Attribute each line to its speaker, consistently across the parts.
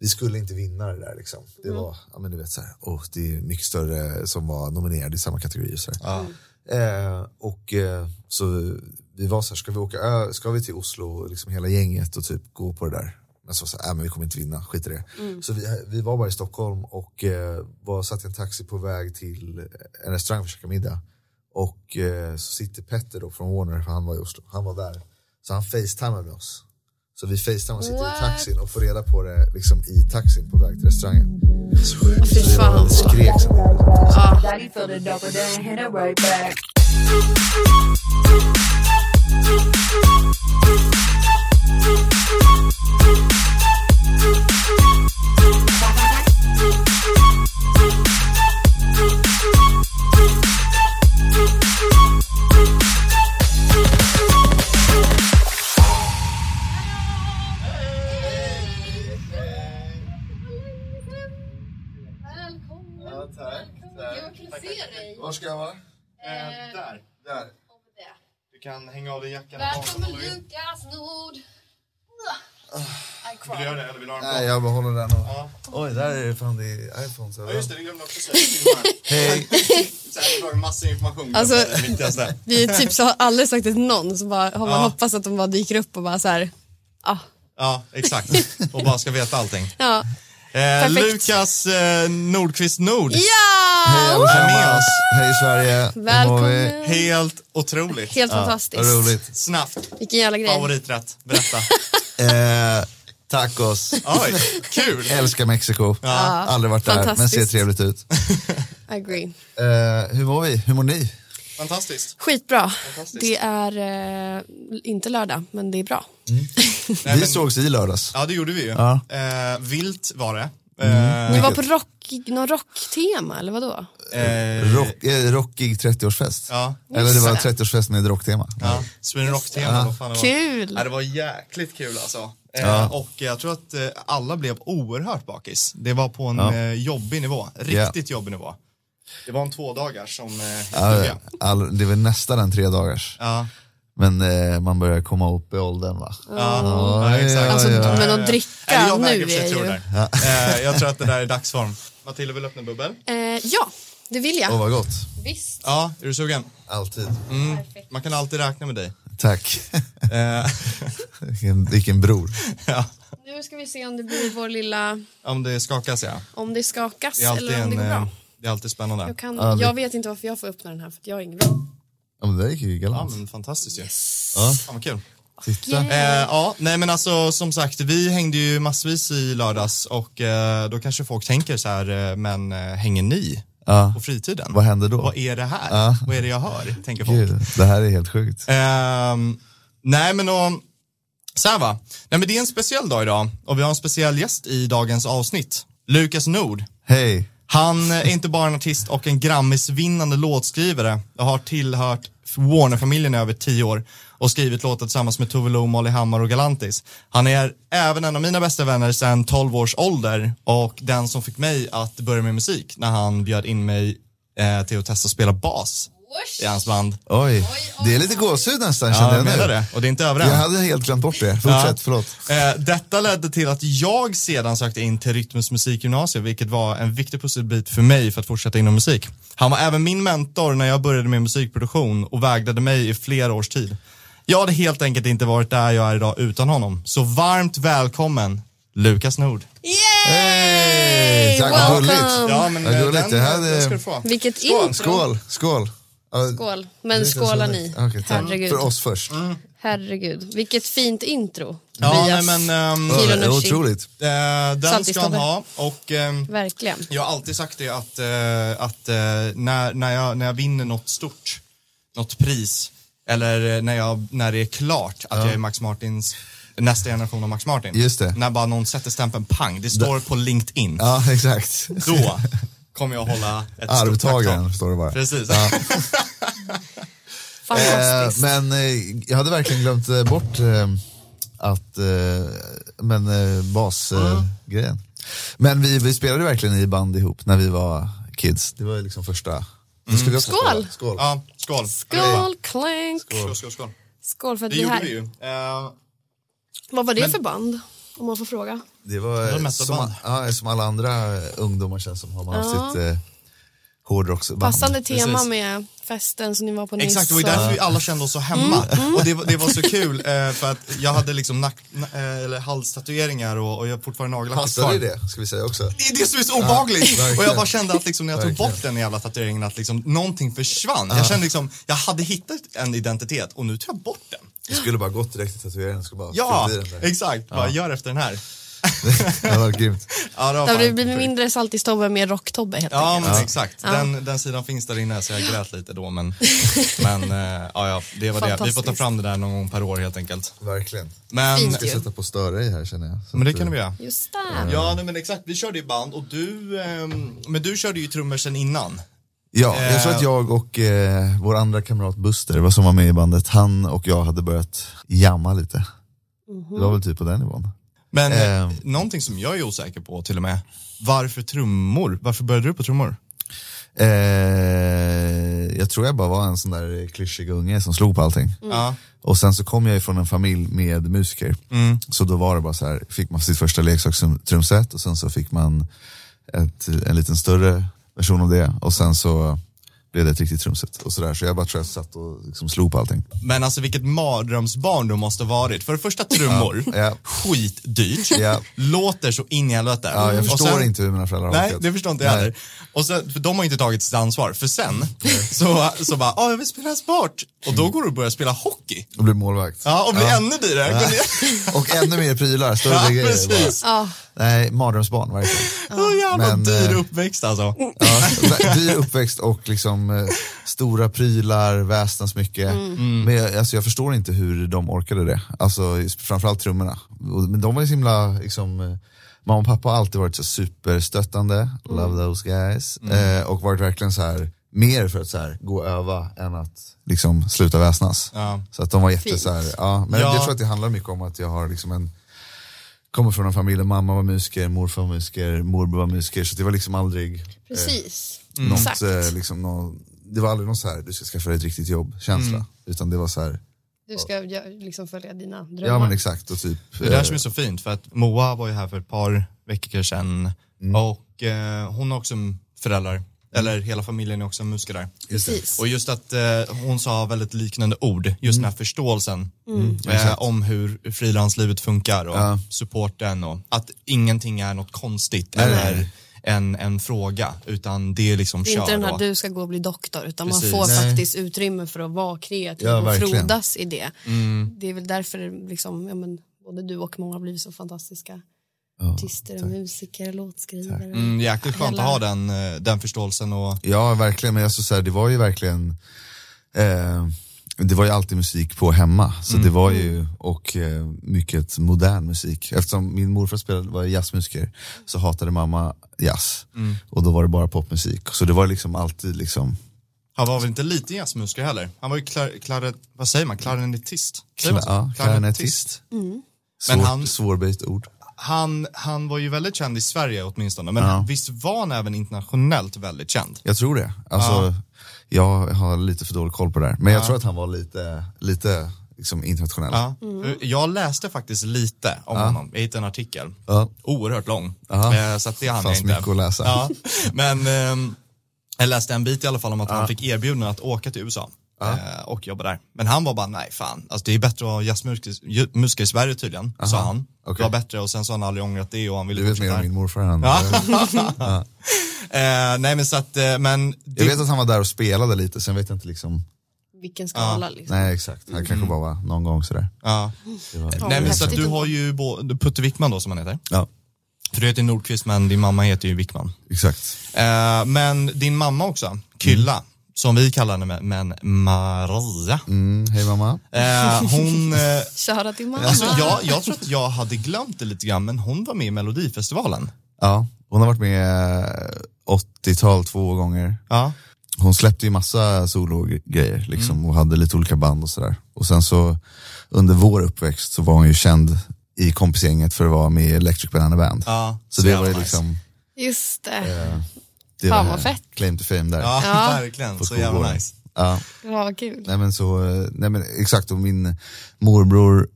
Speaker 1: vi skulle inte vinna det där. Liksom. Det var, ja, men du vet, så här, oh, det är mycket större som var nominerade i samma kategori. Och så här. Eh, och eh, så vi var så här, ska vi åka ö, ska vi till Oslo, liksom hela gänget och typ gå på det där? Men så sa jag, äh, men vi kommer inte vinna, skit i det. Så vi, vi var bara i Stockholm och eh, var, satt i en taxi på väg till en restaurang för att käka middag. Och eh, så sitter Petter då från Warner, för han var i Oslo, han var där. Så han facetimar med oss. Så vi facetimar och sitter
Speaker 2: What?
Speaker 1: i taxin och får reda på det liksom, i taxin på väg till restaurangen. Så sjukt.
Speaker 2: fy
Speaker 1: Så det var-
Speaker 2: fan.
Speaker 1: det skreks en del.
Speaker 3: Daddy Uh, filled it up, but then hit it right back.
Speaker 2: Välkommen!
Speaker 1: Ja, tack,
Speaker 2: Välkommen.
Speaker 1: tack.
Speaker 2: Jag kan se dig.
Speaker 1: Var ska jag vara?
Speaker 2: Eh,
Speaker 4: där.
Speaker 1: Där.
Speaker 2: om det.
Speaker 4: Du kan hänga av dig jackan.
Speaker 2: Välkommen Lukas Nord! I
Speaker 4: Vill du göra
Speaker 2: cry.
Speaker 4: det eller vill du ha en
Speaker 1: Nej,
Speaker 4: plan?
Speaker 1: jag behåller den. Och...
Speaker 4: Ja.
Speaker 1: Oj, där är det fan det är iPhones
Speaker 4: Ja,
Speaker 1: överallt.
Speaker 4: just det, det glömde jag också säga.
Speaker 1: Hej!
Speaker 4: Så här, du har en massa information.
Speaker 5: Alltså-
Speaker 4: Det är det viktigaste.
Speaker 5: Vi typ så har aldrig sagt det till någon, så bara, har man
Speaker 4: Ja.
Speaker 5: hoppats att de bara dyker upp och bara så här, ah,
Speaker 4: Ja, exakt. Och bara ska veta allting.
Speaker 5: ja.
Speaker 4: Eh,
Speaker 5: Perfekt.
Speaker 4: Lukas eh, Nordqvist Nord.
Speaker 1: Hej
Speaker 5: Ja!
Speaker 1: allesammans!
Speaker 4: Tillsammans.
Speaker 1: Hej Sverige! Hur mår vi?
Speaker 5: Välkommen!
Speaker 4: Helt otroligt.
Speaker 5: Helt
Speaker 1: Vad
Speaker 5: fantastiskt.
Speaker 1: roligt.
Speaker 4: Snabbt.
Speaker 5: Vilken jävla grej.
Speaker 4: Favoriträtt. Berätta.
Speaker 1: Eh, tacos.
Speaker 4: Oj, kul.
Speaker 1: Älskar Mexiko. Aldrig varit där, men ser
Speaker 5: fantastiskt.
Speaker 1: trevligt ut.
Speaker 5: Agree.
Speaker 1: Eh, hur mår vi? Hur mår ni?
Speaker 4: Fantastiskt.
Speaker 5: Skitbra. Det är eh, inte lördag, men det är bra.
Speaker 4: Nej,
Speaker 1: vi
Speaker 4: men-
Speaker 1: sågs i lördags.
Speaker 4: Ja, det gjorde vi ju.
Speaker 1: Ja.
Speaker 4: Eh, vilt var det.
Speaker 5: Du
Speaker 2: Mm.
Speaker 4: Eh,
Speaker 5: var på rock, någon rocktema, eller vadå?
Speaker 4: eh,
Speaker 1: Rock, eh, rockig 30-årsfest.
Speaker 4: Ja.
Speaker 1: Eller det var en
Speaker 5: Just det.
Speaker 1: 30-årsfest med rocktema.
Speaker 4: Ja, Sweden Rock-tema. vad fan det var.
Speaker 5: Kul.
Speaker 4: Ja, det var jäkligt kul alltså. Eh,
Speaker 1: Ja.
Speaker 4: Och jag tror att eh, alla blev oerhört bakis. Det var på en
Speaker 1: Ja.
Speaker 4: eh, jobbig nivå, riktigt
Speaker 1: Ja.
Speaker 4: jobbig nivå. Det var en tvådagars som eh,
Speaker 1: Ja,
Speaker 4: historia.
Speaker 1: all, det var nästan en tre dagars.
Speaker 4: Ja,
Speaker 1: Men eh, man börjar komma upp i åldern va?
Speaker 4: ja,
Speaker 1: ja,
Speaker 4: ja, exakt.
Speaker 1: Alltså,
Speaker 4: Ja, ja,
Speaker 5: men
Speaker 4: ja,
Speaker 5: att
Speaker 4: ja.
Speaker 5: dricka
Speaker 4: Nej, jag
Speaker 5: nu
Speaker 4: vägrar för sig
Speaker 5: är
Speaker 4: tro
Speaker 5: ju-
Speaker 4: där. Eh, Jag tror att det där är dagsform. Matilda vill öppna en bubbel.
Speaker 5: Eh, ja, det vill
Speaker 1: Åh
Speaker 5: jag.
Speaker 1: vad gott.
Speaker 5: Visst.
Speaker 4: Ja, är du sugen?
Speaker 1: Alltid.
Speaker 4: Mm. Man kan alltid räkna med dig.
Speaker 1: Tack.
Speaker 4: Eh,
Speaker 1: vilken, vilken bror.
Speaker 4: ja,
Speaker 5: Nu ska vi se om det blir vår lilla,
Speaker 4: om det skakas ja.
Speaker 5: om det skakas
Speaker 4: Det är alltid,
Speaker 5: eller om det
Speaker 4: en,
Speaker 5: går
Speaker 4: eh,
Speaker 5: bra.
Speaker 4: det är alltid spännande.
Speaker 5: Jag, kan,
Speaker 1: Ja, det-
Speaker 5: jag vet inte varför jag får öppna den här, för att jag är ingen bra.
Speaker 1: Ja, men det gick ju
Speaker 4: Ja,
Speaker 1: galant.
Speaker 4: men fantastiskt ju.
Speaker 1: Ja.
Speaker 4: Fan vad kul.
Speaker 1: Titta.
Speaker 4: Eh, ja, nej men alltså som sagt, vi hängde ju massvis i lördags och eh, då kanske folk tänker så här, eh, men eh, hänger ni
Speaker 1: Ja.
Speaker 4: på fritiden?
Speaker 1: Vad händer då?
Speaker 4: Vad är det här?
Speaker 1: Ja.
Speaker 4: Vad är det jag hör? Tänker folk.
Speaker 1: Gud, det här är helt sjukt.
Speaker 4: Ehm, nej men och, så här va, nej men det är en speciell dag idag och vi har en speciell gäst i dagens avsnitt. Lukas Nord.
Speaker 1: Hej.
Speaker 4: Han är inte bara en artist och en Grammisvinnande låtskrivare och har tillhört Warner-familjen i över tio år och skrivit låtar tillsammans med Tove Lo, Molly Hammar och Galantis. Han är även en av mina bästa vänner sedan 12 års ålder och den som fick mig att börja med musik när han bjöd in mig eh, till att testa att spela bas i hans band.
Speaker 1: Oj. Det är lite gåshud nästan känner
Speaker 4: Ja, jag
Speaker 1: jag
Speaker 4: menar
Speaker 1: nu.
Speaker 4: det. Och det är inte över än.
Speaker 1: Jag hade helt glömt bort det. Fortsätt, förlåt.
Speaker 4: Eh, Detta ledde till att jag sedan sökte in till Rytmus musikgymnasium, vilket var en viktig pusselbit för mig för att fortsätta inom musik. Han var även min mentor när jag började med musikproduktion och vägledde mig i flera års tid. Jag hade helt enkelt inte varit där jag är idag utan honom. Så varmt välkommen, Lukas Nord.
Speaker 1: Hej! Tack, vad
Speaker 5: welcome.
Speaker 1: gulligt.
Speaker 4: men eh,
Speaker 1: Vad gulligt. Det här eh, är-
Speaker 4: få.
Speaker 5: Vilket intro.
Speaker 1: Skål, skål. Ja,
Speaker 5: Skål. Men
Speaker 1: det känns
Speaker 5: skåla
Speaker 1: väldigt-
Speaker 5: ni.
Speaker 1: Okej, tack.
Speaker 5: Herregud.
Speaker 1: För oss först.
Speaker 5: Herregud. Vilket fint intro.
Speaker 4: Ja, nej,
Speaker 5: Tobias.
Speaker 4: men ehm,
Speaker 1: Ja, det är
Speaker 5: Kilonushi.
Speaker 1: Otroligt.
Speaker 4: eh, den ska han
Speaker 5: Saltistobbe.
Speaker 4: ha och ehm,
Speaker 5: Verkligen.
Speaker 4: Jag har alltid sagt det att, eh, att eh, när, när, jag, när jag vinner något stort, något pris, eller eh, när, jag, när det är klart att jag är Max Martins nästa generation av Max Martin.
Speaker 1: Just det.
Speaker 4: När bara någon sätter stämpeln pang, det står på LinkedIn.
Speaker 1: Ja, exakt.
Speaker 4: Då kommer jag hålla ett stort
Speaker 1: Arvtagaren,
Speaker 4: tacktal.
Speaker 1: förstår du bara.
Speaker 4: Precis.
Speaker 1: Eh,
Speaker 5: Fantastiskt.
Speaker 1: men eh, jag hade verkligen glömt eh, bort eh, att, eh, men eh, basgrejen. Eh, grejen. Men vi, vi spelade verkligen i band ihop när vi var kids. Det var ju liksom första. Då skulle vi också
Speaker 5: Mm. Skål!
Speaker 1: spela. Skål!
Speaker 4: Ja, skål.
Speaker 5: Skål, klänk.
Speaker 4: Skål, skål, skål.
Speaker 5: Skål för att
Speaker 4: Det
Speaker 5: vi är
Speaker 4: gjorde vi
Speaker 5: här.
Speaker 4: ju. Eh,
Speaker 5: Vad var det
Speaker 4: Men-
Speaker 5: för band? om man får fråga.
Speaker 1: Det var
Speaker 4: Det var
Speaker 1: eh,
Speaker 4: metalband.
Speaker 1: som, ja, som alla andra eh, ungdomar känns som har man haft
Speaker 5: Ja.
Speaker 1: sitt eh, hårdrocksband.
Speaker 5: Passande tema
Speaker 4: Precis.
Speaker 5: med festen som ni var på nyss.
Speaker 4: Exakt, det var ju
Speaker 5: så-
Speaker 4: därför vi alla kände oss så hemma.
Speaker 5: Mm,
Speaker 4: Och det, var- det var så kul eh, för att jag hade liksom nack, na, eh, eller halstatueringar och, och jag har fortfarande nagellack
Speaker 1: Passade det, ska vi säga också.
Speaker 4: Det är det som är så obehagligt.
Speaker 1: verkligen.
Speaker 4: och jag bara kände att liksom när jag tog
Speaker 1: Verkligen.
Speaker 4: bort den jävla tatueringen att liksom någonting försvann. Jag kände liksom, jag hade hittat en identitet och nu tar jag bort den.
Speaker 1: Jag skulle bara gått direkt till tatueringen. Skulle bara
Speaker 4: Ja,
Speaker 1: fyllt i den där.
Speaker 4: exakt. Bara gör efter den här.
Speaker 1: Det var grymt.
Speaker 4: Ja, det var
Speaker 5: Det
Speaker 4: fan
Speaker 5: hade blivit
Speaker 4: sjukt.
Speaker 5: mindre saltis-Tobbe, mer rock-Tobbe helt
Speaker 4: Ja,
Speaker 5: enkelt.
Speaker 4: men exakt. Den, den sidan finns där inne, så jag grät lite då. Men, men eh, ja, ja, det var det. Vi får ta
Speaker 5: Fantastiskt.
Speaker 4: fram det där någon gång per år helt enkelt.
Speaker 1: Verkligen.
Speaker 4: Men,
Speaker 5: Fint.
Speaker 1: Jag ska sätta på större i här känner jag. Så
Speaker 4: men det
Speaker 1: att,
Speaker 4: kan vi göra.
Speaker 5: Just det.
Speaker 1: Mm.
Speaker 4: Ja, nej, men exakt. Vi körde ju band och du, ehm, men du körde ju trummor sen innan.
Speaker 1: Ja, jag tror att jag och eh, vår andra kamrat Buster, vad som var med i bandet, han och jag hade börjat jamma lite. Det var väl typ på den nivån.
Speaker 4: Men eh,
Speaker 1: Ehm.
Speaker 4: någonting som jag är osäker på till och med, varför trummor? Varför började du på trummor?
Speaker 1: Mm. Eh, jag tror jag bara var en sån där klyschig unge som slog på allting.
Speaker 4: Ja.
Speaker 1: Och sen så kom jag ifrån en familj med musiker.
Speaker 4: Mm.
Speaker 1: Så då var det bara så här, fick man sitt första leksakstrumset och sen så fick man ett, en liten större version av det och sen så blev det ett riktigt trumset och sådär. Så jag bara tror jag satt och liksom slog på allting.
Speaker 4: Men alltså vilket mardrömsbarn du måste ha varit. För det första trummor,
Speaker 1: ja.
Speaker 4: skitdyrt,
Speaker 1: Ja.
Speaker 4: låter så in i helvete.
Speaker 1: Ja, jag
Speaker 4: Och
Speaker 1: förstår
Speaker 4: sen-
Speaker 1: inte hur mina föräldrar har
Speaker 4: Nej,
Speaker 1: orkat.
Speaker 4: det förstår inte jag
Speaker 1: Nej.
Speaker 4: heller. Och sen, för de har inte tagit sitt ansvar. För sen,
Speaker 1: Mm.
Speaker 4: så, så bara, ja, jag vill spela sport. Och då går du och börjar spela hockey.
Speaker 1: Och blev målvakt.
Speaker 4: Ja, och blir ännu dyrare.
Speaker 1: Och ännu mer prylar, större
Speaker 4: Ja,
Speaker 1: grejer.
Speaker 4: precis.
Speaker 5: Ja.
Speaker 1: Bara. Nej, mardrömsbarn verkligen.
Speaker 4: Så jävla
Speaker 1: Men,
Speaker 4: dyr
Speaker 1: eh,
Speaker 4: uppväxt alltså.
Speaker 1: Ja, vä- dyr uppväxt och liksom eh, stora prylar, väsnas mycket.
Speaker 4: Mm.
Speaker 1: Men jag, alltså, jag förstår inte hur de orkade det. Alltså, just- framförallt trummorna. Och- Men de var ju så himla, liksom, eh, mamma och pappa har alltid varit så superstöttande,
Speaker 4: Mm.
Speaker 1: love those guys. Eh, och varit verkligen så här mer för att så här, gå och öva än att liksom, sluta väsnas.
Speaker 4: Ja.
Speaker 1: Så att de var jätte
Speaker 5: Fint.
Speaker 1: så här, ja, men
Speaker 4: Ja.
Speaker 1: jag tror att det handlar mycket om att jag har liksom en Kommer från en familj där mamma var musiker, morfar var musiker, morbror var musiker. Så det var liksom aldrig
Speaker 5: Precis.
Speaker 4: Mm.
Speaker 1: något,
Speaker 5: Exakt.
Speaker 1: eh, liksom, nå- det var aldrig någon så här, du ska skaffa dig ett riktigt jobb känsla.
Speaker 4: Mm.
Speaker 1: Utan det var så
Speaker 5: Mm.
Speaker 1: här,
Speaker 2: Du ska ja, liksom följa dina drömmar.
Speaker 1: ja men exakt och typ.
Speaker 4: Det där
Speaker 1: eh,
Speaker 4: som är så fint för att Moa var ju här för ett par veckor sedan
Speaker 1: Mm.
Speaker 4: och eh, hon har också föräldrar, eller hela familjen är också musiker där.
Speaker 1: just det.
Speaker 5: Precis.
Speaker 4: Och just att eh, hon sa väldigt liknande ord, just
Speaker 1: Mm.
Speaker 4: den här förståelsen eh, om hur frilanslivet funkar och
Speaker 1: Ja.
Speaker 4: supporten och att ingenting är något konstigt
Speaker 1: Nej,
Speaker 4: eller
Speaker 1: nej.
Speaker 4: En, en fråga utan det är liksom
Speaker 5: Det är inte
Speaker 4: kör
Speaker 5: den här
Speaker 4: och-
Speaker 5: du ska gå och bli doktor utan
Speaker 4: Precis.
Speaker 5: man får
Speaker 1: Nej.
Speaker 5: faktiskt utrymme för att vara kreativ
Speaker 1: Ja,
Speaker 5: och
Speaker 1: verkligen. Mm.
Speaker 5: frodas i det. Det är väl därför liksom, ja, men, både du och många har blivit så fantastiska
Speaker 1: Ja,
Speaker 5: artister, och musiker, låtskrivare.
Speaker 4: mm, jäkligt skönt att
Speaker 5: Hela-
Speaker 4: ha den, eh, den förståelsen och
Speaker 1: Ja, verkligen. Men alltså, så här, det var ju verkligen, eh, det var ju alltid musik på hemma. Så
Speaker 4: Mm.
Speaker 1: det var ju, och eh, mycket modern musik. Eftersom min morfar spelade, var jazzmusiker så hatade mamma jazz.
Speaker 4: Mm.
Speaker 1: Och då var det bara popmusik. Så det var liksom alltid liksom,
Speaker 4: Han var väl inte lite jazzmusiker heller? Han var ju klar, klar, vad säger man, klarinettist? Säger man så?
Speaker 1: ja, klarinettist. Svår,
Speaker 4: Mm. Men han-
Speaker 1: Svårböjt ord.
Speaker 4: Han, han var ju väldigt känd i Sverige åtminstone, men
Speaker 1: Ja.
Speaker 4: visst var han även internationellt väldigt känd?
Speaker 1: Jag tror det. Alltså, Jag har lite för dålig koll på det här. Men jag tror att han var lite, lite liksom internationell.
Speaker 4: Ja. Mm. Jag läste faktiskt lite om honom, jag hittade en artikel,
Speaker 1: Ja.
Speaker 4: oerhört lång,
Speaker 1: Ja.
Speaker 4: Eh, så att det hann jag
Speaker 1: Fanns
Speaker 4: inte.
Speaker 1: mycket att läsa.
Speaker 4: Ja. Men ehm, jag läste en bit i alla fall om att han fick erbjudande att åka till USA. eh, Och jobba där. Men han var bara, nej fan, alltså det är bättre att ha jazzmusiker ju- musiker i Sverige tydligen, sa han. Det
Speaker 1: okej.
Speaker 4: var bättre och sen så har han aldrig ångrat det och han ville
Speaker 1: Du vet mer
Speaker 4: fortsätta.
Speaker 1: om min morfar än
Speaker 4: Ja. Eh, nej men så att, eh, men
Speaker 1: Jag
Speaker 4: det,
Speaker 1: vet att han var där och spelade lite, sen vet jag inte liksom.
Speaker 5: Vilken skala liksom.
Speaker 1: Nej exakt, han kanske bara var någon gång sådär.
Speaker 4: ja.
Speaker 1: Det var...
Speaker 4: nej, men så att
Speaker 5: häftigt
Speaker 4: du
Speaker 5: ändå.
Speaker 4: har ju bo- Putte Wickman då som han heter.
Speaker 1: Ja,
Speaker 4: För du heter Nordqvist men din mamma heter ju Wickman.
Speaker 1: exakt.
Speaker 4: Eh, men din mamma också, Kylla, som vi kallar henne med- men Maria.
Speaker 1: Mm, hej mamma.
Speaker 4: Eh, hon, eh,
Speaker 5: Köra till mamma.
Speaker 4: alltså jag, jag tror att jag hade glömt det lite grann men hon var med i Melodifestivalen.
Speaker 1: Ja, hon har varit med eh, 80-tal två gånger.
Speaker 4: Ja.
Speaker 1: Hon släppte ju massa sologrejer liksom,
Speaker 4: Mm.
Speaker 1: och hade lite olika band och sådär. Och sen så under vår uppväxt så var hon ju känd i kompisgänget för att vara med i Electric Banana Band.
Speaker 4: Ja,
Speaker 1: så det
Speaker 4: jävla
Speaker 1: var ju
Speaker 4: nice.
Speaker 1: liksom,
Speaker 5: Just
Speaker 1: Eh.
Speaker 5: det.
Speaker 1: det
Speaker 5: Fan,
Speaker 1: var
Speaker 5: vad fett.
Speaker 1: claim to fame där.
Speaker 4: Ja,
Speaker 5: Ja.
Speaker 4: verkligen.
Speaker 1: På
Speaker 4: Så jävla
Speaker 1: skolgården.
Speaker 4: nice.
Speaker 1: Ja.
Speaker 5: Ja, vad kul.
Speaker 1: Nej men så, eh, nej men exakt och min morbror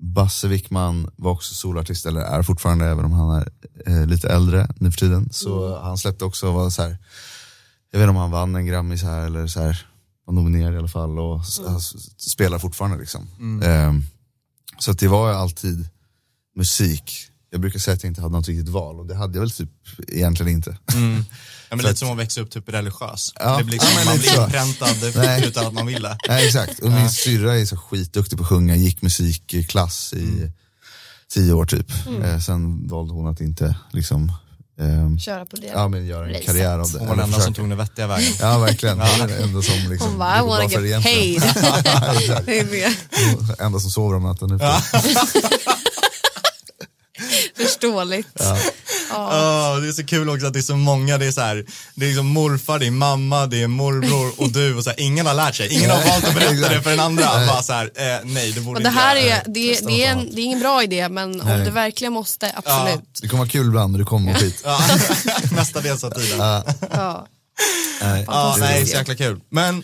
Speaker 1: Basse Wickman var också solartist, eller är fortfarande även om han är eh, lite äldre nu för tiden. Så han släppte också, var så här, jag vet inte om han vann en Grammis här eller så här, var nominerad i alla fall och s- han s- spelar fortfarande. liksom. Ehm, så att det var alltid musik. Jag brukar säga att jag inte hade något riktigt val och det hade jag väl typ egentligen inte.
Speaker 4: Ja, men lite som att växa upp typ religiös.
Speaker 1: Ja.
Speaker 4: Det blir liksom,
Speaker 1: Ja, men
Speaker 4: man
Speaker 1: lite
Speaker 4: blir
Speaker 1: så.
Speaker 4: inpräntad
Speaker 1: Nej.
Speaker 4: utan att man vill det.
Speaker 1: Nej, exakt. Och min syrra är så skitduktig på att sjunga, gick musikklass i
Speaker 6: Mm.
Speaker 1: tio år typ. Eh, sen valde hon att inte liksom, ehm,
Speaker 2: Köra på det.
Speaker 1: ja, men göra en
Speaker 2: Racet.
Speaker 1: karriär av det.
Speaker 4: Hon var
Speaker 1: eller
Speaker 4: den enda som
Speaker 1: försöka.
Speaker 4: tog den vettiga vägen.
Speaker 1: Ja verkligen, hon är den enda som liksom,
Speaker 6: Hon bara, I
Speaker 1: går
Speaker 6: wanna
Speaker 1: bara för
Speaker 6: get
Speaker 1: egentligen.
Speaker 6: paid.
Speaker 1: Ja, exakt.
Speaker 6: Det är det.
Speaker 1: Hon är enda som sover om natten nu. Ja.
Speaker 6: Förståeligt.
Speaker 4: Ja, det är så kul också att det är så många, det är så här, det är liksom morfar, det är mamma, det är morbror och du och så här, ingen har lärt sig, ingen har valt att berätta det för den andra. Bara så här, eh, nej, det borde
Speaker 6: Och det
Speaker 4: inte
Speaker 6: här
Speaker 4: jag.
Speaker 6: är, det, det, är en, det är ingen bra idé men om det verkligen måste, absolut.
Speaker 1: Det kommer vara kul ibland men det kommer vara skit.
Speaker 4: Ja, mestadels av tiden.
Speaker 6: Ja.
Speaker 1: Nej.
Speaker 4: Ja,
Speaker 6: Fantastiskt.
Speaker 4: nej, så jäkla kul. Men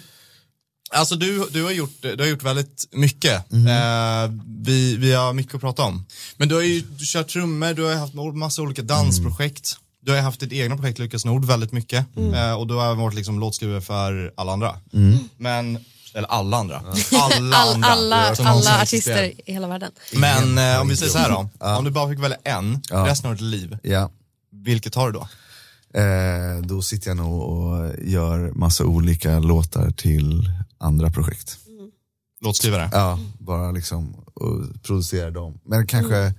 Speaker 4: alltså du, du, har, gjort, du har gjort väldigt mycket.
Speaker 6: Mhm.
Speaker 4: Eh, vi, vi har mycket att prata om. Men du har ju du kört trummor, du har ju haft en massa olika dansprojekt. Du har ju haft ditt egna projekt Lukas Nord väldigt mycket.
Speaker 6: Mm.
Speaker 4: Eh, och du har även varit liksom låtskrivare för alla andra. Men, eller alla andra. Alla
Speaker 6: All,
Speaker 4: andra.
Speaker 6: alla
Speaker 4: som någonsin
Speaker 6: alla
Speaker 4: existerar.
Speaker 6: artister i hela världen.
Speaker 4: Men eh, om vi säger så här då. Om du bara fick välja en resten av ditt liv,
Speaker 1: Ja.
Speaker 4: vilket tar du då?
Speaker 1: Eh, då sitter jag nog och gör massa olika låtar till andra projekt.
Speaker 4: Låtskrivare?
Speaker 1: Ja,
Speaker 2: Mm.
Speaker 1: bara liksom och producera dem. Men kanske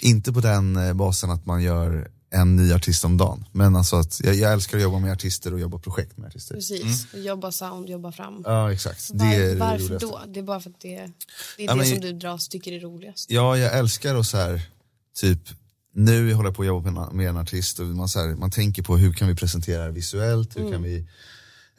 Speaker 1: inte på den eh, basen att man gör en ny artist om dagen. Men alltså att jag, jag älskar att jobba med artister och jobba projekt med artister.
Speaker 2: Precis, jobba sound, jobba fram.
Speaker 1: Mm. Ja, exakt. Det är
Speaker 2: Var,
Speaker 1: det
Speaker 2: varför
Speaker 1: roligaste.
Speaker 2: då? Det är bara för att det, det är
Speaker 1: Ja,
Speaker 2: det
Speaker 1: men-
Speaker 2: som du dras, tycker är roligast.
Speaker 1: Ja, jag älskar att så här, typ, nu håller jag på att jobba med en, med en artist och man, så här, man tänker på hur kan vi presentera det visuellt, hur
Speaker 2: Mm.
Speaker 1: kan vi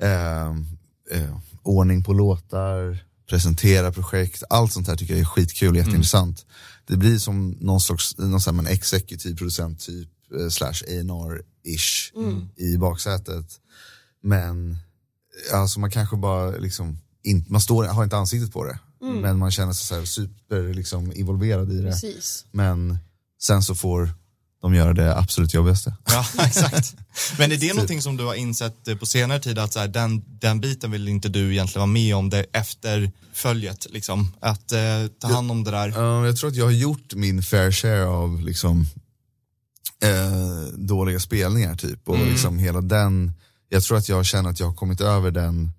Speaker 1: ehm, eh, ordning på låtar, presentera projekt, allt sånt här tycker jag är skitkul och jätteintressant. Det blir som någon slags, någon så här, men exekutiv producent typ, eh, slash A&R-ish i baksätet. Men alltså man kanske bara liksom, in, man står, har inte ansiktet på det. Men man känner sig så här super liksom, involverad i det.
Speaker 2: Precis.
Speaker 1: Men sen så får de göra det absolut jobbigaste.
Speaker 4: Ja, exakt. Men är
Speaker 1: Typ.
Speaker 4: det någonting som du har insett eh, på senare tid att så här, den, den biten vill inte du egentligen vara med om det efter följet liksom? Att eh, ta hand om det där?
Speaker 1: Ja, jag tror att jag har gjort min fair share av liksom, eh, dåliga spelningar typ. Och liksom hela den, jag tror att jag känner att jag har kommit över den,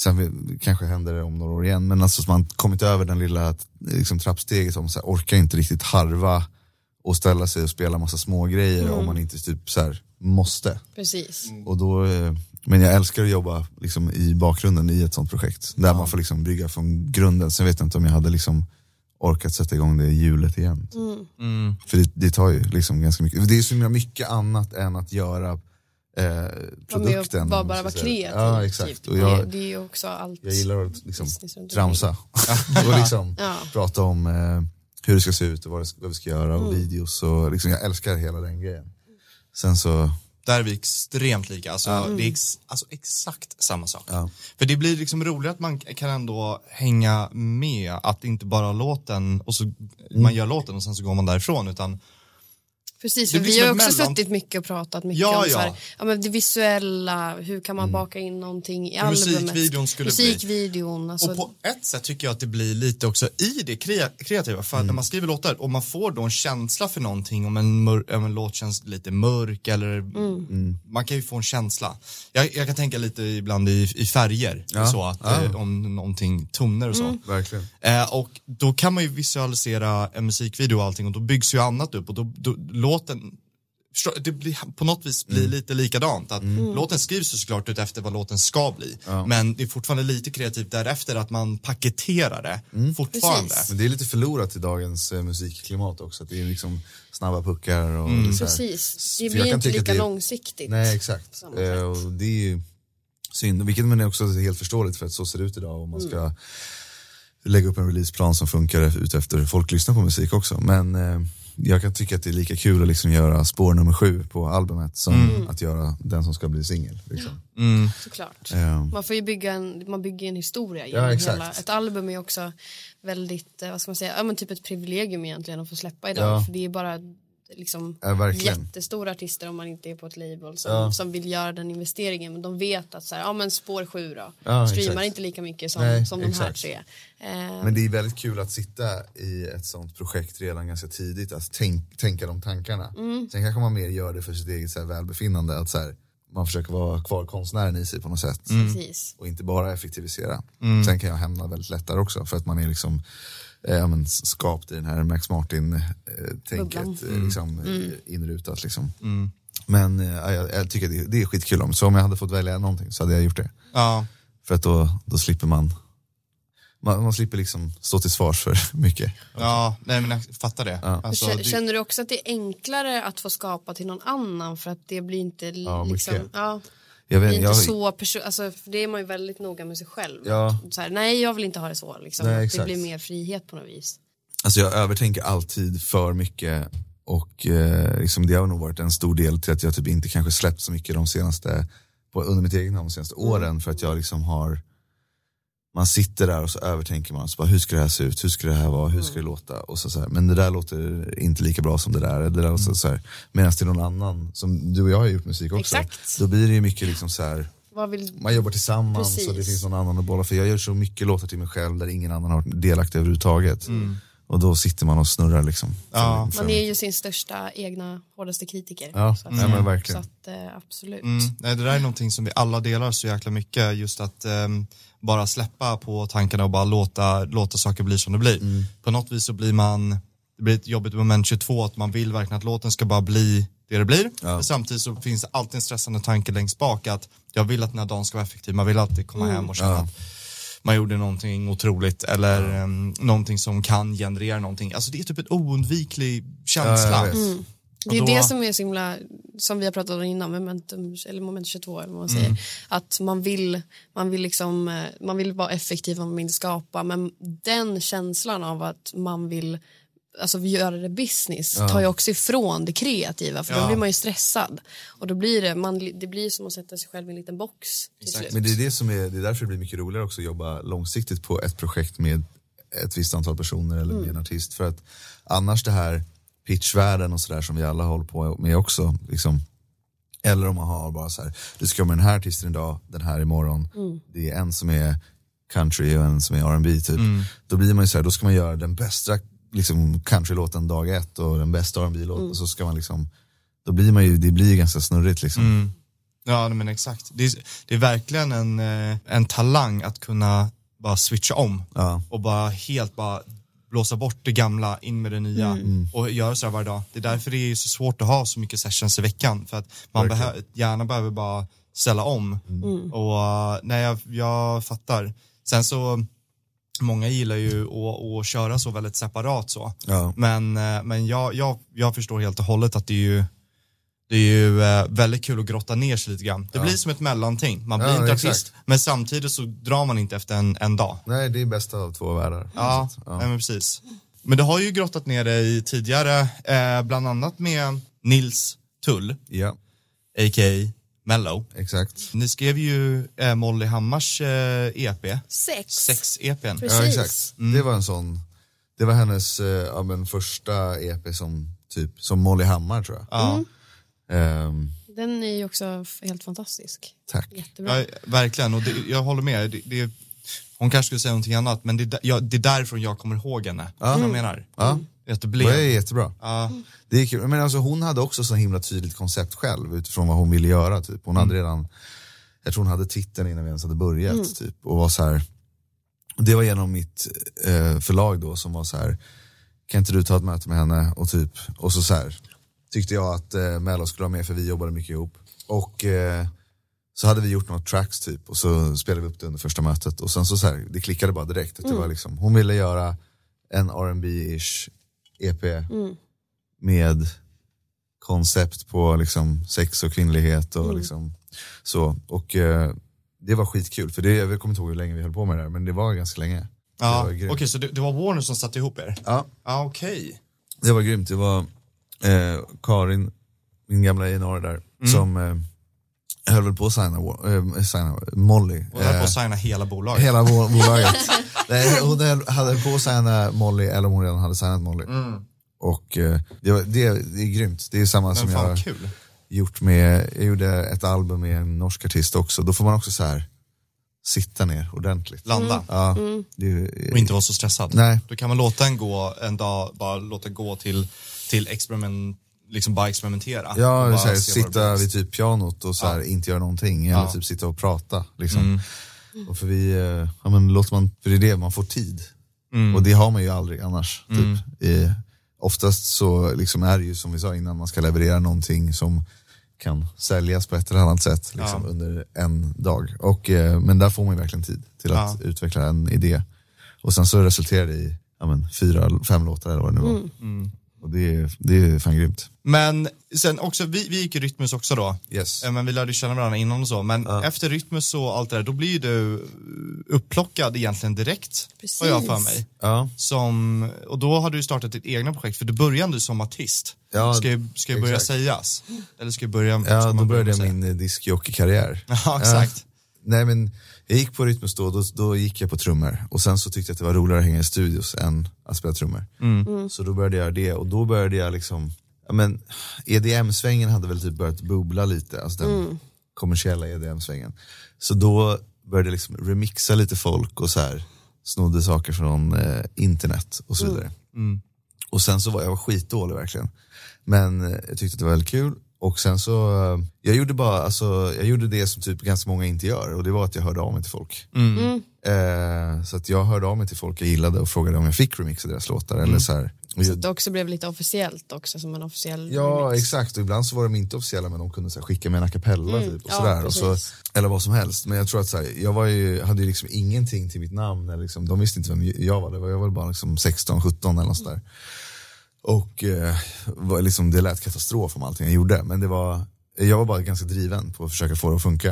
Speaker 1: sen vi, kanske händer det om några år igen, men alltså att man kommit över den lilla liksom, trappsteget om så här, orkar inte riktigt harva och ställa sig och spela massa små grejer om man inte typ så här, måste.
Speaker 2: Precis.
Speaker 1: Och då, eh, men jag älskar att jobba liksom, i bakgrunden i ett sånt projekt. Där man får liksom, bygga från grunden. Sen vet jag inte om jag hade liksom, orkat sätta igång det hjulet igen.
Speaker 2: Mm.
Speaker 1: För det, det tar ju liksom ganska mycket. Det är så himla mycket annat än att göra eh, produkten. om
Speaker 2: bara,
Speaker 1: man
Speaker 2: bara
Speaker 1: ska
Speaker 2: vara
Speaker 1: säga.
Speaker 2: kreativ.
Speaker 1: Ja, exakt.
Speaker 2: Typ.
Speaker 1: Och
Speaker 2: det,
Speaker 1: jag,
Speaker 2: det är ju också allt.
Speaker 1: jag gillar att liksom,
Speaker 2: Business runt omkring.
Speaker 1: tramsa. och liksom,
Speaker 2: Ja.
Speaker 1: prata om eh, hur det ska se ut och vad, det, vad vi ska göra och
Speaker 2: Mm.
Speaker 1: videos. Och, liksom, jag älskar hela den grejen. Sen så,
Speaker 4: Där är vi extremt lika. Alltså, Det är ex, alltså exakt samma sak.
Speaker 1: Ja.
Speaker 4: För det blir liksom roligare att man kan ändå hänga med. Att inte bara låten och så man gör låten och sen så går man därifrån utan
Speaker 2: Precis,
Speaker 4: Det
Speaker 2: för
Speaker 4: blir
Speaker 2: vi
Speaker 4: som
Speaker 2: har ju
Speaker 4: ett
Speaker 2: också
Speaker 4: mellan-
Speaker 2: suttit mycket och pratat mycket
Speaker 4: Ja,
Speaker 2: om Så
Speaker 4: ja.
Speaker 2: här, ja, men det visuella, hur kan man
Speaker 1: Mm.
Speaker 2: baka in någonting i
Speaker 4: Hur
Speaker 2: albumet?
Speaker 4: musikvideon skulle bli.
Speaker 2: Musikvideon, alltså,
Speaker 4: Och på ett sätt tycker jag att det blir lite också i det krea- kreativa. För att när man skriver låtar och man får då en känsla för någonting om en, mör- om en låt känns lite mörk eller man kan ju få en känsla. Jag, jag kan tänka lite ibland i, i färger, så att, eh, om någonting toner och så.
Speaker 1: verkligen.
Speaker 4: Eh, och då kan man ju visualisera en musikvideo och allting och då byggs ju annat upp och då, då låten förstår- det blir, på något vis blir lite likadant. Att Låten skrivs ju såklart ut efter vad låten ska bli. Men det är fortfarande lite kreativt därefter att man paketerar det fortfarande.
Speaker 2: Precis.
Speaker 1: Men det är lite förlorat i dagens eh, musikklimat också. Att det är liksom snabba puckar och lite så här.
Speaker 2: Mm. Precis,
Speaker 1: För
Speaker 2: det
Speaker 1: jag
Speaker 2: blir
Speaker 1: kan
Speaker 2: inte
Speaker 1: tycka
Speaker 2: lika
Speaker 1: att det är-
Speaker 2: långsiktigt.
Speaker 1: Nej, exakt.
Speaker 2: samma sätt.
Speaker 1: Eh, och det är ju synd, vilket men är också helt förståeligt för att så ser det ut idag. Och man ska
Speaker 2: Mm.
Speaker 1: lägga upp en releaseplan som funkar ut efter folk lyssnar på musik också. Men eh, jag kan tycka att det är lika kul att liksom göra spår nummer sju på albumet som
Speaker 2: Mm.
Speaker 1: att göra den som ska bli singel. Liksom.
Speaker 2: såklart.
Speaker 1: Ehm,
Speaker 2: Man får ju bygga en, man bygger ju en historia
Speaker 1: Ja,
Speaker 2: genom
Speaker 1: exakt.
Speaker 2: hela, ett album är ju också väldigt, eh, vad ska man säga, ja men typ ett privilegium egentligen att få släppa idag
Speaker 1: Ja.
Speaker 2: för det är bara liksom
Speaker 1: Ja, verkligen.
Speaker 2: jättestora artister om man inte är på ett label som,
Speaker 1: Ja.
Speaker 2: som vill göra den investeringen men de vet att så här, ja men spår sju då,
Speaker 1: Ja,
Speaker 2: streamar
Speaker 1: exakt.
Speaker 2: inte lika mycket som,
Speaker 1: Nej,
Speaker 2: som de här
Speaker 1: exakt.
Speaker 2: tre. Eh,
Speaker 1: Men det är väldigt kul att sitta i ett sånt projekt redan ganska tidigt, att tänk, tänka de tankarna. Sen kanske man mer gör det för sitt eget så här, välbefinnande, att så här, man försöker vara kvar konstnären i sig på något sätt.
Speaker 2: Precis.
Speaker 1: Och inte bara effektivisera. Sen kan jag hamna väldigt lätt där också, för att man är liksom eh, ja, men, skapt i den här Max Martin-tänket, eh, liksom, eh, inrutat. Liksom. Men eh, ja, jag, jag tycker det, det är skitkul, om. så om jag hade fått välja någonting så hade jag gjort det.
Speaker 4: Ja.
Speaker 1: För att då, då slipper man, man, man slipper liksom stå till svars för mycket.
Speaker 4: Ja, nej men jag fattar det. Alltså,
Speaker 2: Kä-
Speaker 4: det-
Speaker 2: Känner du också att det är enklare att få skapa till någon annan för att det blir inte li-
Speaker 1: Ja, mycket.
Speaker 2: liksom, ja,
Speaker 1: Jag
Speaker 2: det är
Speaker 1: vet,
Speaker 2: inte
Speaker 1: jag,
Speaker 2: så person, alltså, för det är man ju väldigt noga med sig själv.
Speaker 1: Ja.
Speaker 2: Så här, nej jag vill inte ha det så, liksom.
Speaker 1: Nej,
Speaker 2: det
Speaker 1: exakt.
Speaker 2: blir mer frihet på något vis.
Speaker 1: alltså jag övertänker alltid för mycket och eh, liksom det har nog varit en stor del till att jag typ inte kanske släppt så mycket de senaste, på, under mitt eget namn de senaste
Speaker 2: Mm.
Speaker 1: åren för att jag liksom har man sitter där och så övertänker man, så bara, hur ska det här se ut, hur ska det här vara, hur ska
Speaker 2: Mm.
Speaker 1: det låta? Och så, så här, men det där låter inte lika bra som det där. Det där
Speaker 2: Mm.
Speaker 1: låter så här. Medan till någon annan, som du och jag har gjort musik också,
Speaker 2: Exakt.
Speaker 1: då blir det ju mycket liksom så här,
Speaker 2: Vad vill,
Speaker 1: man jobbar tillsammans
Speaker 2: Precis.
Speaker 1: och det finns någon annan att bolla för. Jag gör så mycket låtar till mig själv där ingen annan har varit delaktig överhuvudtaget. Och då sitter man och snurrar liksom.
Speaker 4: Ja.
Speaker 2: man är ju sin största egna hårdaste kritiker.
Speaker 1: Ja,
Speaker 2: så att,
Speaker 1: nej, men verkligen.
Speaker 2: Så att, eh, absolut.
Speaker 4: Mm, nej, det där är någonting som vi alla delar så jäkla mycket, just att ehm, bara släppa på tankarna och bara låta, låta saker bli som det blir. På något vis så blir man, det blir ett jobbigt moment 22 att man vill verkligen att låten ska bara bli det det blir. Men samtidigt så finns det alltid en stressande tanke längst bak att jag vill att den här dagen ska vara effektiv, man vill alltid komma hem och känna att man gjorde någonting otroligt eller ehm, någonting som kan generera någonting. Alltså det är typ en oundviklig känsla.
Speaker 1: vet.
Speaker 2: Det är
Speaker 4: Och då-
Speaker 2: det som är så himla, som vi har pratat om innan, momentum, eller moment 22 eller vad man säger, att man vill, man vill liksom, eh, man vill vara effektiv, man vill skapa, men den känslan av att man vill Alltså göra det business tar ju också ifrån det kreativa för
Speaker 4: Ja.
Speaker 2: då blir man ju stressad och då blir det, man, det blir ju som att sätta sig själv i en liten box till slut.
Speaker 1: Men det är, det, som är, det är därför det blir mycket roligare också att jobba långsiktigt på ett projekt med ett visst antal personer eller med en artist. För att annars det här pitchvärlden och sådär som vi alla håller på med också. Liksom, eller om man har bara så här, du ska med den här artisten idag, den här imorgon. Det är en som är country och en som är R&B typ. Då blir man ju så här, då ska man göra den bästa liksom, countrylåten dag ett och den bästa R&B-låten. Och så ska man liksom, då blir man ju, det blir ju ganska snurrigt liksom.
Speaker 4: Ja, nej, men exakt. Det är, det är verkligen en, eh, en talang att kunna bara switcha om
Speaker 1: Ja.
Speaker 4: och bara helt bara blåsa bort det gamla, in med det nya och göra så här varje dag. Det är därför det är så svårt att ha så mycket sessions i veckan för att man behö- gärna behöver bara ställa om. Och eh, nej, jag, jag fattar. Sen så, många gillar ju att, att köra så väldigt separat så.
Speaker 1: Ja.
Speaker 4: Men, eh, men jag, jag, jag förstår helt och hållet att det är ju det är ju eh, väldigt kul att grotta ner sig lite grann. Det blir som ett mellanting. Man blir
Speaker 1: Ja,
Speaker 4: inte
Speaker 1: exakt.
Speaker 4: artist, men samtidigt så drar man inte efter en, en dag.
Speaker 1: Nej, det är bästa av två världar.
Speaker 4: Ja, Mm.
Speaker 1: Så att,
Speaker 4: ja. Men precis. Men du har ju grottat ner dig tidigare, eh, bland annat med Nils Tull,
Speaker 1: Ja,
Speaker 4: a.k.a. Mello.
Speaker 1: exakt.
Speaker 4: Ni skrev ju eh, Molly Hammars eh, EP,
Speaker 2: Sex.
Speaker 4: 6-EPn.
Speaker 1: Ja, exakt.
Speaker 4: Mm.
Speaker 1: Det var en sån, det var hennes eh, ja, men första EP som typ som Molly Hammar tror jag.
Speaker 4: Ja,
Speaker 1: Ehm,
Speaker 2: Den är ju också f- helt fantastisk.
Speaker 1: tack.
Speaker 2: Jättebra.
Speaker 4: ja, verkligen. Och det, jag håller med. Det, det, hon kanske skulle säga någonting annat, men det, är där- ja, det är därifrån jag kommer ihåg henne. Vad jag menar?
Speaker 1: Mm. Ja.
Speaker 4: Att
Speaker 1: Det
Speaker 4: det blev...
Speaker 1: är jättebra.
Speaker 4: Ja,
Speaker 1: Det är kul. Men alltså, hon hade också så himla tydligt koncept själv utifrån vad hon ville göra. Typ. Hon hade redan, jag tror hon hade titeln innan vi ens hade börjat. Typ, och var så här, det var genom mitt eh, förlag då som var så här, kan inte du ta ett möte med henne? Och, typ, och så, så här, tyckte jag att eh, Mello skulle vara med för vi jobbade mycket ihop. Och eh, så hade vi gjort några tracks typ och så spelade vi upp det under första mötet. Och sen så, så här, det klickade bara direkt. Att det var liksom, hon ville göra en rb ish EP E med koncept på liksom sex och kvinnlighet och liksom så. Och eh, det var skitkul, för det, jag kommer inte ihåg hur länge vi höll på med det där, men det var ganska länge.
Speaker 4: ja.
Speaker 1: var
Speaker 4: Okej,
Speaker 1: grymt.
Speaker 4: så det, det var Warner som satte ihop er?
Speaker 1: Ja,
Speaker 4: Ja, okej.
Speaker 1: Det var grymt. Det var eh, Karin, min gamla A&amppr där,
Speaker 4: Mm.
Speaker 1: som eh, höll väl på att signa, Wa- eh, signa Molly.
Speaker 4: Och höll på
Speaker 1: Eh,
Speaker 4: att signa hela bolaget.
Speaker 1: Hela bo- bolaget. Nej, hon höll- hade på att signa Molly, eller om hon redan hade signat Molly. Och eh, det, var, det, det är grymt. Det är samma som
Speaker 4: Mm. Men
Speaker 1: jag
Speaker 4: fan
Speaker 1: har
Speaker 4: kul.
Speaker 1: gjort med, jag gjorde ett album med en norsk artist också. Då får man också så här sitta ner ordentligt.
Speaker 4: Landa.
Speaker 1: Mm. Ja, det är-
Speaker 4: Och inte vara så stressad.
Speaker 1: Nej.
Speaker 4: Då kan man låta en gå en dag, bara låta gå till, till experiment, liksom bara experimentera.
Speaker 1: Ja,
Speaker 4: Och
Speaker 1: det är
Speaker 4: bara
Speaker 1: så här,
Speaker 4: se vad det
Speaker 1: sitta
Speaker 4: blir.
Speaker 1: vid typ pianot och så här, inte göra någonting. Eller
Speaker 4: Ja. Mm.
Speaker 1: typ sitta och prata. Liksom. Och för vi, eh, ja men låter man, för det är det, man får tid.
Speaker 4: Mm.
Speaker 1: Och det har man ju aldrig annars. Typ. I, oftast så liksom är det ju som vi sa innan, man ska leverera någonting som kan säljas på ett eller annat sätt liksom, under en dag. Och, eh, men där får man ju verkligen tid till att utveckla en idé. Och sen så resulterar det i ja men, fyra, fem låtar eller vad det nu var.
Speaker 4: Mm.
Speaker 1: Och det, är- det är fan grymt.
Speaker 4: Men sen också, vi, vi gick i Rytmus också då.
Speaker 1: Yes.
Speaker 4: Eh, Men vi lärde ju känna varandra innan och så. Men efter Rytmus och allt det där, då blir ju du eh, upplockad egentligen direkt.
Speaker 7: Precis.
Speaker 4: Har jag för mig. Som, och då har du ju startat ditt egna projekt, för du började ju som artist.
Speaker 1: Ja,
Speaker 4: ska ju, ska ju börja
Speaker 1: exakt.
Speaker 4: sägas. Eller ska ju börja... ska
Speaker 1: Ja,
Speaker 4: man
Speaker 1: då började
Speaker 4: börja med
Speaker 1: jag
Speaker 4: att säga?
Speaker 1: min eh, discjockey-karriär.
Speaker 4: Ja, exakt.
Speaker 1: Nej, men jag gick på Rytmus då, då, då gick jag på trummor. Och sen så tyckte jag att det var roligare att hänga i studios än att spela trummor.
Speaker 4: Mm.
Speaker 1: Så då började jag göra det och då började jag liksom, ja men EDM-svängen hade väl typ börjat bubbla lite, alltså den kommersiella EDM-svängen. Så då började jag liksom remixa lite folk och så här snodde saker från eh, internet och så vidare. Och sen så var jag var skitdålig verkligen. Men eh, jag tyckte att det var väldigt kul. Och sen så, eh, jag gjorde bara, alltså, jag gjorde det som typ ganska många inte gör och det var att jag hörde av mig till folk. Eh, så att jag hörde av mig till folk jag gillade och frågade om jag fick remixa deras låtar eller så här. Och jag-
Speaker 2: Det också blev lite officiellt också som en officiell
Speaker 1: Ja, exakt. Och ibland så var de inte officiella men de kunde så här, skicka med en a cappella typ, och
Speaker 2: ja,
Speaker 1: sådär. Och så,
Speaker 2: precis.
Speaker 1: eller vad som helst. Men jag tror att så här, jag var ju, hade ju liksom ingenting till mitt namn. Eller liksom, de visste inte vem jag var. Det var jag var bara liksom 16, 17 eller något sådär. Och eh, var liksom, det lät katastrof om allting jag gjorde. Men det var, jag var bara ganska driven på att försöka få det att funka.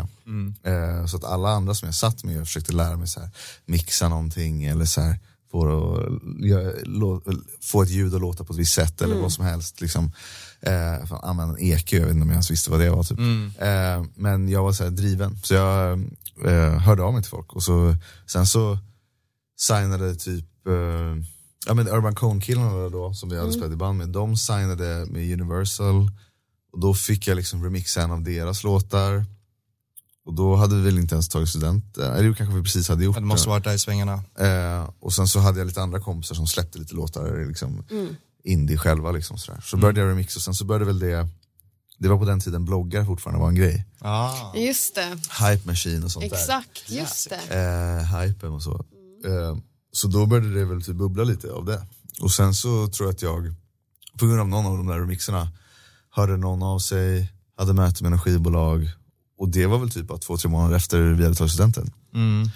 Speaker 1: Eh, så att alla andra som jag satt med, jag försökte lära mig så här, mixa någonting eller så här, få, det att, göra- lå, få ett ljud att låta på ett visst sätt
Speaker 2: Mm.
Speaker 1: eller vad som helst. Liksom. Eh, fan, använda en EQ, jag vet inte om jag ens visste vad det var. Typ. Eh, men jag var så här, driven, så jag eh, hörde av mig till folk. Och så, sen så signade typ eh, ja, men Urban Cone-killarna då, som vi hade spelat i band med, de signade med Universal och då fick jag liksom remixa en av deras låtar. Och då hade vi väl inte ens tagit studenten, eller jo, kanske vi precis hade gjort
Speaker 4: Men det måste varit där i svängarna.
Speaker 1: Eh, och sen så hade jag lite andra kompisar som släppte lite låtar liksom, indie själva. Liksom, sådär.
Speaker 4: Mm.
Speaker 1: Så började jag remixa och sen så började väl det, det var på den tiden bloggar fortfarande var en grej.
Speaker 4: Ah.
Speaker 2: Just det,
Speaker 1: Hype Machine och sånt där.
Speaker 2: exakt, Mm. just det.
Speaker 1: eh, hypen och så. Eh, så då började det väl typ bubbla lite av det. Och sen så tror jag att jag, på grund av någon av de där remixerna, hörde någon av sig, hade möte med energibolag och det var väl typ bara två, tre månader efter vi hade tagit studenten.
Speaker 4: Mm.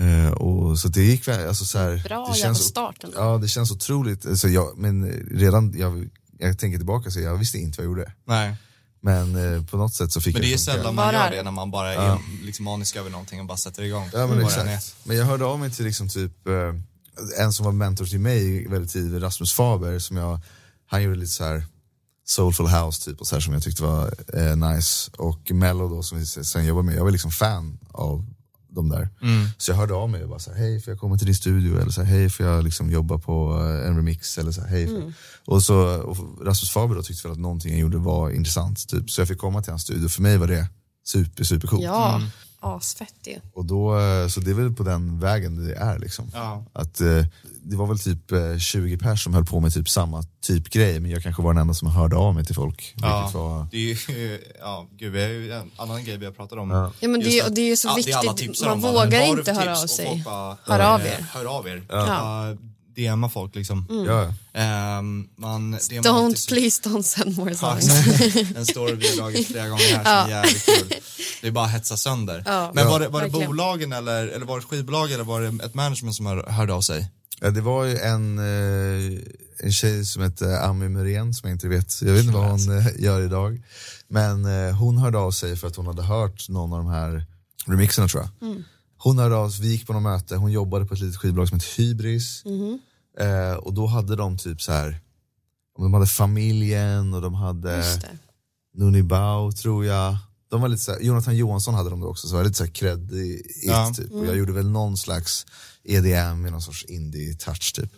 Speaker 1: Eh, och, så det gick väl, alltså så här,
Speaker 2: Bra
Speaker 1: det
Speaker 2: jävla start ändå.
Speaker 1: Ja, det känns otroligt. Alltså jag, men redan, jag, jag tänker tillbaka så jag visste inte vad jag gjorde.
Speaker 4: Nej.
Speaker 1: Men eh, på något sätt så fick
Speaker 4: Men
Speaker 1: jag
Speaker 4: det är
Speaker 1: funka.
Speaker 4: sällan man
Speaker 2: Bara
Speaker 4: gör
Speaker 2: det.
Speaker 4: det när man bara är liksom manisk över någonting och bara sätter igång.
Speaker 1: Ja men
Speaker 4: Vad det än
Speaker 1: exakt. Men jag hörde av mig till liksom typ eh, en som var mentor till mig väldigt tidigt, Rasmus Faber, som jag, han gjorde lite så här soulful house typ och så här som jag tyckte var eh, nice. Och Mello då som vi sen jobbade med, jag var liksom fan av de där. Så jag hörde av mig och bara så här, hej får jag komma till din studio? Eller så här, hej får jag liksom jobba på eh, en remix? Eller så här, hej. får- Och så och Rasmus Faber då tyckte väl att någonting jag gjorde var intressant typ. Så jag fick komma till hans studio, för mig var det super, super coolt.
Speaker 2: Ja, asfett ju.
Speaker 1: Och då, eh, så det är väl på den vägen det är liksom.
Speaker 4: Ja.
Speaker 1: Att, eh, det var väl typ eh, 20 pers som höll på med typ samma typ grej, men jag kanske var den enda som hörde av mig till folk.
Speaker 4: Ja.
Speaker 1: Vilket var,
Speaker 4: Det är ju, ja, gud, vi har ju en annan grej vi har pratat om.
Speaker 2: Ja, men det-
Speaker 4: Just
Speaker 2: och det är ju så
Speaker 4: ja,
Speaker 2: viktigt.
Speaker 4: alla tipsar
Speaker 2: Man
Speaker 4: om bara,
Speaker 2: vågar
Speaker 4: "Har du
Speaker 2: inte
Speaker 4: för
Speaker 2: höra
Speaker 4: tips?"
Speaker 2: av sig.
Speaker 4: Och folk bara,
Speaker 2: Hör av
Speaker 4: eh,
Speaker 2: er.
Speaker 4: Hör av er.
Speaker 2: Ja.
Speaker 4: Bara DMa folk liksom.
Speaker 1: ja.
Speaker 4: Ehm, man, DMar alltid
Speaker 2: Don't,
Speaker 4: så-
Speaker 2: please don't send more
Speaker 4: Ja,
Speaker 2: songs.
Speaker 4: exakt. En story vi har dragit flera gånger här som är jävligt kul. Det är bara att hetsa sönder.
Speaker 2: Ja,
Speaker 4: Men var det, var det
Speaker 2: verkligen.
Speaker 4: bolagen eller, eller var det skivbolag eller var det ett management som hör, hörde av sig?
Speaker 1: Ja, det var ju en, eh, en tjej som hette Ami Muren som jag inte vet, jag vet inte vad hon eh, gör idag. Men eh, hon hörde av sig för att hon hade hört någon av de här remixerna tror jag. Hon hörde av sig, vi gick på något möte, hon jobbade på ett litet skivbolag som hette Hybris. Eh, och då hade de typ så här de hade familjen och de hade
Speaker 5: Just det.
Speaker 1: Nuni Bao tror jag. De var lite såhär, Jonathan Johansson hade de det också, så var det lite såhär cred i i
Speaker 4: Ja.
Speaker 1: ett typ. Och jag gjorde väl någon slags E EDM med någon sorts indie-touch typ.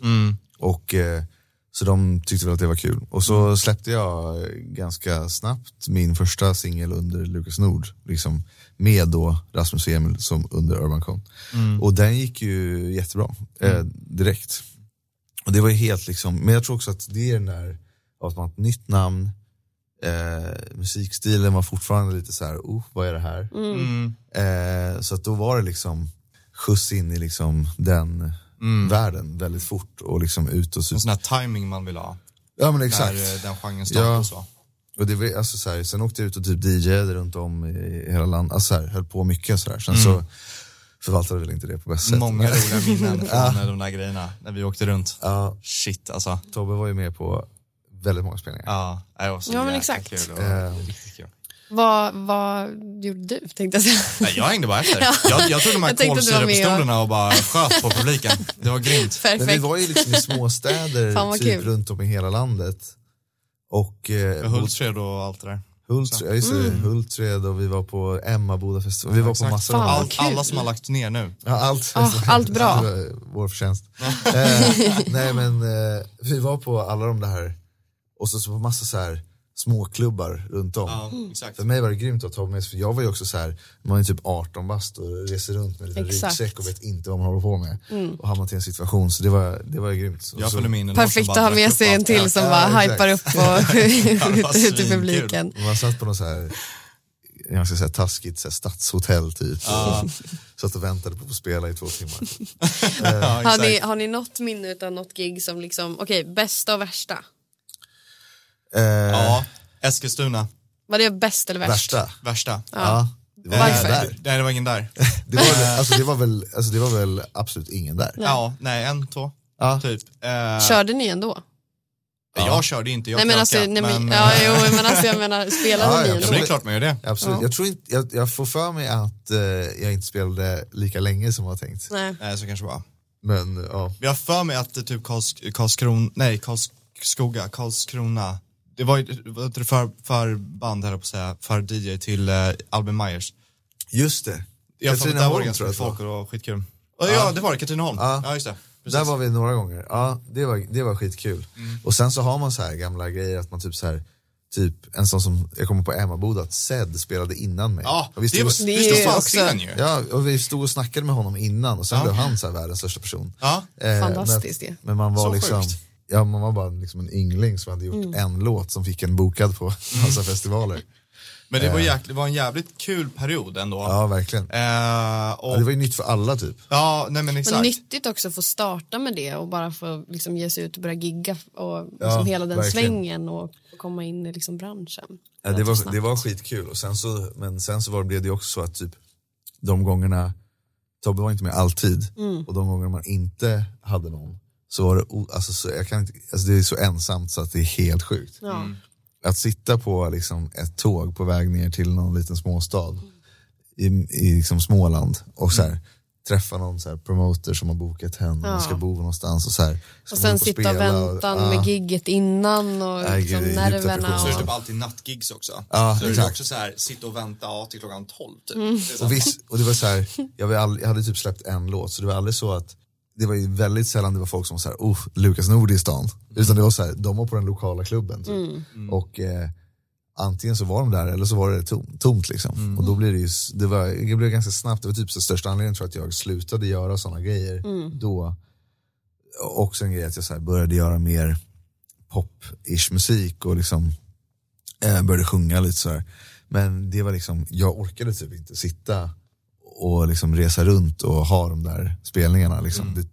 Speaker 1: Och, eh, så de tyckte väl att det var kul. Och så släppte jag eh, ganska snabbt min första singel under Lukas Nord. Liksom, med då Rasmus och Emil som under Urban Con. Och den gick ju jättebra eh, direkt. Och det var ju helt liksom, men jag tror också att det är den där, att man har ett nytt namn, eh, musikstilen var fortfarande lite så här, oh, vad är det här?
Speaker 2: Mm.
Speaker 1: Eh, så att då var det liksom skjuts in i liksom den
Speaker 4: Mm.
Speaker 1: världen väldigt fort och liksom ut och
Speaker 4: En
Speaker 1: sus.
Speaker 4: sån här timing man vill ha.
Speaker 1: Ja men
Speaker 4: Exakt.
Speaker 1: exakt.
Speaker 4: När eh, den genren
Speaker 1: Ja.
Speaker 4: startar och så.
Speaker 1: Och det var, alltså, så här, sen åkte jag ut och typ DJade runt om i hela landet, alltså, så här, höll på mycket så här. Sen så förvaltade jag väl inte det på bästa sätt.
Speaker 4: Mm. Många roliga minnen från eh, de där grejerna när vi åkte runt.
Speaker 1: Ja,
Speaker 4: Shit alltså.
Speaker 1: Tobbe var ju med på väldigt många spelningar.
Speaker 4: Ja, det var så
Speaker 5: Ja, men
Speaker 4: jäkla
Speaker 5: exakt.
Speaker 4: kul. Det var riktigt kul.
Speaker 5: Vad, vad gjorde du tänkte jag säga?
Speaker 4: Nej, jag hängde bara efter. Jag, jag tog de här
Speaker 5: Jag tänkte att du var med och-
Speaker 4: kolsyrapistolerna och bara sköt på publiken. Det var grymt.
Speaker 1: Men vi
Speaker 5: Perfekt.
Speaker 1: var ju liksom i
Speaker 5: Fan,
Speaker 1: småstäder
Speaker 5: vad
Speaker 1: typ
Speaker 5: kul.
Speaker 1: runt om i hela landet. Och eh,
Speaker 4: Hultsfred och allt det där.
Speaker 1: Hultsfred, ja, just det,
Speaker 5: Mm.
Speaker 1: Hultsfred och vi var på Emmaboda festival. Vi var på
Speaker 4: Exakt.
Speaker 1: massor
Speaker 5: Fan,
Speaker 1: av
Speaker 4: All,
Speaker 5: vad kul.
Speaker 4: alla som har lagt ner nu.
Speaker 1: Ja, allt,
Speaker 5: Ah, allt bra.
Speaker 1: Det var Vår förtjänst. eh, nej men eh, vi var på alla de där och så, så på massa så här småklubbar runt om.
Speaker 4: Ja, exakt.
Speaker 1: För mig var det grymt att ta med sig, för jag var ju också så här, man är typ 18 bast och reser runt med en liten
Speaker 5: Exakt. Mm.
Speaker 1: ryggsäck och vet inte vad man håller på med. Och hamnat i en situation, så det var, det var ju grymt. Och
Speaker 4: Jag
Speaker 1: så,
Speaker 4: följde med in en
Speaker 5: Perfekt att ha med sig en till som bara
Speaker 1: exakt.
Speaker 5: hypar upp och
Speaker 4: var
Speaker 5: skjuter ut i
Speaker 4: svinkul.
Speaker 5: publiken.
Speaker 1: Man satt på något så här, jag ska säga taskigt, så här stadshotell typ. Och satt och väntade på att få spela i två timmar.
Speaker 5: Har ni, har ni något minne av något gig som liksom, okej, bästa och värsta?
Speaker 1: Eh,
Speaker 4: Ja, Eskilstuna.
Speaker 5: Var det bäst eller värst?
Speaker 1: Värsta?
Speaker 4: Värsta.
Speaker 1: Ja. Det var
Speaker 5: Varför?
Speaker 1: ingen där.
Speaker 4: Nej, det var ingen där.
Speaker 1: Det var, väl, alltså, det, var väl, alltså, det var väl absolut ingen där.
Speaker 4: Ja, nej, en, två.
Speaker 1: Ja.
Speaker 4: Typ. Eh,
Speaker 5: Körde ni ändå?
Speaker 4: Jag körde inte, jag
Speaker 5: nej men alltså, nej,
Speaker 4: krökade,
Speaker 5: men,
Speaker 4: men,
Speaker 5: ja, jo, men alltså jag menar, spelade
Speaker 1: eh, Ja, ja,
Speaker 5: ni
Speaker 4: Ja,
Speaker 5: ändå?
Speaker 4: men det är klart man gör det.
Speaker 1: Absolut.
Speaker 5: Ja.
Speaker 1: Jag, tror inte, jag, jag får för mig att eh, jag inte spelade lika länge som jag var tänkt.
Speaker 5: Nej.
Speaker 4: Eh, så kanske det var.
Speaker 1: Men ja,
Speaker 4: Vi har för mig att det typ Karls, Karlskron, nej Karlskoga, Karlskrona. Det var ju vad heter det för, för band, höll jag på att säga, för DJ till eh, Albin Myers.
Speaker 1: just det.
Speaker 4: Jag har för mig att där var det
Speaker 1: Katrineholm
Speaker 4: ganska
Speaker 1: tror jag
Speaker 4: mycket
Speaker 1: att det
Speaker 4: folk
Speaker 1: var.
Speaker 4: och det var skitkul. Ja, ja det var det, Katrineholm.
Speaker 1: Ja.
Speaker 4: Ja. just det. Precis. Mm.
Speaker 1: Där var vi några gånger. Ja, det var, det var skitkul. Och sen så har man så här gamla grejer att man typ så här, typ en sån som, jag kommer på Emmaboda, att Zed spelade innan mig.
Speaker 4: Ja,
Speaker 1: och vi,
Speaker 4: det
Speaker 1: stod,
Speaker 4: var
Speaker 1: och,
Speaker 5: det
Speaker 4: vi stod
Speaker 5: är
Speaker 4: fan
Speaker 5: också-
Speaker 4: scenen ju.
Speaker 1: ja, och vi stod och snackade med honom innan och sen
Speaker 4: Ja.
Speaker 1: blev han så här världens största person.
Speaker 4: Ja.
Speaker 1: Eh,
Speaker 5: Fantastiskt
Speaker 1: men,
Speaker 5: ju.
Speaker 1: men man var
Speaker 4: Så
Speaker 1: liksom
Speaker 4: sjukt.
Speaker 1: Ja, man var bara liksom en yngling som hade
Speaker 5: Mm.
Speaker 1: gjort en låt som fick en bokad på massa festivaler.
Speaker 4: Mm. Men det var, jäkla, det var en jävligt kul period ändå.
Speaker 1: Eh. Ja, verkligen.
Speaker 4: Eh,
Speaker 1: Ja, det
Speaker 4: och,
Speaker 1: var ju nytt för alla typ.
Speaker 4: ja, nej men exakt.
Speaker 5: Men nyttigt också att få starta med det och bara få liksom ge sig ut och börja gigga och liksom
Speaker 1: Ja,
Speaker 5: hela den
Speaker 1: verkligen.
Speaker 5: svängen och komma in i liksom branschen.
Speaker 1: Ja, det, var, det var skitkul, och sen så, men sen så var, blev det ju också så att typ, de gångerna Tobbe var inte med alltid
Speaker 5: Mm.
Speaker 1: och de gånger man inte hade någon så var det, o- alltså, så, jag kan inte, alltså, det är så ensamt så att det Mm. är helt sjukt.
Speaker 5: Ja.
Speaker 1: Att sitta på liksom, ett tåg på väg ner till någon liten småstad i, i liksom, Småland och så här, träffa någon så här, promoter som har bokat henne och
Speaker 5: Ja.
Speaker 1: ska bo någonstans och så här, ska man
Speaker 5: Och sen
Speaker 1: gå
Speaker 5: sitta och
Speaker 1: spela
Speaker 5: väntan
Speaker 1: ja.
Speaker 5: med gigget innan och
Speaker 1: Nej,
Speaker 5: liksom
Speaker 1: gud, det är djup
Speaker 5: nerverna.
Speaker 1: depression.
Speaker 4: Så är det
Speaker 5: Och,
Speaker 4: typ alltid nattgigs också.
Speaker 1: Ja,
Speaker 4: så är det
Speaker 1: exakt.
Speaker 4: också så här, sitta och vänta ja, till klockan 12 typ. Det är så här,
Speaker 1: Och, visst, och det var så här, jag, var all, jag hade typ släppt en låt, så det var aldrig så att det var ju väldigt sällan det var folk som var så här, oh, Lukas Nord är i stan. Utan det var så här, de var på den lokala klubben. Typ. Och eh, antingen så var de där eller så var det tom, tomt liksom. Och då blev det ju, s- det, var, det blev ganska snabbt, det var typ så största anledningen tror jag att jag slutade göra sådana grejer då. Och också en grej att jag så här började göra mer pop-ish musik och liksom eh, började sjunga lite så här. Men det var liksom, jag orkade typ inte sitta och liksom resa runt och ha de där spelningarna. Liksom.
Speaker 5: Mm.
Speaker 1: Det,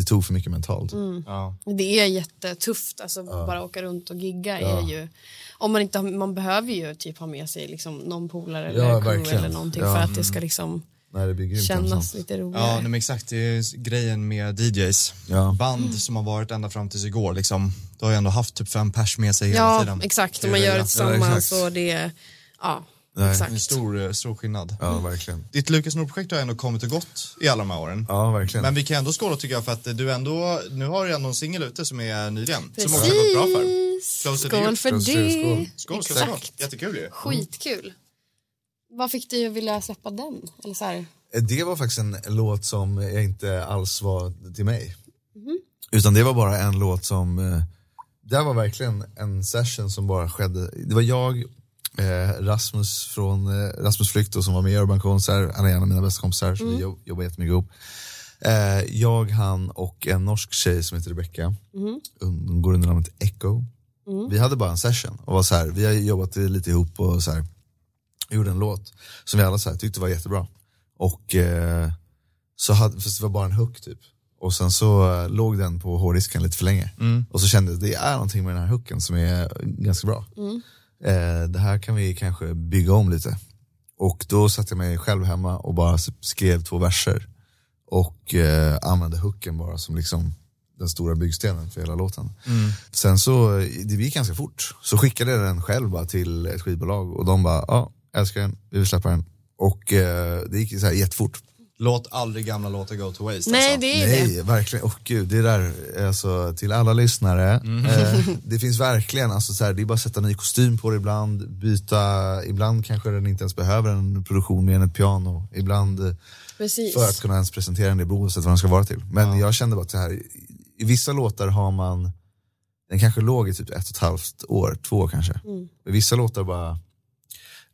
Speaker 1: det tog för mycket mentalt.
Speaker 4: ja.
Speaker 5: det är jättetufft, alltså bara åka runt och gigga är ju, om man inte har, man behöver ju typ ha med sig liksom någon polare eller
Speaker 1: Ja,
Speaker 5: crew
Speaker 1: verkligen.
Speaker 5: eller någonting
Speaker 1: Ja.
Speaker 5: för att det ska liksom
Speaker 1: Nej, det blir grymt alltså.
Speaker 5: kännas
Speaker 1: ensamt.
Speaker 5: lite
Speaker 4: Ja, nej,
Speaker 5: roligare.
Speaker 4: men exakt. Det är s- grejen med DJs.
Speaker 1: Ja.
Speaker 4: Band
Speaker 5: Mm.
Speaker 4: som har varit ända fram tills igår, liksom, då har jag ändå haft typ fem pers med sig hela
Speaker 5: Ja,
Speaker 4: tiden.
Speaker 5: exakt,
Speaker 4: Det är
Speaker 5: och man gör
Speaker 4: det.
Speaker 5: det
Speaker 1: Ja,
Speaker 5: tillsammans
Speaker 1: exakt.
Speaker 5: och det, ja,
Speaker 1: Nej.
Speaker 4: En
Speaker 5: exakt.
Speaker 4: stor, eh, stor skillnad.
Speaker 1: Ja, verkligen.
Speaker 4: Ditt Lukas Nord-projekt har ändå kommit och gått i alla de här åren.
Speaker 1: Ja, verkligen.
Speaker 4: Men vi kan ändå skåla tycker jag för att eh, du ändå, nu har du ändå en singel ute som är nyligen. Som också har gått bra för.
Speaker 5: Precis.
Speaker 4: Close
Speaker 2: Precis.
Speaker 4: to the
Speaker 2: Skål
Speaker 4: youth.
Speaker 2: för
Speaker 1: Close to the youth.
Speaker 2: det.
Speaker 4: Skål, skål, skål.
Speaker 2: Exakt.
Speaker 4: Jättekul ju.
Speaker 2: Skitkul. Vad fick dig att vilja släppa den? Eller så här,
Speaker 1: Det var faktiskt en låt som jag inte alls var till mig. Utan det var bara en låt som, eh, det här var verkligen en session som bara skedde. Det var jag, eh, Rasmus från eh, Rasmus Flykt då, som var med i Urban Concert, han är en av mina bästa kompisar, så vi jobb- jobbar jättemycket ihop. Eh, jag, han och en norsk tjej som heter Rebecca, hon går under namnet Echo. Vi hade bara en session och var så här, vi har jobbat lite ihop och så här, gjorde en låt som vi alla så här, tyckte var jättebra. Och eh, så hade, fast det var bara en hook typ. Och sen så eh, låg den på hårddisken lite för länge. Och så kände jag att det är någonting med den här hooken som är ganska bra. Eh, det här kan vi kanske bygga om lite. Och då satte jag mig själv hemma och bara s- skrev två verser. Och eh, använde hooken bara som liksom den stora byggstenen för hela låten. Sen så, eh, det gick ganska fort. Så skickade jag den själv bara till ett skivbolag och de bara, ja, älskar den, vi vill släppa den. Och eh, det gick så här jättefort.
Speaker 4: Låt aldrig gamla låtar gå to waste.
Speaker 2: nej,
Speaker 4: alltså.
Speaker 2: det är det.
Speaker 1: Nej, verkligen. Och gud, det där, alltså, till alla lyssnare. Eh, det finns verkligen, alltså, så här, det är bara att sätta ny kostym på det ibland, byta, ibland kanske den inte ens behöver en produktion mer än ett piano. Ibland eh,
Speaker 2: Precis.
Speaker 1: för att kunna ens presentera den, det beror oavsett vad den ska vara till. Men jag kände bara att det här, i vissa låtar har man, den kanske låg i typ ett och ett halvt år, två år kanske.
Speaker 2: Mm.
Speaker 1: I vissa låtar bara,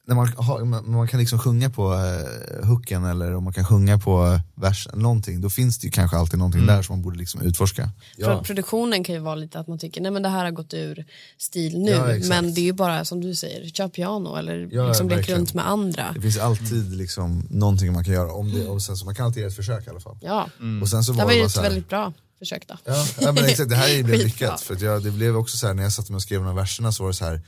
Speaker 1: när man, har, man, man kan liksom sjunga på eh, hooken eller om man kan sjunga på eh, versen, någonting, då finns det ju kanske alltid någonting
Speaker 2: Mm.
Speaker 1: där som man borde liksom utforska.
Speaker 2: Pro- Produktionen kan ju vara lite att man tycker nej men det här har gått ur stil nu
Speaker 1: Ja, exakt.
Speaker 2: men det är ju bara som du säger, kör piano eller
Speaker 1: Ja,
Speaker 2: liksom lek
Speaker 1: verkligen.
Speaker 2: runt med andra.
Speaker 1: Det finns alltid
Speaker 2: Mm.
Speaker 1: liksom någonting man kan göra, om det, och sen, så man kan alltid göra ett försök i alla fall.
Speaker 2: Ja,
Speaker 1: Och sen så
Speaker 2: det
Speaker 1: var
Speaker 2: Mm. var
Speaker 1: det
Speaker 2: ju
Speaker 1: bara
Speaker 2: ett
Speaker 1: så här,
Speaker 2: väldigt bra försök då.
Speaker 1: Ja, ja men exakt, det här blev
Speaker 2: Skitbra.
Speaker 1: lyckat. För att jag, det blev också så här, när jag satte mig och skrev de här verserna så var det så här,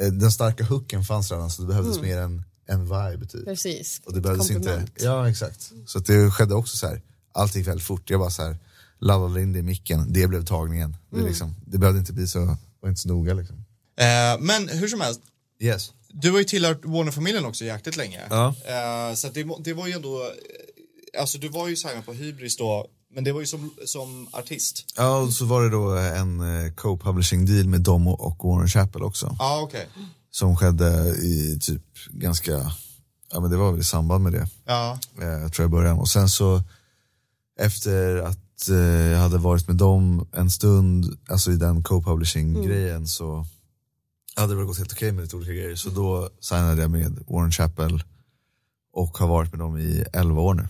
Speaker 1: eh, den starka hooken fanns redan så det behövdes mer en, en vibe typ.
Speaker 2: Mm. Precis.
Speaker 1: Och det behövdes inte,
Speaker 2: Komplement.
Speaker 1: ja exakt. Så att det skedde också så här, allt gick väldigt fort. Jag bara så här, laddade in det i micken, det blev tagningen. Det,
Speaker 2: Mm.
Speaker 1: liksom, det behövde inte bli så, var inte så noga liksom.
Speaker 4: Eh, men hur som helst,
Speaker 1: Yes.
Speaker 4: du har ju tillhört Warner-familjen också jäkligt länge.
Speaker 1: Ja.
Speaker 4: Eh, så att det, må- det var ju ändå, eh, alltså du var ju signad på Hybris då, men det var ju som, som artist.
Speaker 1: Ja, och så var det då en eh, co-publishing deal med dem och- och Warren Chapel också.
Speaker 4: Ja, okej.
Speaker 1: Som skedde i typ ganska, ja men det var väl i samband med det.
Speaker 4: Ja,
Speaker 1: eh, tror jag i början. Och sen så efter att eh, jag hade varit med dem en stund, alltså i den co-publishing-grejen så hade det väl gått helt okej med lite olika grejer. Så då signade jag med Warren Chapel och har varit med dem i 11 år nu.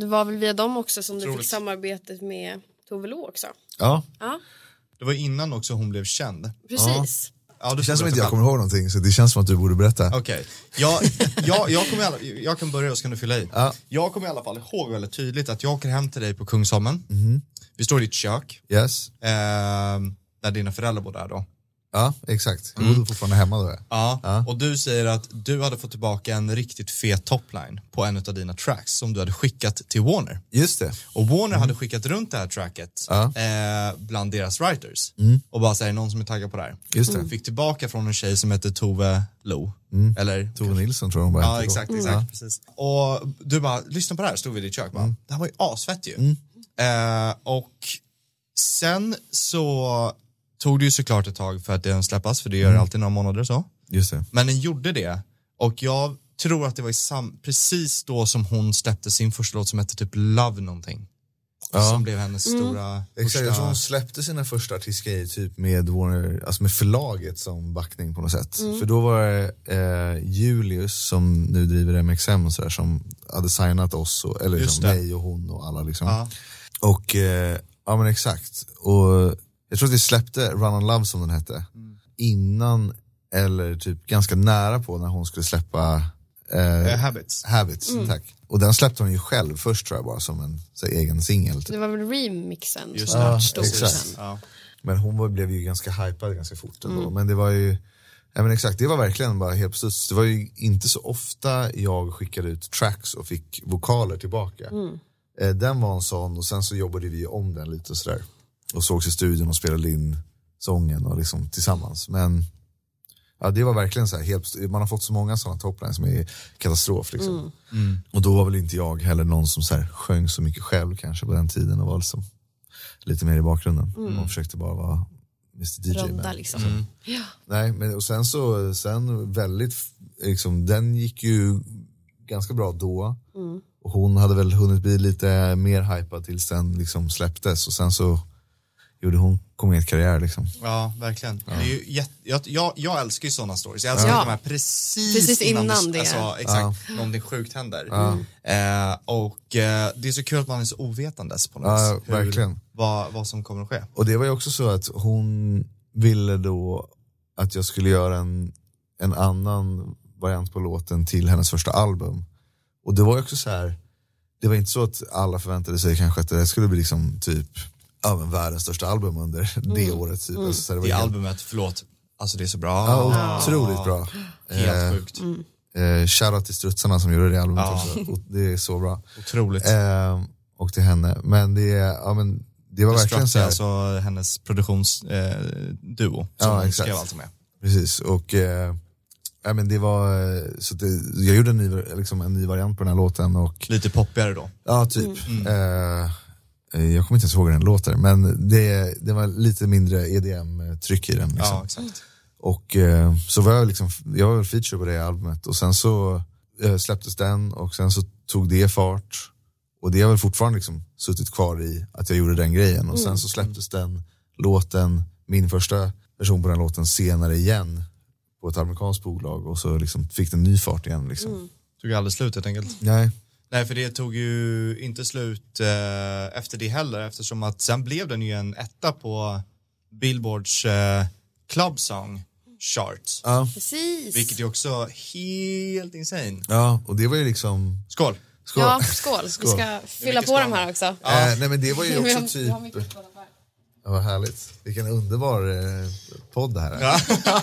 Speaker 2: Det var väl via dem också som du
Speaker 4: Otroligt.
Speaker 2: fick samarbetet med Tove Lo också.
Speaker 1: Ja,
Speaker 2: Ja,
Speaker 4: det var ju innan också hon blev känd.
Speaker 2: precis.
Speaker 4: Ja,
Speaker 1: det känns som att jag kommer ihåg någonting så det känns som att du borde berätta.
Speaker 4: Okej, jag, jag, jag, kommer i alla- jag kan börja och så kan du fylla i.
Speaker 1: Ja.
Speaker 4: Jag kommer i alla fall ihåg väldigt tydligt att jag åker hem till dig på Kungsholmen.
Speaker 1: Mhm.
Speaker 4: Vi står i ditt kök,
Speaker 1: Yes,
Speaker 4: eh, där dina föräldrar bor där då.
Speaker 1: ja exakt. Jag bodde fortfarande hemma då. ja.
Speaker 4: Ja, och du säger att du hade fått tillbaka en riktigt fet topline på en av dina tracks som du hade skickat till Warner.
Speaker 1: Just det.
Speaker 4: Och Warner hade skickat runt det här tracket eh, bland deras writers och bara säger någon som är taggad på det här.
Speaker 1: Just det.
Speaker 4: Fick tillbaka från en tjej som heter Tove Lo. Eller
Speaker 1: Tove Nilsson tror jag hon bara hette
Speaker 4: Ja,
Speaker 1: då.
Speaker 4: exakt. exakt precis. Och du bara, lyssna på det här, stod vi i ditt kök. Bara, Det här var ju asfett ju. Eh, och sen så tog det ju såklart ett tag för att den släppas, för det gör alltid några månader så.
Speaker 1: Just det.
Speaker 4: Men den gjorde det och jag tror att det var i sam- precis då som hon släppte sin första låt som hette typ Love någonting. Som blev hennes
Speaker 5: Mm.
Speaker 4: stora
Speaker 1: Exakt,
Speaker 4: första...
Speaker 1: jag tror hon släppte sina första artistgrejer typ med, Warner, alltså med förlaget som backning på något sätt.
Speaker 4: Mm.
Speaker 1: För då var det eh, Julius som nu driver MXM och sådär som hade signat oss, och, eller
Speaker 4: Just
Speaker 1: liksom
Speaker 4: det.
Speaker 1: mig och hon och alla liksom.
Speaker 4: Ja.
Speaker 1: Och eh, ja men exakt. Och jag tror att vi släppte Run on Love som den hette
Speaker 4: Mm.
Speaker 1: innan eller typ ganska nära på när hon skulle släppa eh,
Speaker 4: Eh, Mm. Habits.
Speaker 1: Habits. Tack. Och den släppte hon ju själv först tror jag bara som en så här, egen singel. typ.
Speaker 2: Det var väl remixen
Speaker 4: Just
Speaker 2: som
Speaker 4: det.
Speaker 2: var
Speaker 1: Ja,
Speaker 2: stor
Speaker 1: exakt.
Speaker 2: sen.
Speaker 4: Ja.
Speaker 1: Men hon var, blev ju ganska hypad ganska fort ändå. Men det var ju, ja men exakt, det var verkligen bara helt på studs. Det var ju inte så ofta jag skickade ut tracks och fick vokaler tillbaka. Eh, den var en sån och sen så jobbade vi om den lite och sådär. Och sågs i studion och spelade in sången och liksom tillsammans. Men ja, det var verkligen så här, helt, på stu- man har fått så många sådana toplines som är katastrof liksom. Och då var väl inte jag heller någon som så här, sjöng så mycket själv kanske på den tiden och var liksom lite mer i bakgrunden. Man försökte bara vara Mr DJ.
Speaker 5: runda
Speaker 1: men-
Speaker 5: liksom. Ja.
Speaker 1: Nej, men och sen så, sen väldigt, f- liksom, den gick ju ganska bra då. Och hon hade väl hunnit bli lite mer hypad tills den liksom släpptes och sen så gjorde hon kometkarriär karriär liksom.
Speaker 4: Ja, verkligen. Det är ju jätte, jag, jag, jag älskar ju sådana stories. Jag älskar
Speaker 5: Ja.
Speaker 4: de här precis,
Speaker 5: Precis
Speaker 4: du,
Speaker 5: innan det.
Speaker 4: Alltså, exakt, någonting sjukt händer. Eh, och eh, det är så kul att man är så ovetandes på något
Speaker 1: Ja,
Speaker 4: vis.
Speaker 1: verkligen.
Speaker 4: Vad, vad som kommer att ske.
Speaker 1: Och det var ju också så att hon ville då att jag skulle göra en, en annan variant på låten till hennes första album. Och det var ju också så här, det var inte så att alla förväntade sig kanske att det här skulle bli liksom typ ja, men världens största album under det året. Typ. Alltså, så här, det var
Speaker 4: Det
Speaker 1: helt-
Speaker 4: albumet, förlåt, alltså det är så bra.
Speaker 1: Ja, otroligt bra.
Speaker 4: Helt sjukt.
Speaker 5: Mm.
Speaker 1: Eh, shoutout till strutsarna som gjorde det albumet också. Och det är så bra.
Speaker 4: Otroligt.
Speaker 1: Eh, och till henne. Men det, ja, men, det var verkligen så
Speaker 4: Strutty,
Speaker 1: här.
Speaker 4: alltså hennes produktionsduo eh, duo, som
Speaker 1: Ja,
Speaker 4: hon
Speaker 1: exakt.
Speaker 4: skrev allt med.
Speaker 1: Precis, och eh, ja, men det var, eh, så det, jag gjorde en ny, liksom en ny variant på den här låten och
Speaker 4: Lite poppigare då.
Speaker 1: ja, typ. Eh, eh, jag kommer inte ens ihåg hur den låter, men det, det var lite mindre EDM-tryck i den. Liksom.
Speaker 4: Ja, exakt.
Speaker 1: Och eh, så var jag liksom, jag var väl feature på det albumet och sen så eh, släpptes den och sen så tog det fart. Och det har väl fortfarande liksom suttit kvar i att jag gjorde den grejen. Och
Speaker 5: Mm.
Speaker 1: sen så släpptes den låten, min första version på den låten senare igen på ett amerikanskt bolag och så liksom fick den ny fart igen. Liksom.
Speaker 5: Mm.
Speaker 4: Tog aldrig slut helt enkelt.
Speaker 1: Nej,
Speaker 4: Nej, för det tog ju inte slut eh, efter det heller eftersom att sen blev den ju en etta på Billboards eh, Club Song Chart.
Speaker 5: Precis.
Speaker 4: Vilket är också helt insane.
Speaker 1: ja, och det var ju liksom...
Speaker 4: Skål!
Speaker 1: Skål.
Speaker 5: Ja, skål. Vi ska fylla på
Speaker 4: skål.
Speaker 5: de här också.
Speaker 1: Eh, nej men det var ju
Speaker 5: Vi har-
Speaker 1: också
Speaker 5: vi
Speaker 1: typ...
Speaker 5: har mycket skål här.
Speaker 1: Ja, vad härligt. Vilken underbar eh, podd det här är.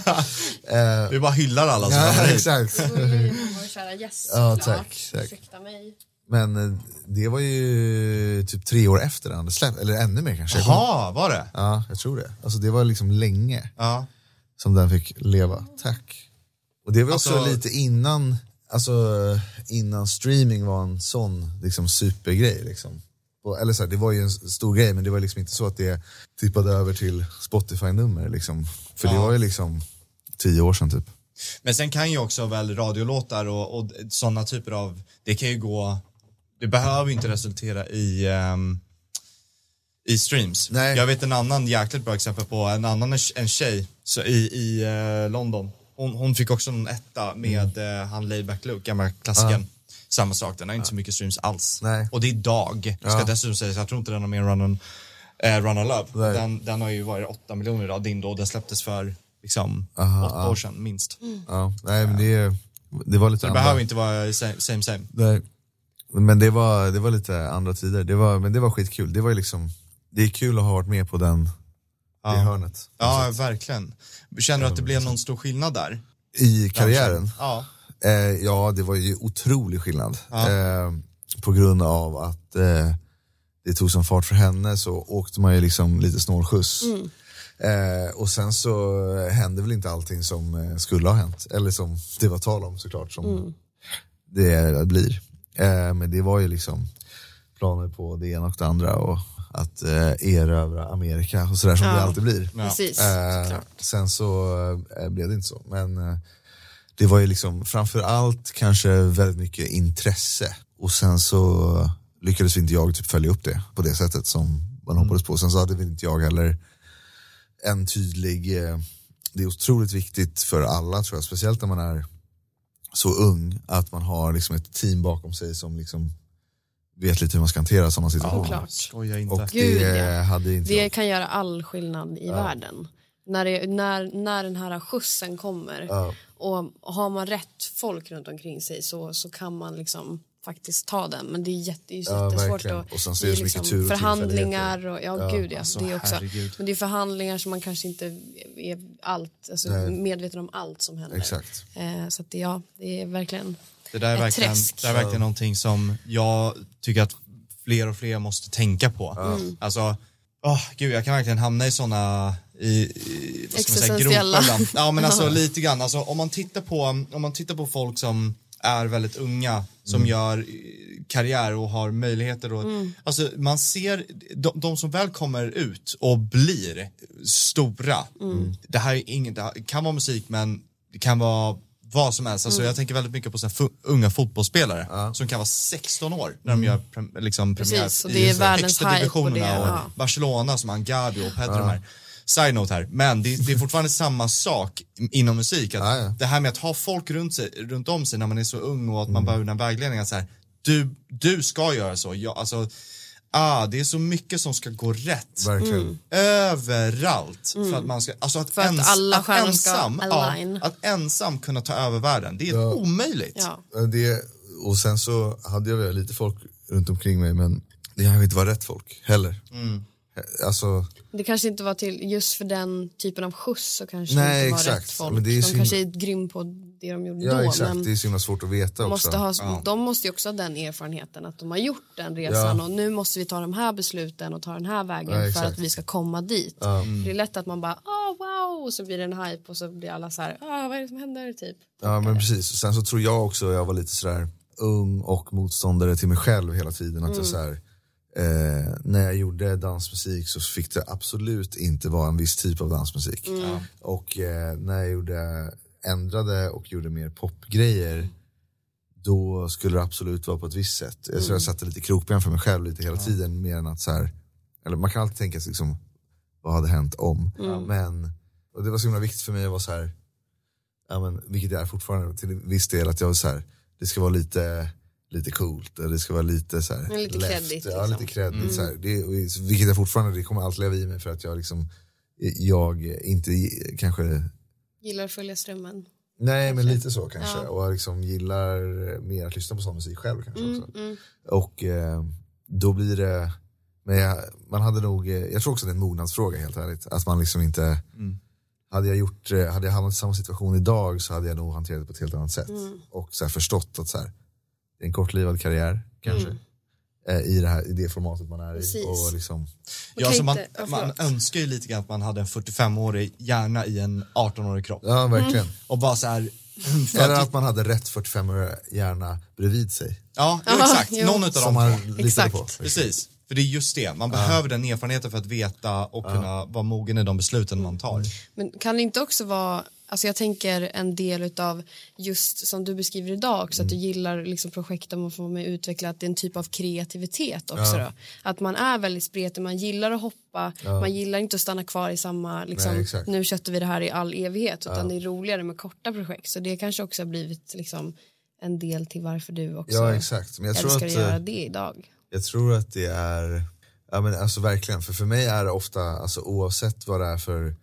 Speaker 1: Eh,
Speaker 4: Vi bara hyllar alla som
Speaker 1: Ja,
Speaker 4: kommer hit.
Speaker 1: exakt.
Speaker 5: Då är det vår kära gäst
Speaker 1: Ja,
Speaker 5: såklart.
Speaker 1: tack, tack.
Speaker 5: Ursäkta mig.
Speaker 1: Men eh, det var ju typ tre år efter den hade släppt, eller ännu mer kanske.
Speaker 4: Jaha, var det?
Speaker 1: Ja, jag tror det. Alltså det var liksom länge
Speaker 4: Ja.
Speaker 1: som den fick leva. Tack. Och det var också
Speaker 4: Alltså-
Speaker 1: lite innan, alltså innan streaming var en sån liksom supergrej liksom. Och, eller så här, det var ju en s- stor grej men det var liksom inte så att det tippade över till Spotify-nummer liksom. För det
Speaker 4: Ja.
Speaker 1: var ju liksom tio år sedan typ.
Speaker 4: Men sen kan ju också väl radiolåtar och, och sådana typer av, det kan ju gå, det behöver ju inte resultera i ehm, i streams.
Speaker 1: Nej.
Speaker 4: Jag vet en annan jäkligt bra exempel på en annan en tjej så i, i eh, London. Hon, hon fick också en etta med
Speaker 1: Mm.
Speaker 4: eh, han Laidback Luke, gamla klassikern. Samma sak, den har inte så mycket streams alls.
Speaker 1: Nej.
Speaker 4: Och det är dag. Ska
Speaker 1: Ja.
Speaker 4: dessutom sägas, jag tror inte den har mer run on, eh, run on love.
Speaker 1: Nej.
Speaker 4: Den, den har ju varit 8 miljoner idag, din då. Den släpptes för liksom åtta år sedan minst.
Speaker 1: Ja, nej men det, det var lite
Speaker 4: Det
Speaker 1: andra-
Speaker 4: behöver inte vara same same. same.
Speaker 1: Nej. Men det var, det var lite andra tider. Det var, men det var skitkul. Det var ju liksom, det är kul att ha varit med på den, det hörnet.
Speaker 4: Ja, verkligen. Känner du att det blev någon stor skillnad där?
Speaker 1: I karriären?
Speaker 4: Ja.
Speaker 1: Eh, ja, det var ju otrolig skillnad. Eh, på grund av att eh, det tog som fart för henne så åkte man ju liksom lite snålskjuts. Eh, och sen så hände väl inte allting som eh, skulle ha hänt. Eller som det var tal om såklart, som det blir. Eh, men det var ju liksom planer på det ena och det andra och att eh, erövra Amerika och sådär som det alltid blir.
Speaker 5: Precis.
Speaker 1: Eh, sen så eh, blev det inte så. Men eh, det var ju liksom framförallt kanske väldigt mycket intresse. Och sen så lyckades inte jag typ följa upp det på det sättet som man
Speaker 5: Mm.
Speaker 1: hoppades på. Sen så hade väl inte jag heller en tydlig, eh, det är otroligt viktigt för alla tror jag, speciellt när man är så ung, att man har liksom ett team bakom sig som liksom vet lite hur man ska hantera sådana situationer.
Speaker 5: Såklart.
Speaker 4: Skoja inte.
Speaker 1: Och
Speaker 5: Gud,
Speaker 1: det
Speaker 5: ja.
Speaker 1: hade inte
Speaker 5: Det
Speaker 1: jag.
Speaker 5: kan göra all skillnad i världen. När, det, när, när den här skjutsen kommer och har man rätt folk runt omkring sig så, så kan man liksom faktiskt ta den. Men det är jätte, det är
Speaker 1: Ja,
Speaker 5: jättesvårt.
Speaker 1: verkligen.
Speaker 5: att, liksom
Speaker 1: Och sen så är det så mycket tur och
Speaker 5: Förhandlingar och ja, gud ja,
Speaker 4: alltså,
Speaker 5: det är också.
Speaker 4: herregud.
Speaker 5: Men det är förhandlingar som man kanske inte är allt, alltså, medveten om allt som händer.
Speaker 1: Exakt.
Speaker 5: Eh, så att det, ja, det är verkligen
Speaker 4: Det där är
Speaker 5: Ett
Speaker 4: verkligen,
Speaker 5: träsk.
Speaker 4: det där är verkligen någonting som jag tycker att fler och fler måste tänka på.
Speaker 5: Mm.
Speaker 4: Alltså, åh, gud, jag kan verkligen hamna i sådana i, i, vad ska man säga,
Speaker 5: Existentiella.
Speaker 4: gropar ibland. Ja, men alltså lite grann. Alltså, om, man tittar på, om man tittar på folk som är väldigt unga, som gör eh, karriär och har möjligheter. Och,
Speaker 2: Mm.
Speaker 4: Alltså man ser de, de som väl kommer ut och blir stora.
Speaker 2: Mm.
Speaker 4: Det här är inget, det här kan vara musik men det kan vara vad som helst.
Speaker 2: Mm.
Speaker 4: Alltså, Jag tänker väldigt mycket på så här, fu- unga fotbollsspelare som kan vara 16 år när de gör prem, liksom, premiär
Speaker 2: Mm. Precis, och det är
Speaker 4: så här,
Speaker 2: världens
Speaker 4: högsta
Speaker 2: hype och
Speaker 4: divisionerna.
Speaker 2: det-
Speaker 4: och
Speaker 2: ja.
Speaker 4: Barcelona som Angabi och Pedro här. Side note här, men det, det är fortfarande samma sak inom musik. Att
Speaker 1: Ja, ja.
Speaker 4: Det här med att ha folk runt, sig, runt om sig när man är så ung och att
Speaker 1: Mm.
Speaker 4: man behöver den här vägledningen. Att så här, du, du ska göra så. Jag, alltså, ah, det är så mycket som ska gå rätt.
Speaker 1: Verkligen.
Speaker 4: Överallt. För att, man ska, alltså att,
Speaker 2: Mm. För att alla
Speaker 4: att
Speaker 2: stjärnor ska
Speaker 4: ensam, ja,
Speaker 2: align.
Speaker 4: Att ensam kunna ta över världen, det är omöjligt.
Speaker 2: Ja.
Speaker 1: Ja, Eh, Det, och sen så hade jag väl lite folk runt omkring mig men det kanske inte var rätt folk heller. Alltså,
Speaker 2: Det kanske inte var till, just för den typen av skjuts så kanske
Speaker 1: Nej,
Speaker 2: det inte var
Speaker 1: exakt.
Speaker 2: rätt folk.
Speaker 1: Men det är
Speaker 2: de
Speaker 1: synd.
Speaker 2: kanske är grym på det de gjorde
Speaker 1: ja
Speaker 2: då.
Speaker 1: exakt,
Speaker 2: men
Speaker 1: det är så himla svårt att veta
Speaker 2: måste
Speaker 1: också.
Speaker 2: ha, De måste ju också ha den erfarenheten att de har gjort den resan
Speaker 1: Ja.
Speaker 2: och nu måste vi ta de här besluten och ta den här vägen
Speaker 1: Ja,
Speaker 2: för
Speaker 1: exakt.
Speaker 2: att vi ska komma dit. Det är lätt att man bara oh, wow och så blir det en hype och så blir alla så här ah vad är det som händer typ.
Speaker 1: Ja men precis, och sen så tror jag också jag var lite sådär ung och motståndare till mig själv hela tiden. Att jag såhär, eh, när jag gjorde dansmusik så fick det absolut inte vara en viss typ av dansmusik. Och eh, när jag gjorde, ändrade och gjorde mer popgrejer då skulle det absolut vara på ett visst sätt. Jag
Speaker 2: Mm.
Speaker 1: tror jag satte lite krokben för mig själv lite hela tiden. Mer än att så här, eller man kan alltid tänka sig liksom, vad hade hänt om?
Speaker 2: Mm.
Speaker 1: Men, och det var så himla viktigt för mig att vara så här, ja, men, vilket jag är fortfarande till viss del, att jag är så här, det ska vara lite, lite coolt, och det ska vara lite så här,
Speaker 2: Men lite
Speaker 1: left,
Speaker 2: kreddigt,
Speaker 1: ja,
Speaker 2: liksom.
Speaker 1: lite kreddigt så här. Det, och i- vilket jag fortfarande, det kommer alltid leva i mig för att jag liksom, jag inte gi- kanske
Speaker 2: Gillar att följa strömmen.
Speaker 1: Nej, men lite så kanske.
Speaker 2: Ja.
Speaker 1: Och jag liksom gillar mer att lyssna på sån musik själv kanske
Speaker 2: Mm,
Speaker 1: också. Och eh, då blir det, men jag, man hade nog, eh, jag tror också det är en mognadsfråga helt ärligt. Att man liksom inte, hade jag gjort, eh, hade jag hamnat i samma situation idag så hade jag nog hanterat det på ett helt annat sätt.
Speaker 2: Mm.
Speaker 1: Och så här förstått att så här, det är en kortlivad karriär kanske. Eh, I, det här, I det formatet man är
Speaker 2: Mm. Precis.
Speaker 1: i. Och liksom,
Speaker 2: Man
Speaker 4: Ja,
Speaker 2: kan
Speaker 4: så man,
Speaker 2: inte- ja,
Speaker 4: man
Speaker 2: förlåt.
Speaker 4: önskar ju lite grann att man hade en 45-årig hjärna i en 18-årig kropp.
Speaker 1: ja, verkligen.
Speaker 4: Och bara så här,
Speaker 2: Mm.
Speaker 4: för
Speaker 1: Eller
Speaker 4: att,
Speaker 1: att man hade rätt 45-åriga hjärna bredvid sig.
Speaker 4: ja, jo, exakt,
Speaker 2: jo.
Speaker 4: någon utav
Speaker 1: Som
Speaker 4: dem.
Speaker 1: man litade
Speaker 2: Exakt.
Speaker 1: på.
Speaker 4: liksom. Precis, för det är just det, man behöver den erfarenheten för att veta och kunna vara mogen i de besluten man tar.
Speaker 2: Men kan det inte också vara, alltså jag tänker en del utav just som du beskriver idag också
Speaker 1: Mm.
Speaker 2: att du gillar liksom projekt där man får vara med och utveckla att det är en typ av kreativitet också då. Att man är väldigt spretig, man gillar att hoppa, man gillar inte att stanna kvar i samma liksom,
Speaker 1: Nej, exakt.
Speaker 2: nu köttar vi det här i all evighet utan det är roligare med korta projekt så det kanske också har blivit liksom en del till varför du också
Speaker 1: Ja, exakt. Men jag tror
Speaker 2: älskar
Speaker 1: att,
Speaker 2: att
Speaker 1: eh,
Speaker 2: göra det idag.
Speaker 1: Jag tror att det är, ja men alltså verkligen, för för mig är det ofta, alltså oavsett vad det är för,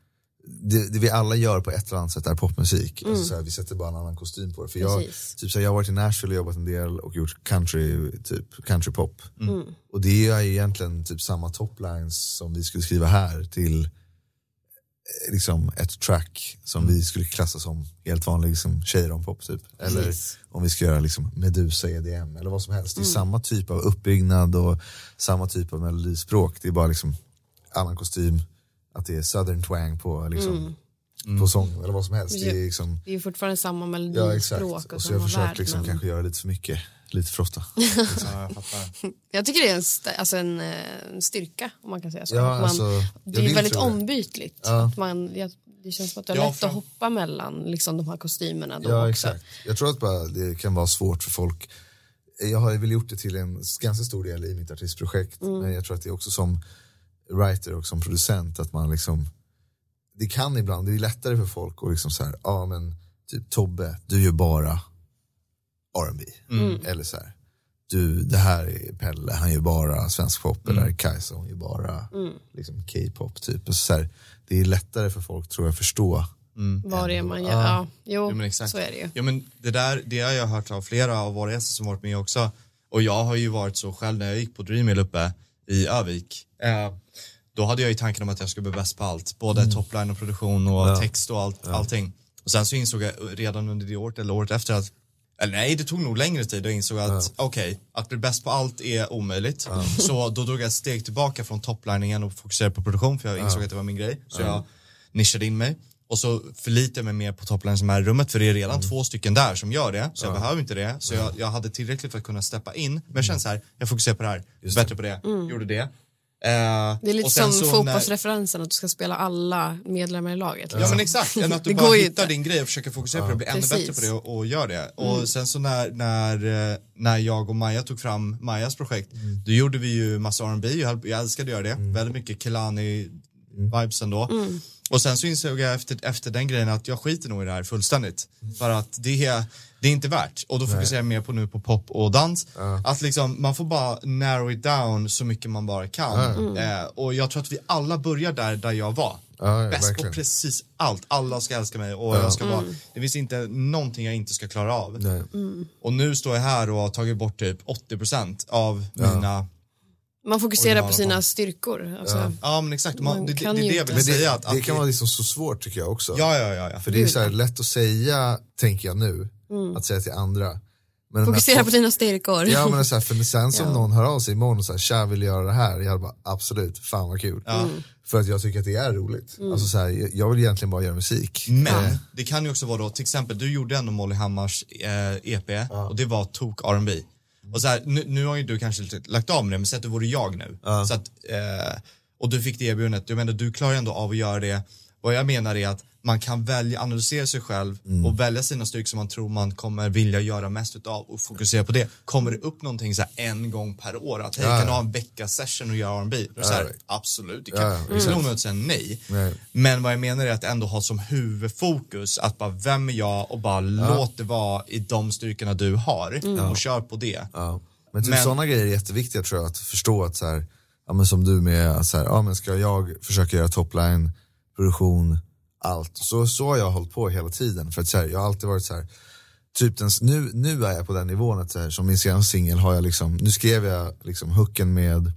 Speaker 1: det, det vi alla gör på ett eller annat sätt är popmusik. Alltså så här, vi sätter bara en annan kostym på det. För jag,
Speaker 2: Mm. Precis.
Speaker 1: typ så här, jag har varit i Nashville och jobbat en del och gjort country, typ countrypop.
Speaker 2: Mm.
Speaker 1: Och det är ju egentligen typ samma toplines som vi skulle skriva här till eh, liksom ett track som vi skulle klassa som helt vanlig liksom, tjejrompop typ. Eller om vi ska göra liksom, Medusa EDM eller vad som helst. Det är samma typ av uppbyggnad och samma typ av melodispråk. Det är bara liksom annan kostym, att det är southern twang på, liksom, på sången eller vad som helst. Det är liksom,
Speaker 2: Det är ju fortfarande samma
Speaker 1: ja,
Speaker 2: melodispråk
Speaker 1: exakt. Mm. Och så
Speaker 2: samma
Speaker 1: jag försökt
Speaker 2: värld,
Speaker 1: liksom,
Speaker 2: men-
Speaker 1: kanske göra lite för mycket, lite för ofta.
Speaker 4: Ja, jag fattar.
Speaker 2: Jag tycker det är en, st- alltså en, eh, en styrka om man kan säga så.
Speaker 1: Ja,
Speaker 2: Att man,
Speaker 1: alltså, jag
Speaker 2: det är
Speaker 1: vill
Speaker 2: väldigt
Speaker 1: tro det.
Speaker 2: ombytligt. Att man, jag, det känns som att det är
Speaker 4: Ja,
Speaker 2: lätt
Speaker 4: fram-
Speaker 2: att hoppa mellan liksom, de här kostymerna då
Speaker 1: Ja,
Speaker 2: också.
Speaker 1: exakt. Jag tror att bara det kan vara svårt för folk. Jag har ju väl gjort det till en ganska stor del i mitt artistprojekt, men jag tror att det är också som writer och som producent att man liksom, det kan ibland, det är lättare för folk att liksom så här, ja men typ Tobbe, du gör bara R&B Eller så här, du, det här är Pelle, han gör bara svensk pop, eller Kajsa, hon gör bara liksom K-pop typ. Och så här, det är lättare för folk tror jag att förstå
Speaker 2: Vad det är man gör. Ja, jo,
Speaker 4: Jo, men exakt.
Speaker 2: så är det ju.
Speaker 4: Ja, men det, där, det har jag hört av flera av våra gäster som varit med också. Och jag har ju varit så själv när jag gick på Dreamhill uppe i Övik. Eh, då hade jag ju tanken om att jag skulle bli bäst på allt. Både topline och produktion och text och allt, allting. Och sen så insåg jag redan under det året eller året efter att eller nej, det tog nog längre tid och insåg att okej, att bli bäst på allt är omöjligt. Så då drog jag ett steg tillbaka från topliningen och fokuserade på produktion för jag insåg att det var min grej. Så jag nischade in mig. Och så förlitar jag mig mer på toppline som är i rummet för det är redan två stycken där som gör det. Så jag behöver inte det. Så jag, jag hade tillräckligt för att kunna steppa in. Men jag känner så här, jag fokuserar på det här, bättre på det, gjorde det. Eh,
Speaker 2: Det är lite
Speaker 4: och sen
Speaker 2: som
Speaker 4: så när-
Speaker 2: fotbollsreferensen, att du ska spela alla medlemmar i laget. liksom.
Speaker 4: Ja men exakt, än att du
Speaker 2: Det
Speaker 4: bara
Speaker 2: går ju
Speaker 4: hittar
Speaker 2: inte.
Speaker 4: din grej och försöker fokusera på det och bli ännu
Speaker 2: Precis. Mm.
Speaker 4: bättre på det och, och gör det. Och sen så när, när, eh, när jag och Maja tog fram Majas projekt, då gjorde vi ju massa R&B jag, höll- jag älskade att göra det, väldigt mycket Kelani vibes ändå.
Speaker 2: Mm.
Speaker 4: Och sen så insåg jag efter, efter den grejen att jag skiter nog i det här fullständigt. För att det är, det är inte värt. Och då fokuserar jag mer på nu på pop och dans. Att liksom, man får bara narrow it down så mycket man bara kan. Eh, och jag tror att vi alla börjar där, där jag var.
Speaker 1: Ja, ja,
Speaker 4: Bäst på
Speaker 1: verkligen.
Speaker 4: precis allt. Alla ska älska mig och jag ska vara...
Speaker 2: Mm.
Speaker 4: Det finns inte någonting jag inte ska klara av.
Speaker 1: Nej.
Speaker 4: Och nu står jag här och har tagit bort typ 80% av mina...
Speaker 2: Man fokuserar
Speaker 4: Originala
Speaker 2: på sina styrkor. alltså. Också.
Speaker 4: Ja men exakt, man,
Speaker 2: Man
Speaker 4: det, det, det
Speaker 2: kan
Speaker 4: är det
Speaker 2: ju
Speaker 4: jag
Speaker 2: inte.
Speaker 1: Men
Speaker 4: vill säga.
Speaker 1: det,
Speaker 4: Att,
Speaker 1: det
Speaker 4: att
Speaker 1: kan vara liksom så svårt tycker jag också.
Speaker 4: Ja, ja, ja. ja.
Speaker 1: För det är så här lätt att säga, tänker jag nu, att säga till andra. Men de här
Speaker 2: Fokusera på
Speaker 1: folk-
Speaker 2: dina styrkor.
Speaker 1: alltså- Ja men så här, för sen som någon hör av sig imorgon och säger tja vill jag göra det här? Jag hade bara absolut, fan vad kul. För att jag tycker att det är roligt. Alltså, så här, jag- jag vill egentligen bara göra musik.
Speaker 4: Men det kan ju också vara då, till exempel du gjorde ändå Molly Hammars eh, EP och det var tok R&B. Och så här, nu, nu har ju du kanske lite lagt av med det, men säg att det vore jag nu. Så att, eh, och du fick det erbjudandet, jag menar du klarar ju ändå av att göra det. Vad jag menar är att man kan välja, analysera sig själv och välja sina styrkor som man tror man kommer vilja göra mest utav och fokusera på det. Kommer det upp någonting så här en gång per år, att hej, kan du ha en veckasession och göra R&B? Då är det så här,
Speaker 1: right.
Speaker 4: absolut, det kan. Det är inte någon med att säga nej.
Speaker 1: Nej.
Speaker 4: Men vad jag menar är att ändå ha som huvudfokus att bara vem är jag och bara låt det vara i de styrkorna du har
Speaker 2: Mm.
Speaker 4: och kör på det.
Speaker 1: Ja. Men typ
Speaker 4: Men-
Speaker 1: sådana grejer är jätteviktiga tror jag, att förstå att så här, ja, men som du med, så här, ja, men ska jag försöka göra topline, produktion, allt. Så, så har jag hållit på hela tiden. För att så här, jag har alltid varit så här, typ den, nu, nu är jag på den nivån att så här, som min senaste singel har jag liksom, nu skrev jag liksom hooken med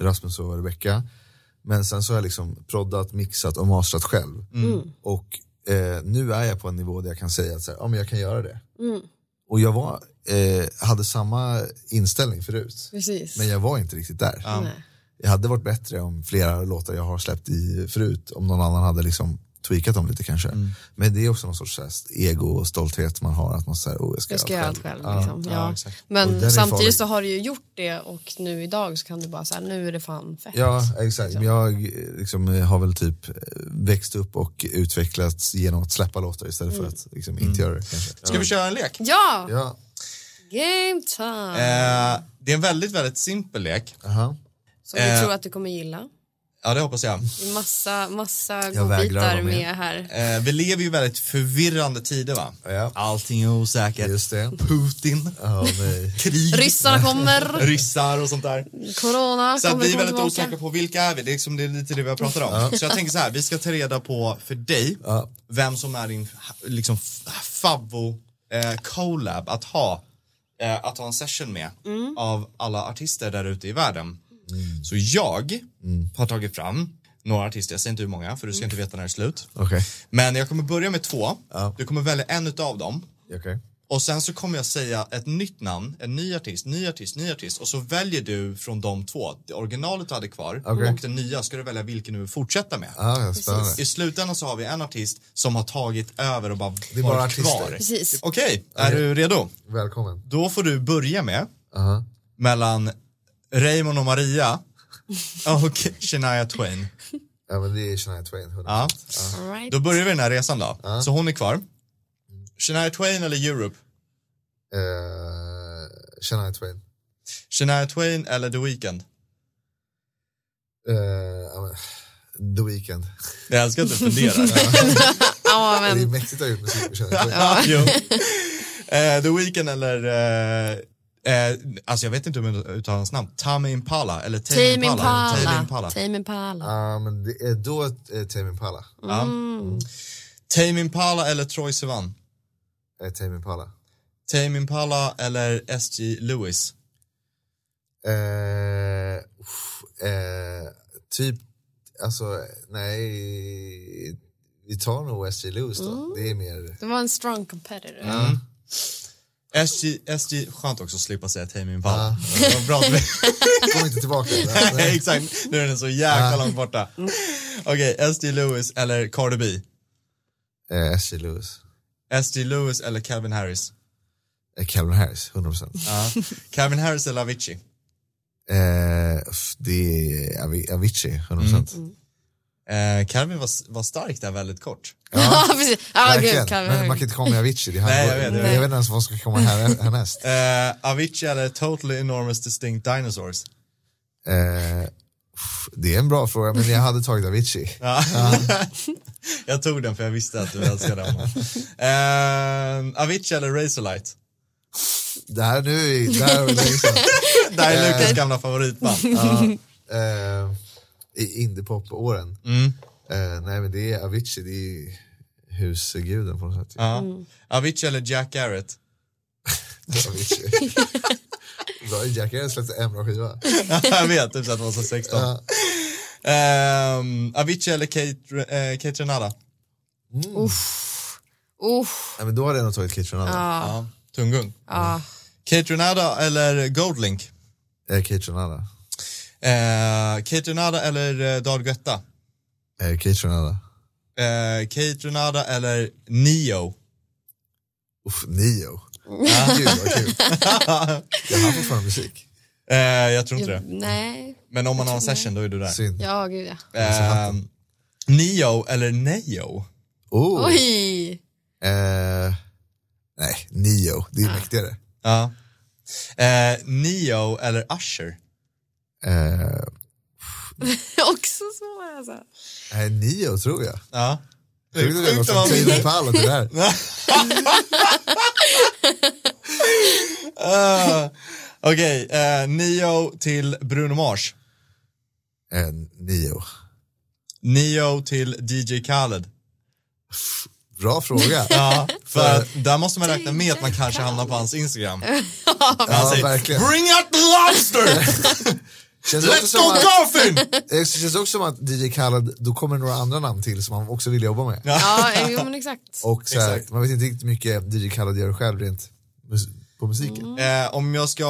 Speaker 1: Rasmus och Rebecca. Men sen så har jag liksom proddat, mixat och masterat själv. Och eh, nu är jag på en nivå där jag kan säga att så här, ja, men jag kan göra det. Och jag var, eh, hade samma inställning förut.
Speaker 2: Precis.
Speaker 1: Men jag var inte riktigt där.
Speaker 2: Nej.
Speaker 1: Jag hade varit bättre om flera låtar jag har släppt i förut, om någon annan hade liksom tweakat dem lite kanske. Men det är också någon sorts så här, ego och stolthet man har, att man säger, oh, jag ska,
Speaker 2: Jag ska
Speaker 1: göra
Speaker 2: göra
Speaker 1: det själv.
Speaker 2: allt själv. Liksom. Ja,
Speaker 4: ja, exakt.
Speaker 1: Och den är
Speaker 2: Men samtidigt
Speaker 1: farlig.
Speaker 2: så har du ju gjort det och nu idag så kan du bara säga nu är det fan fett.
Speaker 1: Ja,
Speaker 4: Liksom.
Speaker 1: exakt. Men jag eh, liksom, eh, har väl typ eh, växt upp och utvecklats genom att släppa låtar istället för att liksom, inte göra det. Kanske.
Speaker 4: Mm. Ska vi köra en lek?
Speaker 2: Ja!
Speaker 1: Ja,
Speaker 2: Game time!
Speaker 4: Eh, det är en väldigt, väldigt simpel lek.
Speaker 1: aha.
Speaker 2: Som vi
Speaker 4: eh.
Speaker 2: tror att du kommer gilla.
Speaker 4: Ja, det hoppas jag.
Speaker 2: Det är massa, massa
Speaker 1: vägrar
Speaker 2: godbitar
Speaker 1: vara med.
Speaker 2: med här.
Speaker 4: Eh, vi lever ju väldigt förvirrande tider va?
Speaker 1: Ja.
Speaker 4: Allting är osäkert.
Speaker 1: just det.
Speaker 4: Putin,
Speaker 1: Ja, nej.
Speaker 4: krig,
Speaker 2: Ryssarna kommer,
Speaker 4: ryssar och sånt där.
Speaker 2: corona
Speaker 4: Så att
Speaker 2: kommer
Speaker 4: vi är
Speaker 2: komma
Speaker 4: väldigt
Speaker 2: tillbaka.
Speaker 4: osäkra på vilka är vi, det är, liksom, det är lite det vi har pratat om. Så jag tänker så här, vi ska ta reda på för dig
Speaker 1: Ja.
Speaker 4: vem som är din liksom, f- favvo eh, collab att ha, eh, att ha en session med av alla artister där ute i världen.
Speaker 1: Mm.
Speaker 4: Så jag har tagit fram några artister, jag säger inte hur många för du ska
Speaker 1: Mm.
Speaker 4: inte veta när det är slut.
Speaker 1: Okej.
Speaker 4: Men jag kommer börja med två,
Speaker 1: Ja.
Speaker 4: du kommer välja en utav dem
Speaker 1: Okej.
Speaker 4: och sen så kommer jag säga ett nytt namn, en ny artist, ny artist, ny artist och så väljer du från de två, det originalet du hade kvar
Speaker 1: Okej.
Speaker 4: och den nya ska du välja vilken du vill fortsätta med.
Speaker 1: Ja, spännande.
Speaker 4: I slutändan så har vi en artist som har tagit över och bara
Speaker 1: är bara
Speaker 4: varit
Speaker 1: artister.
Speaker 4: kvar.
Speaker 2: Precis.
Speaker 4: Okej, är du redo?
Speaker 1: Välkommen.
Speaker 4: Då får du börja med
Speaker 1: Aha.
Speaker 4: mellan Raymond och Maria och Shania Twain.
Speaker 1: Ja, men det är Shania Twain. 100%.
Speaker 4: Ja.
Speaker 2: All right.
Speaker 4: Då börjar vi den här resan då. Så hon är kvar. Shania Twain eller Europe?
Speaker 1: Eh, Shania Twain.
Speaker 4: Shania Twain eller The Weeknd?
Speaker 1: Eh, ja, men, The Weeknd.
Speaker 4: Jag älskar att du funderar.
Speaker 2: Ja,
Speaker 1: Det är
Speaker 2: men
Speaker 1: mäktigt att ha gjort musik med Shania Twain.
Speaker 4: Ja, jo. Eh, The Weeknd eller, eh, eh, alltså jag vet inte hur man uttalar hans namn, Tame Impala eller Tame,
Speaker 2: Tame
Speaker 4: Impala. Tame
Speaker 2: Impala.
Speaker 4: Impala.
Speaker 2: Tame Impala.
Speaker 1: Ja, men det är då uh, Tame Impala.
Speaker 4: Ja. Tame Impala eller Troy Sivan?
Speaker 1: Uh, Tame Impala.
Speaker 4: Tame Impala eller SG Lewis?
Speaker 1: Eh, uff, eh, typ, alltså nej, vi tar nog SJ Lewis då.
Speaker 2: Mm.
Speaker 1: Det är mer,
Speaker 2: Det var en strong competitor.
Speaker 4: Mm. SG, SG, skönt också att slippa säga Tame Impala. Det var bra att vi-
Speaker 1: kom inte tillbaka.
Speaker 4: Nej, Exakt, nu är den så jäkla långt borta. Okej, SG Lewis eller Cardi B?
Speaker 1: Eh, S.J. Lewis.
Speaker 4: S.G. Lewis eller Calvin Harris?
Speaker 1: Eh, Calvin Harris, 100%.
Speaker 4: Ja. Calvin Harris eller Avicii?
Speaker 1: Eh, f- det är Avi- Avicii, 100%.
Speaker 2: Mm.
Speaker 4: Eh, Calvin var, var stark där väldigt kort.
Speaker 2: Ja, precis. Ja, gud,
Speaker 1: Verkligen.
Speaker 2: kan
Speaker 1: Men man kan inte komma med Avicii. Det är han-
Speaker 4: Nej, jag vet, jag
Speaker 1: jag,
Speaker 4: vet.
Speaker 1: vet inte ens vad som ska komma här, härnäst.
Speaker 4: Eh, Avicii eller Totally Enormous Distinct Dinosaurs?
Speaker 1: Eh, pff, det är en bra fråga, men jag hade tagit Avicii.
Speaker 4: Ja. jag tog den för jag visste att du älskade honom. Eh, Avicii eller Razorlight?
Speaker 1: Det här nu är... Det här är liksom,
Speaker 4: Det här är Lukas gamla Eh, favoritband.
Speaker 1: eh, I indiepop-åren.
Speaker 4: Mm.
Speaker 1: Eh, nej, men det är Avicii. Det är husguden på något sätt.
Speaker 4: Ja. Avicii eller Jack Garrett?
Speaker 1: Avicii. Bra, Jack Harris släppte en bra skiva.
Speaker 4: jag vet, typ såhär 2016.
Speaker 1: Ja.
Speaker 4: Ehm, Avicii eller Kate, eh, Kate Renata?
Speaker 2: Uff,
Speaker 1: Nej, men då hade jag nog tagit Kate Renata.
Speaker 4: Ja. Tungung.
Speaker 2: ja.
Speaker 4: Kate Renata eller Goldlink?
Speaker 1: Eh, Kate Renata.
Speaker 4: Eh, Kate Renata eller eh, Dahl Guetta?
Speaker 1: Eh, Kate Renata.
Speaker 4: Eh, Kate Renata eller Neo?
Speaker 1: Uff, Nio. Gud vad kul. Jag har fortfarande musik.
Speaker 4: Eh, jag tror inte
Speaker 2: Jag,
Speaker 4: det.
Speaker 2: nej.
Speaker 4: Men om man har en session då är du där.
Speaker 1: Synd.
Speaker 2: Ja, gud ja.
Speaker 4: Ehm, Neo eller Neo?
Speaker 1: Oh.
Speaker 2: Oj!
Speaker 1: Eh, nej, Nio. Det är mäktigare.
Speaker 4: Ja. Eh, Neo eller Usher?
Speaker 1: Eh,
Speaker 2: Också svår alltså.
Speaker 1: nej, Nio tror jag.
Speaker 4: Ja.
Speaker 1: Jag vet inte vad
Speaker 4: att man
Speaker 1: som tyder på allt det där.
Speaker 4: Ah, Okej, eh, Neo till Bruno Mars.
Speaker 1: Eh, Nio.
Speaker 4: Neo till DJ Khaled.
Speaker 1: Bra fråga.
Speaker 4: Ja, för att där måste man räkna med att man kanske hamnar på hans Instagram. När han
Speaker 1: Ja,
Speaker 4: säger,
Speaker 1: verkligen.
Speaker 4: Bring out the lobster!
Speaker 1: Känns också
Speaker 4: Let's
Speaker 1: som
Speaker 4: go
Speaker 1: att,
Speaker 4: golfing!
Speaker 1: det känns också som att DJ Khaled, då kommer några andra namn till som han också vill jobba med.
Speaker 2: Ja, jo men exakt.
Speaker 1: Och så här,
Speaker 4: Exakt.
Speaker 1: man vet inte riktigt hur mycket DJ Khaled gör själv rent mus- på musiken.
Speaker 4: Eh, om jag ska...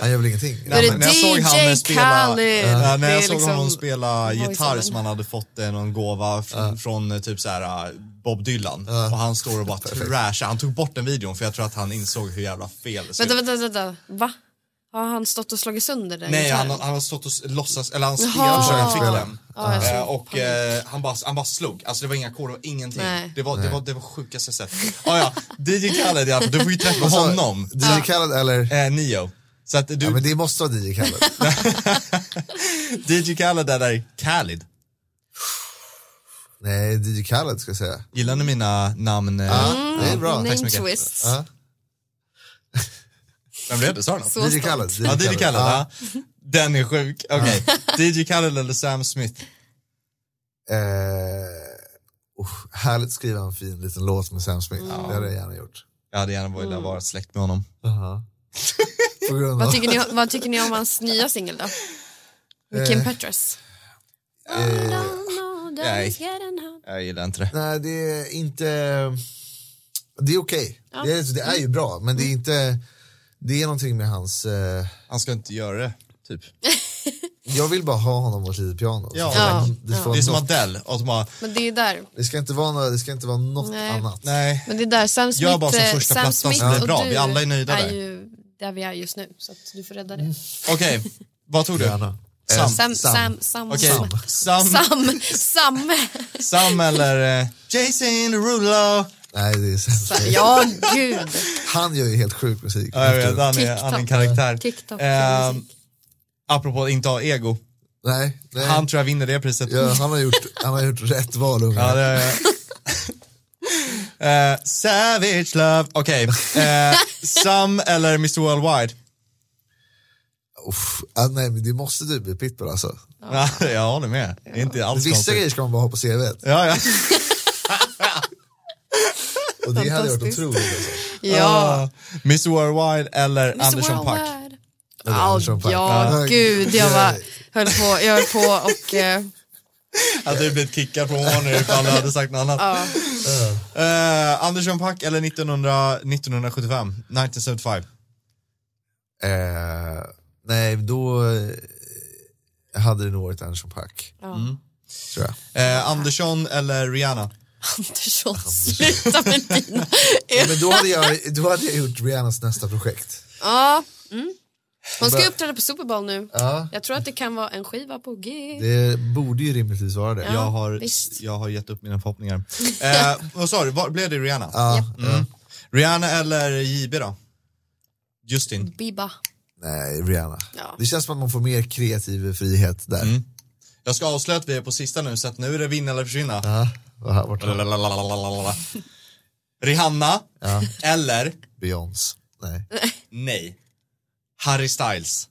Speaker 1: Han gör väl ingenting?
Speaker 4: Nej,
Speaker 2: det
Speaker 4: men när jag såg
Speaker 2: DJ
Speaker 4: han spela,
Speaker 2: Khaled?
Speaker 4: Ja, när
Speaker 2: Det är
Speaker 4: jag såg
Speaker 2: liksom
Speaker 4: honom spela
Speaker 2: voice-overn.
Speaker 4: gitarr som han hade fått eh, någon gåva från, från eh, typ så här eh, Bob Dylan och han står och bara trashar. Han tog bort den videon för jag tror att han insåg hur jävla fel det såg
Speaker 2: Vänta,
Speaker 4: ut.
Speaker 2: vänta, vänta. Va? Har han stått och slagit sönder den
Speaker 4: Nej, han,
Speaker 2: gitarren?
Speaker 4: han har stått och s- låtsas, eller han
Speaker 2: Jaha.
Speaker 4: spelade så han fick
Speaker 1: Försökt
Speaker 4: den.
Speaker 2: Ja, jag
Speaker 4: Eh,
Speaker 2: såg
Speaker 4: och
Speaker 2: panik.
Speaker 4: eh, han, bara, han bara slog, alltså det var inga ackord, det var ingenting.
Speaker 2: Nej.
Speaker 4: Det var, det var, det var sjukaste jag sett. Ah, ja, DJ Khaled i alla fall, du får ju träffa
Speaker 1: Så,
Speaker 4: honom.
Speaker 1: DJ Alltså, Khaled eller?
Speaker 4: Eh, Nio. Så att du,
Speaker 1: Ja, men det måste vara DJ Khaled.
Speaker 4: DJ Khaled eller Khalid.
Speaker 1: Nej, DJ Khaled ska jag säga.
Speaker 4: Gillar ni mina namn? eh,
Speaker 1: Ja, Ah, det är bra.
Speaker 2: Mm, Name
Speaker 4: tack så mycket.
Speaker 2: twists.
Speaker 1: Ja.
Speaker 4: Vem blev det? Sa du något?
Speaker 2: Så
Speaker 1: DJ Khaled.
Speaker 4: Ja, DJ Khaled. Ja. Den är sjuk. Okej,
Speaker 1: Mm.
Speaker 4: DJ Khaled eller Sam Smith?
Speaker 1: Eh, usch, härligt att skriva en fin liten låt med Sam Smith. Det hade jag gärna gjort.
Speaker 4: Jag hade gärna velat
Speaker 2: Mm.
Speaker 4: vara släkt med honom. Uh-huh.
Speaker 1: På grund av,
Speaker 2: Vad tycker, ni, vad tycker ni om hans nya singel då? Med
Speaker 4: Eh,
Speaker 2: Kim Petras?
Speaker 4: Nej, jag gillar inte det.
Speaker 1: nej, det är inte... Det är okej. Det, är, det är
Speaker 2: Mm.
Speaker 1: ju bra, men det är inte... Det är någonting med hans... Eh,
Speaker 4: Han ska inte göra det, typ.
Speaker 1: jag vill bara ha honom åt litet piano.
Speaker 4: Ja.
Speaker 1: Så får man-
Speaker 2: Ja.
Speaker 1: Det, får
Speaker 4: Det är som
Speaker 1: något,
Speaker 4: Adele, och så bara,
Speaker 2: Men det är där.
Speaker 1: det, ska inte vara, något- det ska inte vara något
Speaker 2: Nej.
Speaker 1: annat.
Speaker 4: nej.
Speaker 2: Men det är där Sam Smith,
Speaker 4: Gör bara som
Speaker 2: eh,
Speaker 4: första
Speaker 2: Sam
Speaker 4: plattan
Speaker 2: Smith
Speaker 4: så blir det
Speaker 2: och
Speaker 4: bra.
Speaker 2: du
Speaker 4: Vi alla är nöjda där.
Speaker 2: ju där vi är just nu, så att du får rädda det.
Speaker 4: Okej, vad tog du?
Speaker 1: Gärna. Eh,
Speaker 4: Sam.
Speaker 2: Sam, Sam, Sam,
Speaker 4: Okej,
Speaker 2: Sam,
Speaker 4: Sam. Sam.
Speaker 2: Sam, Sam.
Speaker 4: eller eh, Jason Derulo.
Speaker 1: Nej, det är Sam Smith.
Speaker 2: Ja, gud.
Speaker 1: Han gör ju helt sjuk musik.
Speaker 4: Ja, jag vet, han är, han är en karaktär.
Speaker 2: TikTok.
Speaker 4: Ehm, apropå att inte ha ego,
Speaker 1: Nej, nej.
Speaker 4: han tror jag vinner det priset.
Speaker 1: Ja, han, har gjort, han har gjort rätt val, ungar.
Speaker 4: Ja, det är jag. Eh, Savage Love. Okej. Eh, Sam eller Mr Worldwide?
Speaker 1: Uff, ah, nej, men det måste du bli pitbull alltså.
Speaker 4: Ja. jag håller med. Det är inte alls
Speaker 1: Vissa
Speaker 4: konstigt.
Speaker 1: grejer ska man bara ha på CVt.
Speaker 4: Ja, ja.
Speaker 1: Och det hade varit
Speaker 2: Fantastiskt.
Speaker 1: otroligt. Alltså.
Speaker 2: Ja.
Speaker 4: Ah, Mr Worldwide eller
Speaker 2: Mr.
Speaker 4: Andersson Paak?
Speaker 2: Worldwide.
Speaker 1: Eller Andersson Paak.
Speaker 2: ja,
Speaker 1: Nej.
Speaker 2: gud. Jag var, höll på, jag höll på och... eh,
Speaker 4: Att du blivit kickad från Warner ifall du hade sagt något annat. Eh, Andersson Paak eller 1900, 1975? 1975.
Speaker 1: Eh, nej, då eh, hade det nog varit Andersson Paak.
Speaker 2: Ja.
Speaker 1: Tror jag.
Speaker 4: Eh, Andersson eller Rihanna?
Speaker 2: Andersson, sluta med dina.
Speaker 1: Men då hade, jag, då hade jag gjort Rihannas nästa projekt.
Speaker 2: ja. Mm. Hon ska ju uppträda på Super Bowl nu.
Speaker 1: Ja.
Speaker 2: Jag tror att det kan vara en skiva på G.
Speaker 1: Det borde ju rimligtvis vara det.
Speaker 4: jag, har,
Speaker 2: visst.
Speaker 4: jag har gett upp mina förhoppningar. eh, vad sa du, vad, blev det Rihanna?
Speaker 1: Ja.
Speaker 4: Mm. Rihanna eller JB då? Justin.
Speaker 2: Biba.
Speaker 1: Nej, Rihanna.
Speaker 2: Ja.
Speaker 1: Det känns som att man får mer kreativ frihet där.
Speaker 4: Mm. Jag ska avslöja att vi är på sista nu så att nu är det vinna eller försvinna.
Speaker 1: Ja, vad här borta.
Speaker 4: Lalalalalala. Rihanna
Speaker 1: Ja.
Speaker 4: eller
Speaker 1: Beyoncé. Nej.
Speaker 4: nej, Harry Styles.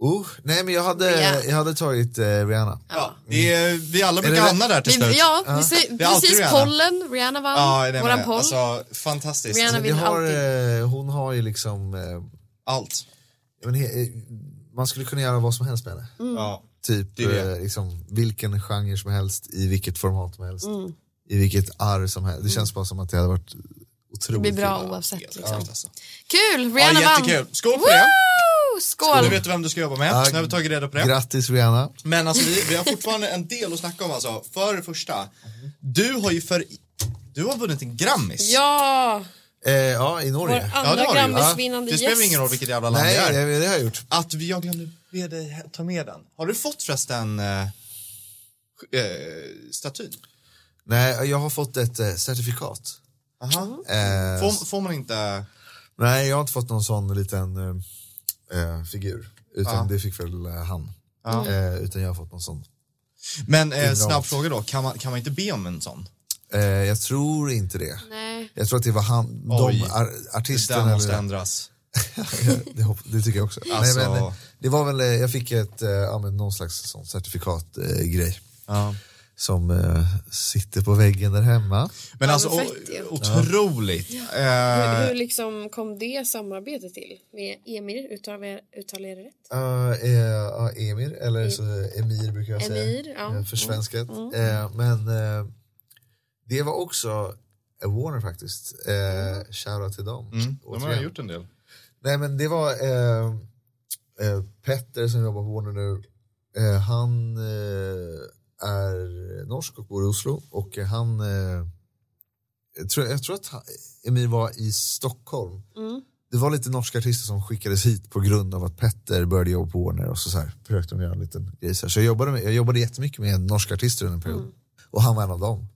Speaker 1: Oh, nej, men jag hade,
Speaker 2: Rihanna.
Speaker 1: jag hade tagit eh, Rihanna.
Speaker 4: Ja, det är, vi alla
Speaker 1: Mm. Är
Speaker 4: brukar
Speaker 1: det-
Speaker 4: hamna där till slut.
Speaker 2: Vi, ja, vi ser,
Speaker 4: Det är alltid
Speaker 2: precis
Speaker 4: Rihanna.
Speaker 2: pollen. Rihanna vann.
Speaker 4: Ja, det menar
Speaker 2: Våran
Speaker 4: jag.
Speaker 2: poll.
Speaker 4: Alltså, fantastiskt.
Speaker 2: Rihanna-
Speaker 1: Vi
Speaker 2: vill
Speaker 1: har,
Speaker 2: alltid-
Speaker 1: eh, hon har ju liksom, eh,
Speaker 4: Allt.
Speaker 1: jag men, he, eh, man skulle kunna göra vad som helst med henne.
Speaker 2: Mm.
Speaker 4: Ja.
Speaker 1: Typ
Speaker 4: Det är det.
Speaker 1: eh, liksom, vilken genre som helst, i vilket format som helst,
Speaker 2: Mm.
Speaker 1: i vilket arr som helst. Det känns bara som att det hade varit
Speaker 2: det
Speaker 1: otroligt
Speaker 2: blir bra
Speaker 1: kul.
Speaker 2: oavsett. Liksom.
Speaker 4: Exakt, alltså.
Speaker 2: Kul!
Speaker 4: Ja,
Speaker 2: Rihanna vann.
Speaker 4: jättekul. Skål för det.
Speaker 2: Woo! Skål!
Speaker 4: Nu vet du vem du ska jobba med.
Speaker 1: Ja,
Speaker 4: Nu har vi tagit reda på det.
Speaker 1: Grattis Rihanna.
Speaker 4: Men alltså, vi, vi har fortfarande en del att snacka om. Alltså. För det första, du har ju för... Du har vunnit en Grammis.
Speaker 2: Ja!
Speaker 1: Eh, ja, i
Speaker 2: Vår
Speaker 1: Norge.
Speaker 2: andra
Speaker 4: det har du ju.
Speaker 2: Grammisvinnande
Speaker 4: Det spelar
Speaker 2: gäst.
Speaker 4: ingen roll vilket jävla land
Speaker 1: Nej,
Speaker 4: det är.
Speaker 1: det, det har jag gjort.
Speaker 4: Att vi, jag glömde be dig ta med den. Har du fått förresten eh, eh, statyn?
Speaker 1: Nej, jag har fått ett eh, certifikat.
Speaker 4: Aha.
Speaker 1: Eh,
Speaker 4: Får, får man inte...
Speaker 1: Nej, jag har inte fått någon sån liten eh, eh, figur. Utan det fick väl eh, han.
Speaker 2: Mm.
Speaker 1: Eh, utan jag har fått någon sån.
Speaker 4: Men eh,
Speaker 1: Indraget.
Speaker 4: snabb fråga då, kan man, kan man inte be om en sån?
Speaker 1: Eh, jag tror inte det.
Speaker 2: Nej.
Speaker 1: Jag tror att det var han,
Speaker 4: Oj.
Speaker 1: de ar-
Speaker 4: Det
Speaker 1: artisterna.
Speaker 4: där måste
Speaker 1: eller-
Speaker 4: ändras.
Speaker 1: det, hopp- det tycker jag också.
Speaker 4: Alltså-
Speaker 1: Nej, men, eh, det var väl, eh, jag fick ett, eh, ja, men någon slags sån certifikatgrej. Eh, grej.
Speaker 4: Ja.
Speaker 1: som eh, sitter på väggen där hemma.
Speaker 4: Men
Speaker 2: Ja,
Speaker 4: alltså,
Speaker 2: men
Speaker 4: o-
Speaker 2: fett ju.
Speaker 4: otroligt.
Speaker 2: Hur,
Speaker 4: Eh,
Speaker 2: hur liksom kom det samarbetet till? Med Emir, uttalar jag uttalar jag det rätt?
Speaker 1: Eh, eh, ja, Emir, eller så Emir brukar jag
Speaker 2: Emir,
Speaker 1: säga.
Speaker 2: ja. Mm.
Speaker 1: eh, Försvenskat. Eh, men eh, det var också Warner faktiskt. Eh, Shoutout till dem.
Speaker 4: mm, de har
Speaker 1: Återigen.
Speaker 4: gjort en del.
Speaker 1: Nej men det var eh, eh, Petter som jobbar på Warner nu. Eh, han eh, är norsk och bor i Oslo och eh, han eh, jag, tror, jag tror att han, Emil var i Stockholm.
Speaker 2: Mm.
Speaker 1: Det var lite norska artister som skickades hit på grund av att Petter började jobba på Warner och så, så här, försökte de göra en liten grej. Så, här. så jag, jobbade med, jag jobbade jättemycket med norska artister under en
Speaker 2: Mm.
Speaker 1: period och han var en av dem.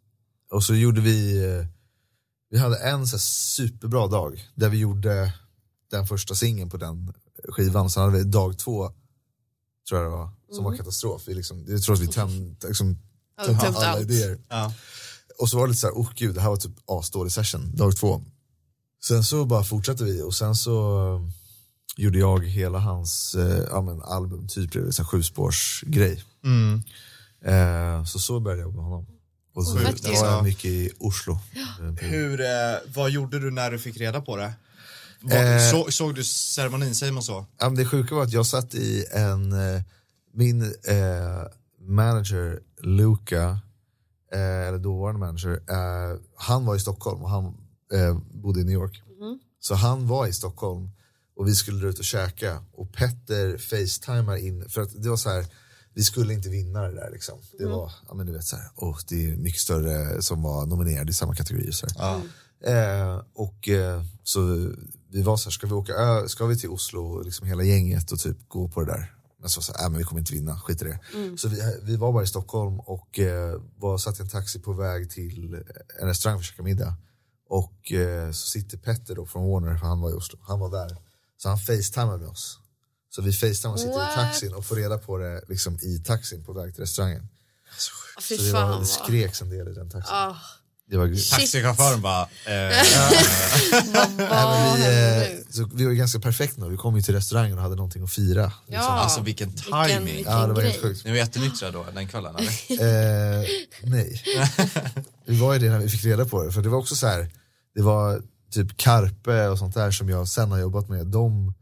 Speaker 1: Och så gjorde vi, eh, vi hade en så här superbra dag där vi gjorde den första singeln på den skivan. Sen hade vi dag två, tror jag det var, som var katastrof. Vi liksom, jag tror att vi tömde liksom,
Speaker 2: Mm. Ja,
Speaker 1: tömde
Speaker 2: tömt
Speaker 1: alla
Speaker 2: allt.
Speaker 1: idéer.
Speaker 4: Ja.
Speaker 1: Och så var det lite så här, oh gud, det här var typ asdålig session, dag två. Sen så bara fortsatte vi och sen så eh, gjorde jag hela hans eh, ja, men album, typ blev det en sjuspårsgrej.
Speaker 4: Mm.
Speaker 1: Eh, så så började jag med honom. Och så
Speaker 2: Sjukt,
Speaker 1: var
Speaker 2: alltså.
Speaker 1: jag mycket i Oslo. Eh,
Speaker 4: Hur, eh, vad gjorde du när du fick reda på det? Vad-
Speaker 1: Eh.
Speaker 4: så, såg du ceremonin, säger man så?
Speaker 1: Ja, men det sjuka var att jag satt i en, eh, min eh, manager Luca, eh, eller dåvarande manager, eh, han var i Stockholm och han eh, bodde i New York. Så han var i Stockholm och vi skulle dra ut och käka och Petter facetimar in, för att det var så här, vi skulle inte vinna det där liksom. Det var, ja men du vet så här, oh, det är mycket större som var nominerade i samma kategori. och Så här. Eh, och eh, så vi var så här, ska vi åka ö, ska vi till Oslo, liksom hela gänget och typ gå på det där? Men så var det så här, äh, men vi kommer inte vinna, skit i det.
Speaker 2: Mm.
Speaker 1: Så vi, eh, vi var bara i Stockholm och eh, var, satt i en taxi på väg till eh, en restaurang för att käka middag. Och eh, så sitter Petter då från Warner, för han var i Oslo, han var där. Så han facetimar med oss. Så vi facetimar och sitter i
Speaker 2: What?
Speaker 1: taxin och får reda på det liksom, i taxin på väg till restaurangen.
Speaker 2: Ah, Fy
Speaker 1: Så det,
Speaker 2: fan
Speaker 1: var, det
Speaker 2: vad...
Speaker 1: skreks en del i den taxin.
Speaker 2: Ah,
Speaker 1: Det var grymt.
Speaker 4: Taxichauffören bara, eh,
Speaker 2: vad
Speaker 1: vi,
Speaker 2: händer
Speaker 1: eh,
Speaker 2: nu?
Speaker 1: så vi var ju ganska perfekta nu. Vi kom ju till restaurangen och hade någonting att fira.
Speaker 2: Ja,
Speaker 4: alltså vilken
Speaker 2: vilken,
Speaker 4: timing.
Speaker 2: vilken
Speaker 1: Ja, det var
Speaker 2: grej.
Speaker 1: helt sjukt.
Speaker 4: Ni var jättenyktra då, den kvällen eller?
Speaker 1: Eh, nej. Vi var ju det när vi fick reda på det. För det var också så här, det var typ Karpe och sånt där som jag sen har jobbat med. De,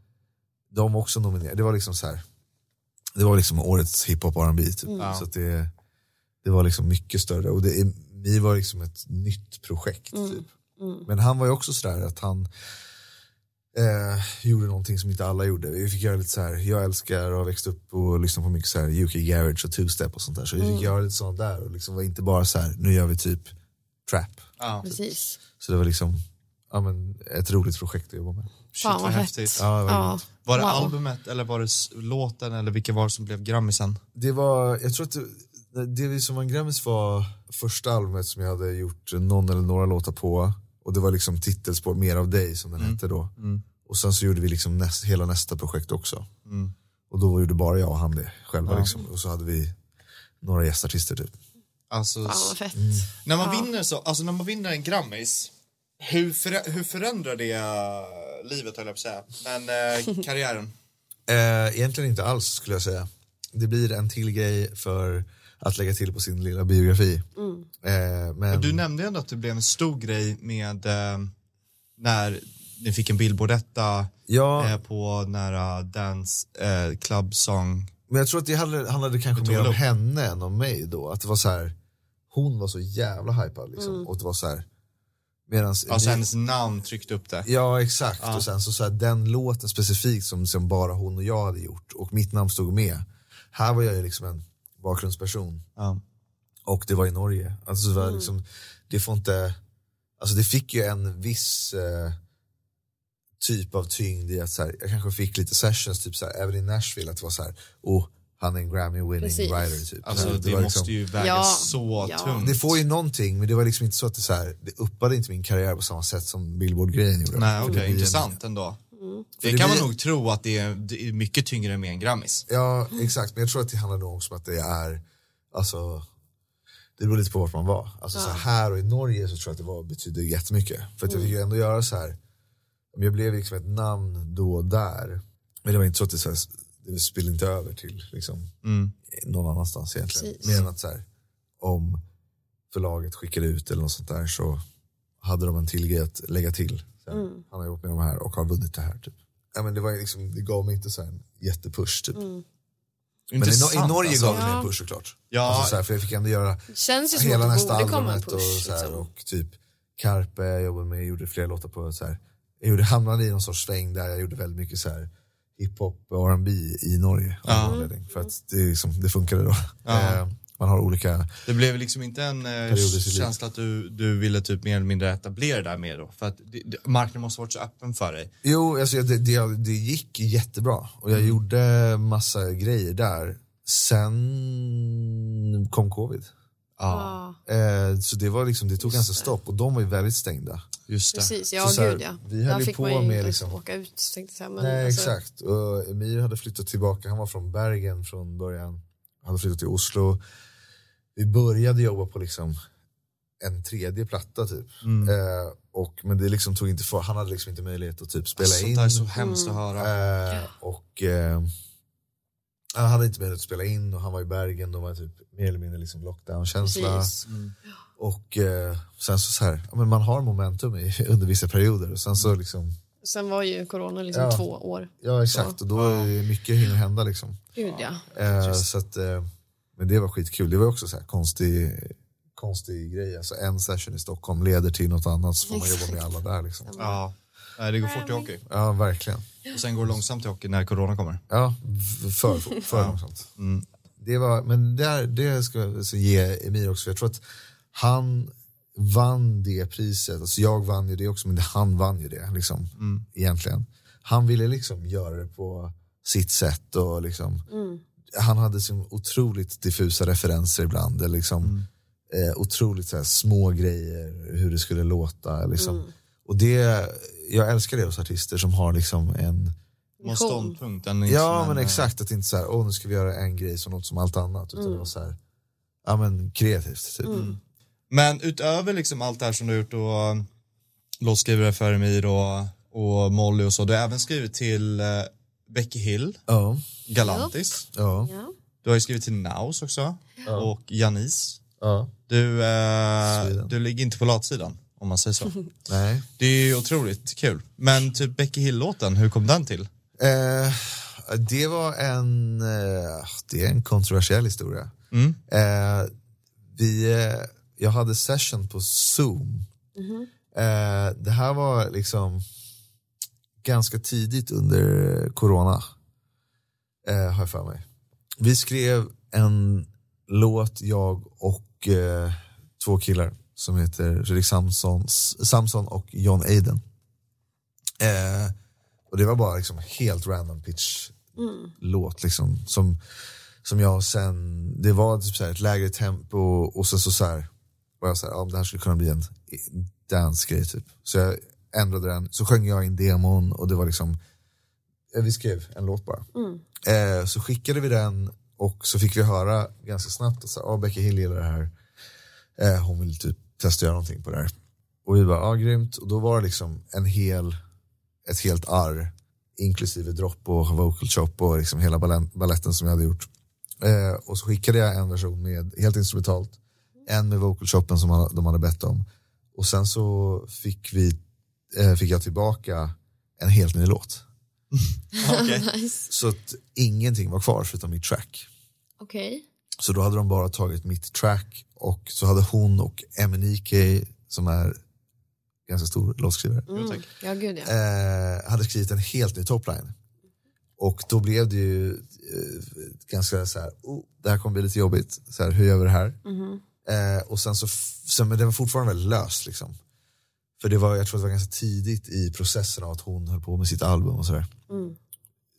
Speaker 1: de var också nominerade. Det var liksom så här, det var liksom årets hiphop R&B typ. Så att det, det var liksom mycket större. Och det, är- vi var liksom ett nytt projekt typ. Men han var ju också sådär att han, eh, gjorde någonting som inte alla gjorde. Vi fick göra lite så här, jag älskar och har växt upp och lyssnat på mycket så här UK Garage och two-step och sånt där. Så vi fick göra lite sånt där och liksom var inte bara så här, nu gör vi typ trap.
Speaker 2: Precis.
Speaker 1: Så det var liksom ja, men, ett roligt projekt att jobba med.
Speaker 4: Shit,
Speaker 2: Fan vad häftigt.
Speaker 4: häftigt.
Speaker 1: Ja, det var
Speaker 2: Ja.
Speaker 4: Var det
Speaker 2: Wow.
Speaker 4: albumet eller var det s- låten eller vilka var det som blev grammisen?
Speaker 1: Det var, jag tror att det, det vi som vann Grammis var första albumet som jag hade gjort någon eller några låtar på. Och det var liksom titelspår, Mer av dig som
Speaker 4: Mm.
Speaker 1: den hette då. Och sen så gjorde vi liksom näst, hela nästa projekt också.
Speaker 4: Mm.
Speaker 1: Och då gjorde bara jag och han det själva liksom. Och så hade vi några gästartister typ.
Speaker 4: Alltså,
Speaker 2: Fan
Speaker 4: s-
Speaker 2: vad fett.
Speaker 4: när man vinner så, alltså när man vinner en grammis, hur, förä- hur förändrar det eh, livet höll jag på att säga, men eh, karriären?
Speaker 1: Eh, egentligen inte alls skulle jag säga. Det blir en till grej för att lägga till på sin lilla biografi. Eh, men,
Speaker 4: Du nämnde ju ändå att det blev en stor grej med eh, när ni fick en Billboard-etta
Speaker 1: ja,
Speaker 4: eh, på nära Dance eh, Club Song.
Speaker 1: Men jag tror att det handlade, handlade kanske
Speaker 4: tog
Speaker 1: mer
Speaker 4: väl
Speaker 1: om
Speaker 4: upp.
Speaker 1: henne än om mig då. Att det var så här, hon var så jävla hypad liksom. Och det var så här, medans,
Speaker 4: Alltså hennes namn tryckte upp det.
Speaker 1: Ja exakt, och sen så, så här, den låten specifikt som, som bara hon och jag hade gjort och mitt namn stod med. Här var jag ju liksom en bakgrundsperson
Speaker 4: Ja.
Speaker 1: och det var i Norge. Alltså det, var liksom, det får inte, alltså det fick ju en viss eh, typ av tyngd i att så här, jag kanske fick lite sessions, typ så här, även i Nashville, att det var så här, oh, han är en Grammy winning
Speaker 2: Precis.
Speaker 1: writer. Typ.
Speaker 4: Alltså
Speaker 1: Så
Speaker 4: det,
Speaker 1: var
Speaker 4: måste
Speaker 1: liksom,
Speaker 4: ju väga
Speaker 2: Ja.
Speaker 4: så
Speaker 2: Ja.
Speaker 4: tungt.
Speaker 1: det får ju någonting, men det var liksom inte så att det, så här, det uppade inte min karriär på samma sätt som Billboard-grejen gjorde.
Speaker 4: Nej,
Speaker 1: För
Speaker 4: okej,
Speaker 1: det blir en-
Speaker 4: intressant ändå. Det,
Speaker 2: Mm.
Speaker 1: det
Speaker 4: kan
Speaker 1: blir-
Speaker 4: man nog tro att det är, det är mycket tyngre med en Grammis.
Speaker 1: Ja, exakt. Men jag tror att det handlar nog också om att det är, alltså, det beror lite på vart man var. Alltså så här och i Norge så tror jag att det var, betyder jättemycket. För att jag fick ju ändå göra så här, men jag blev liksom ett namn då och där. Men det var inte så att det, så här, det spillde inte över till liksom, någon annanstans egentligen.
Speaker 2: Precis.
Speaker 1: Mer än att så här, om förlaget skickade ut eller något sånt där så hade de en till grej att lägga till. Så här, Han har jobbat med de här och har vunnit det här. Typ. Ja, men det, var ju liksom, det gav mig inte så här en jättepush. Typ. Men i,
Speaker 4: Intressant,
Speaker 1: Nor- i Norge
Speaker 4: alltså.
Speaker 1: gav det mig
Speaker 2: Ja.
Speaker 1: en push såklart.
Speaker 4: Ja.
Speaker 1: Alltså, så här, för jag fick ändå göra
Speaker 2: Känns ju som
Speaker 1: hela
Speaker 2: att det
Speaker 1: nästa
Speaker 2: borde komma en
Speaker 1: albumet
Speaker 2: push.
Speaker 1: och, så här,
Speaker 2: liksom.
Speaker 1: och typ Carpe jag jobbade med, gjorde flera låtar på så här, jag gjorde, hamnade i någon sorts sväng där jag gjorde väldigt mycket så här hiphop och R&B i Norge av någon anledning. För att det, är liksom, det funkade då. Eh, man har olika,
Speaker 4: Det blev liksom inte en eh,
Speaker 1: Perioder i sitt liv.
Speaker 4: känsla att du, du ville typ mer eller mindre etablera det där med då? För att det, det, marknaden måste ha varit så öppen för dig.
Speaker 1: jo alltså, jag- det, det, det gick jättebra och jag
Speaker 4: Mm.
Speaker 1: gjorde massa grejer där. Sen kom covid.
Speaker 2: Ja,
Speaker 1: Eh, så det var liksom, det tog ganska stopp och de var ju väldigt stängda.
Speaker 4: Just det.
Speaker 2: precis. Ja,
Speaker 1: Så så här,
Speaker 2: gud ja.
Speaker 1: vi höll
Speaker 2: Där
Speaker 1: ju
Speaker 2: fick
Speaker 1: på
Speaker 2: man ju
Speaker 1: med
Speaker 2: inte ens
Speaker 1: liksom-
Speaker 2: åka ut tänkte jag säga. Men
Speaker 1: Nej,
Speaker 2: alltså,
Speaker 1: exakt. Och Emir hade flyttat tillbaka. Han var från Bergen från början. Han hade flyttat till Oslo. Vi började jobba på liksom en tredje platta typ.
Speaker 4: Mm.
Speaker 1: Eh, och, men det liksom tog inte för, han hade liksom inte möjlighet att typ spela
Speaker 4: Sånt
Speaker 1: in.
Speaker 4: där Alltså, är så hemskt att höra.
Speaker 1: Eh, och eh, han hade inte möjlighet att spela in och han var i Bergen. De var typ mer eller mindre liksom lockdown-känsla.
Speaker 2: Precis.
Speaker 4: Mm.
Speaker 1: Och eh, sen så, så här, ja, men man har momentum i, under vissa perioder. Och sen så
Speaker 2: Mm.
Speaker 1: liksom,
Speaker 2: Sen var ju corona liksom
Speaker 1: Ja.
Speaker 2: två år.
Speaker 1: ja exakt, och då är det mycket hinner hända liksom.
Speaker 2: Gud ja.
Speaker 1: Eh, så att, eh, men det var skitkul. Det var också så här konstig, konstig grej. Alltså en session i Stockholm leder till något annat så får man jobba med alla där. Liksom.
Speaker 4: Ja. Nej, det går fort i hockey.
Speaker 1: Ja, verkligen.
Speaker 4: Och sen går det långsamt i hockey när corona kommer.
Speaker 1: Ja, v- för, för, långsamt. Mm. Det var, men där, det ska jag alltså ge Emir också. För jag tror att han vann det priset. Alltså jag vann ju det också, men han vann ju det liksom, egentligen. Han ville liksom göra det på sitt sätt. och liksom, Han hade så otroligt diffusa referenser ibland. Eller liksom, eh, otroligt så här, små grejer, hur det skulle låta. Liksom. Och det, jag älskar det hos artister som har liksom en
Speaker 4: Man har ståndpunkt. Den är inte
Speaker 1: Ja,
Speaker 4: som
Speaker 1: men
Speaker 4: en, eh,
Speaker 1: exakt. Att det inte så här, åh nu ska vi göra en grej som något som allt annat. Utan det var så här, ja men kreativt. Typ.
Speaker 4: Men utöver liksom allt det här som du har gjort och eh, låtskrivare för Emir och, och Molly och så, du har även skrivit till eh, Becky Hill,
Speaker 1: Ja,
Speaker 4: Galantis,
Speaker 1: ja,
Speaker 2: ja.
Speaker 4: du har ju skrivit till Naus också och Janis.
Speaker 1: ja.
Speaker 4: Du, eh,
Speaker 1: Sweden.
Speaker 4: du ligger inte på latsidan om man säger så.
Speaker 1: Nej.
Speaker 4: Det är ju otroligt kul. Men typ Becky Hill-låten, hur kom den till?
Speaker 1: Eh, det var en, eh, det är en kontroversiell historia. Eh, vi, eh, jag hade session på Zoom. Eh, det här var liksom ganska tidigt under corona. Eh, har jag för mig. Vi skrev en låt, jag och eh, två killar som heter Fredrik Samson, Samson och John Aiden. Eh, och det var bara liksom helt random pitch låt liksom som, som jag sen, det var typ så här ett lägre tempo och sen så, så här, var jag så här, ja, men det här skulle kunna bli en dansgrej typ. Så jag ändrade den, så sjöng jag in demon och det var liksom, eh, vi skrev en låt bara. Eh, så skickade vi den och så fick vi höra ganska snabbt att så här, ah, Becky Hill gillar det här, eh, hon vill typ testa att göra någonting på det här. Och vi bara, ja ah, grymt. Och då var det liksom en hel, ett helt arr, inklusive dropp och vocal chop och liksom hela balen- balletten som jag hade gjort. Eh, och så skickade jag en version med, helt instrumentalt, en med vocal choppen som han- de hade bett om. Och sen så fick, vi, eh, fick jag tillbaka en helt ny låt.
Speaker 4: Okej.
Speaker 1: Så att ingenting var kvar förutom mitt track.
Speaker 5: Okej.
Speaker 1: Så då hade de bara tagit mitt track och så hade hon och MNIK som är ganska stor låtskrivare,
Speaker 5: Mm. Ja, gud ja.
Speaker 1: eh, hade skrivit en helt ny topline. Och då blev det ju eh, ganska så här, oh, det här kommer bli lite jobbigt, så här, hur gör vi det här? Eh, och sen så, f- sen, men den var fortfarande väldigt lös liksom. För det var, jag tror att det var ganska tidigt i processen av att hon höll på med sitt album och sådär.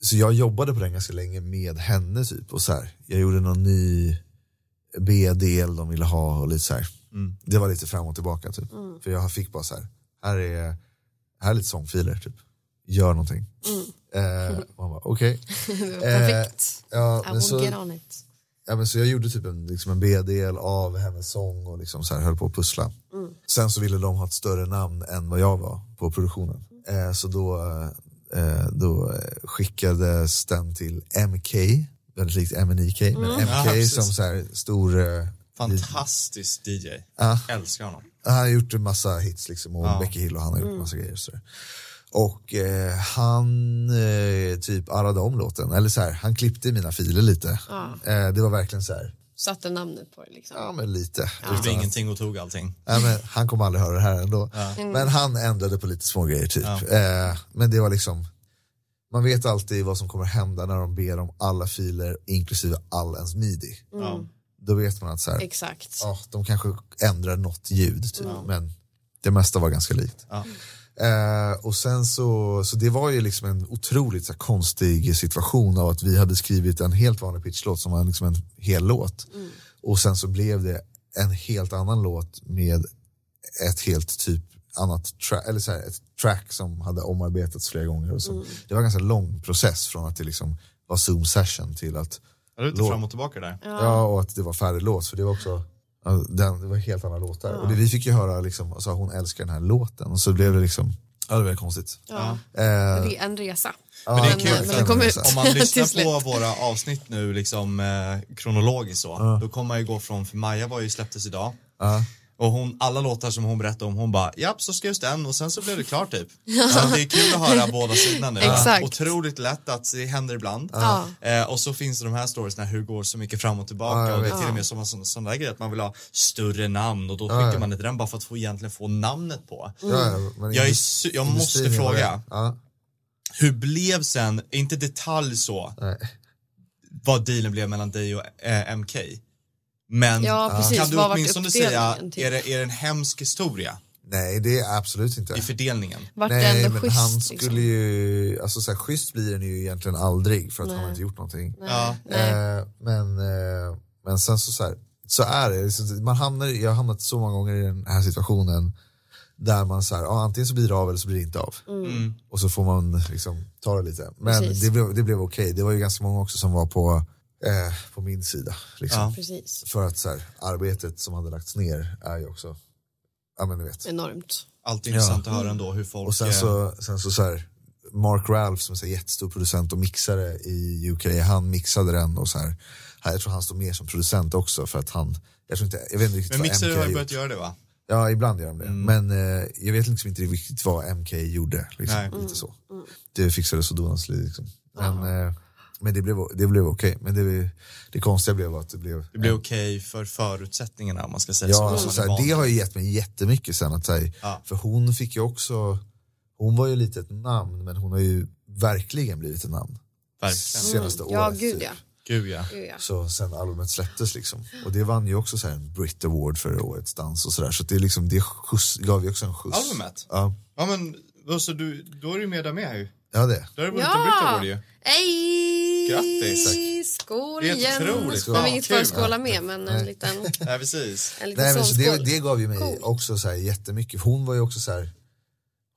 Speaker 1: Så jag jobbade på den ganska länge med henne typ och så här, jag gjorde någon ny B-del de ville ha och lite så här. Det var lite fram och tillbaka typ. För jag fick bara så här, här är, här är lite sångfiler typ. Gör någonting. Eh, och han bara okej.
Speaker 5: Det var
Speaker 1: Eh,
Speaker 5: perfekt.
Speaker 1: ja,
Speaker 5: I
Speaker 1: men
Speaker 5: will
Speaker 1: så-
Speaker 5: get on it.
Speaker 1: Ja, men så jag gjorde typ en, liksom en B-del av hennes sång och liksom så här höll på att pussla. Sen så ville de ha ett större namn än vad jag var på produktionen. Eh, så då, eh, då eh, skickades den till MK, väldigt likt MNIK, men
Speaker 4: Ja,
Speaker 1: MK
Speaker 4: precis.
Speaker 1: som så här stor... Eh,
Speaker 4: Fantastisk DJ. Älskar honom.
Speaker 1: han har gjort en massa hits liksom och
Speaker 4: Ja.
Speaker 1: Becky Hill och han har gjort massa grejer. Så. Och eh, han eh, typ arrade om låten, eller så här, han klippte mina filer lite. Eh, det var verkligen så här,
Speaker 5: Satte namnet på det liksom.
Speaker 1: ja men lite.
Speaker 4: Gjorde ingenting och tog allting.
Speaker 1: Nej, men han kommer aldrig höra det här ändå. Men han ändrade på lite små grejer typ. Eh, men det var liksom, man vet alltid vad som kommer hända när de ber om alla filer inklusive all ens midi.
Speaker 4: Ja.
Speaker 1: Då vet man att så här,
Speaker 5: Exakt.
Speaker 1: ja, de kanske ändrar något ljud typ, men det mesta var ganska likt.
Speaker 4: Ja.
Speaker 1: Eh, och sen så, så det var ju liksom en otroligt så här, konstig situation av att vi hade skrivit en helt vanlig pitchlåt som var liksom en hel låt. Och sen så blev det en helt annan låt med ett helt typ annat tra- eller så här, ett track som hade omarbetats flera gånger. Och som, Det var en ganska lång process från att det liksom var Zoom session till att
Speaker 4: Är du lite fram och tillbaka där?
Speaker 1: Ja. och att det var färdig låt. För det var också ja, den, det var helt andra låtar. Och det, vi fick ju höra liksom, alltså, hon älskar den här låten. Och så blev det liksom, ja det blev konstigt.
Speaker 5: Ja.
Speaker 1: Eh,
Speaker 5: Det är en resa.
Speaker 4: Men det är
Speaker 5: Men-
Speaker 4: kul
Speaker 5: men
Speaker 4: för
Speaker 5: det kom
Speaker 1: att-
Speaker 5: ut.
Speaker 4: om man
Speaker 5: Till
Speaker 4: lyssnar
Speaker 5: slut.
Speaker 4: på våra avsnitt nu liksom eh, kronologiskt så, då kommer man ju gå från, för Maja var ju släpptes idag, och hon, alla låtar som hon berättade om, hon bara japp så skrevs den och sen så blev det klart typ. Så att det är kul att höra båda sidorna nu.
Speaker 5: Exakt.
Speaker 4: Otroligt lätt att det händer ibland. Eh, och så finns det de här storiesna hur det går så mycket fram och tillbaka och det är till och med sådana sån, sån där grejer att man vill ha större namn och då skickar man det till den bara för att få, egentligen få namnet på.
Speaker 1: ja, ja, men
Speaker 4: Jag, är,
Speaker 1: industrin
Speaker 4: su- jag måste
Speaker 1: var
Speaker 4: fråga,
Speaker 1: det. Ja,
Speaker 4: hur blev sen, inte detalj så,
Speaker 1: nej.
Speaker 4: vad dealen blev mellan dig och eh, MK. Men eh,
Speaker 5: Ja, precis.
Speaker 4: kan du
Speaker 5: Vad vart
Speaker 4: åtminstone säga,
Speaker 5: uppdelningen, typ?
Speaker 4: är det, är det en hemsk historia
Speaker 1: nej, det är absolut inte.
Speaker 4: i fördelningen?
Speaker 5: Vart det
Speaker 1: Nej,
Speaker 5: ändå
Speaker 1: men
Speaker 5: schysst.
Speaker 1: han
Speaker 5: liksom.
Speaker 1: skulle ju, alltså så här, schysst blir den ju egentligen aldrig för att han har inte gjort någonting.
Speaker 4: Ja.
Speaker 5: Nej.
Speaker 1: Eh, men, eh, men sen så, så, här, så är det. Liksom, Man hamnar, i- jag har hamnat så många gånger i den här situationen där man så här, ja, antingen så blir det av eller så blir det inte av. Och så får man liksom ta det lite. Men
Speaker 5: Mm. Precis.
Speaker 1: det blev, det blev okej. Det var ju ganska många också som var på, eh, på min sida. Liksom.
Speaker 4: Ja.
Speaker 5: Precis.
Speaker 1: För att så här, arbetet som hade lagts ner är ju också, ja men ni vet.
Speaker 5: Enormt.
Speaker 4: Alltid intressant att höra ändå hur folk...
Speaker 1: Och sen
Speaker 4: eh,
Speaker 1: så, sen så, så här, Mark Ralph som är så här jättestor producent och mixare i UK, han mixade den och så här, här, jag tror han står mer som producent också för att han, jag tror inte, jag vet inte riktigt
Speaker 4: men mixare
Speaker 1: vad MK
Speaker 4: har ju
Speaker 1: gjort.
Speaker 4: börjat göra det va?
Speaker 1: Ja, ibland gör de det.
Speaker 4: Mm.
Speaker 1: Men eh, jag vet liksom inte riktigt vad MK gjorde. Liksom.
Speaker 4: Nej.
Speaker 1: Lite så. Det fixades och donades lite, liksom. Men, eh, men det blev, det blev okej. Men det, det konstiga blev att det blev...
Speaker 4: Det blir okej för förutsättningarna om man ska säga så.
Speaker 1: Ja,
Speaker 4: som
Speaker 1: alltså,
Speaker 4: man
Speaker 1: så
Speaker 4: är
Speaker 1: här,
Speaker 4: van
Speaker 1: det
Speaker 4: vid.
Speaker 1: har ju gett mig jättemycket sen. Att, så här,
Speaker 4: Ja.
Speaker 1: För hon fick ju också, Hon var ju lite ett namn, men hon har ju verkligen blivit ett namn.
Speaker 4: Verkligen.
Speaker 1: Senaste året.
Speaker 2: Mm. Ja, gud
Speaker 1: typ.
Speaker 2: ja.
Speaker 4: Gud ja.
Speaker 2: Gud, ja.
Speaker 1: Så sen albumet släpptes liksom. Och det vann ju också så här en Brit Award för årets dans och sådär. Så det, är liksom, det skjuts, gav ju också en skjuts.
Speaker 4: Albumet?
Speaker 1: Ja,
Speaker 4: Ja men, då, så du, då är du med där med ju.
Speaker 1: ja det.
Speaker 4: Då har du vunnit en Brit
Speaker 2: Ja!
Speaker 4: Award ju.
Speaker 2: Hej!
Speaker 4: Grattis.
Speaker 2: Skål
Speaker 4: Det är
Speaker 2: igen!
Speaker 4: otroligt
Speaker 2: Man
Speaker 4: bra.
Speaker 2: vill inte bara
Speaker 4: Kul.
Speaker 2: skåla med, men en liten,
Speaker 4: Nej precis.
Speaker 2: en liten
Speaker 1: Nej, men så det,
Speaker 2: sovskål.
Speaker 1: det gav ju mig
Speaker 2: Coolt.
Speaker 1: också så här jättemycket. Hon var ju också så här,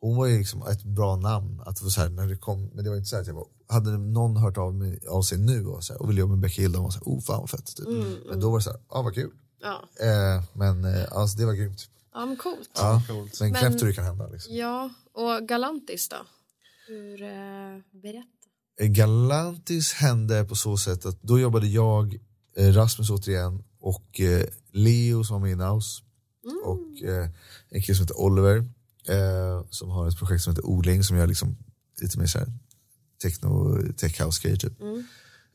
Speaker 1: hon var ju liksom ett bra namn. Att det var så här, när det kom, men det var inte så här att jag var, hade någon hört av, mig, av sig nu och, så här, och ville jobba med Becky Hill, de var så här, oh fan vad fett. Typ. Men då var det så här, ah vad kul.
Speaker 2: Ja.
Speaker 1: Eh, men eh, alltså, det var grymt.
Speaker 2: ja, men coolt. Ja.
Speaker 1: Ja.
Speaker 4: Coolt.
Speaker 1: Men
Speaker 2: Men-
Speaker 1: knäppt hur det kan hända. Liksom.
Speaker 2: och Galantis då? Hur, eh, berätta.
Speaker 1: Galantis hände på så sätt att då jobbade jag, eh, Rasmus återigen och eh, Leo som var med i Naus och eh, en kille som heter Oliver eh, som har ett projekt som heter Odling som gör liksom lite mer så här techno, tech house grejer typ.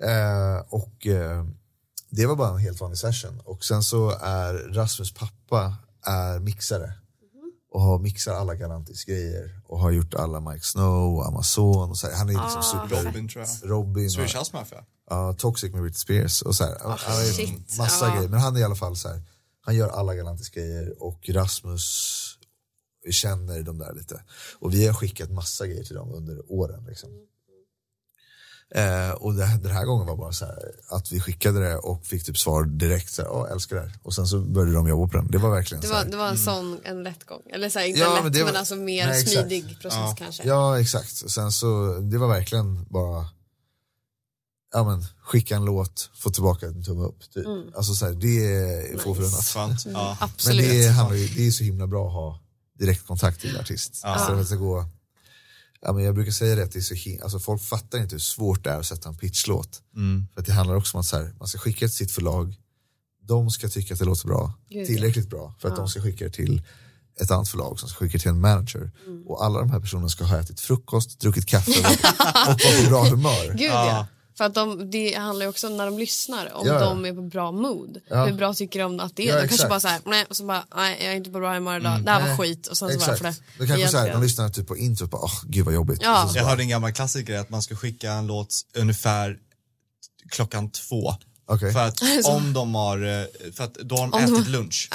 Speaker 1: Eh, och eh, det var bara en helt vanlig session och sen så är Rasmus pappa är mixare och har mixar alla Galantis grejer och har gjort alla Mike Snow och Amazon och så här. Han är liksom super...
Speaker 4: Robin tror jag.
Speaker 1: Robin,
Speaker 4: Swedish
Speaker 1: och,
Speaker 4: House Mafia.
Speaker 1: ja, Toxic med Britney Spears och så här. han har ju
Speaker 2: Ah, shit.
Speaker 1: massa
Speaker 2: Ja.
Speaker 1: grejer, men han är i alla fall så här. Han gör alla galantiska grejer och Rasmus känner de där lite. Och vi har skickat massa grejer till dem under åren. Liksom. Eh, och det, den här gången var bara så här att vi skickade det och fick typ svar direkt. Så här, "Ja, älskar det här. Och sen så började de jobba på den. Det var verkligen
Speaker 2: Det
Speaker 1: så här.
Speaker 2: var, det var en sån, en lätt gång. Eller så här, inte
Speaker 1: Mm. Ja,
Speaker 2: lätt,
Speaker 1: men
Speaker 2: men,
Speaker 1: det var-
Speaker 2: alltså mer
Speaker 1: Nej, exakt.
Speaker 2: smidig process kanske.
Speaker 1: Ja, exakt. Och Sen så, det var verkligen bara ja, men, skicka en låt, få tillbaka en tumme upp. Typ. Alltså, så här, det är få förunnat.
Speaker 4: Svant. Ja.
Speaker 1: Men
Speaker 2: Absolut.
Speaker 1: det, handlar ju, det är så himla bra att ha direktkontakt till artist.
Speaker 4: Ja.
Speaker 1: Istället för att det går, ja, men jag brukar säga det, att det är så him- alltså, folk fattar inte hur svårt det är att sätta en pitchlåt.
Speaker 2: Mm.
Speaker 1: För att det handlar också om att så här, man ska skicka till sitt förlag, de ska tycka att det låter bra, tillräckligt bra för att de ska skicka det till ett annat förlag som ska skicka till en manager.
Speaker 2: Mm.
Speaker 1: Och alla de här personerna ska ha ätit frukost, druckit kaffe och varit på bra humör.
Speaker 2: Gud ja. För att de, det handlar ju också om när de lyssnar, om
Speaker 1: Ja.
Speaker 2: de är på bra mood. Hur bra tycker de att det är?
Speaker 1: Ja,
Speaker 2: de
Speaker 1: exakt. Mm,
Speaker 2: kanske bara såhär, nej, och så bara, nej jag är inte på bra humör idag, det här var skit. Och sen så bara,
Speaker 1: Exakt.
Speaker 2: för det.
Speaker 1: Det kanske så här, de
Speaker 2: Egentligen.
Speaker 1: lyssnar typ på introt och bara, åh gud vad jobbigt.
Speaker 2: Ja.
Speaker 1: Och så-
Speaker 4: Jag hörde en gammal klassiker att man ska skicka en låt ungefär klockan två.
Speaker 1: Okej.
Speaker 4: För att om de har, eh, för att då har Alltså- de Ah. ätit lunch.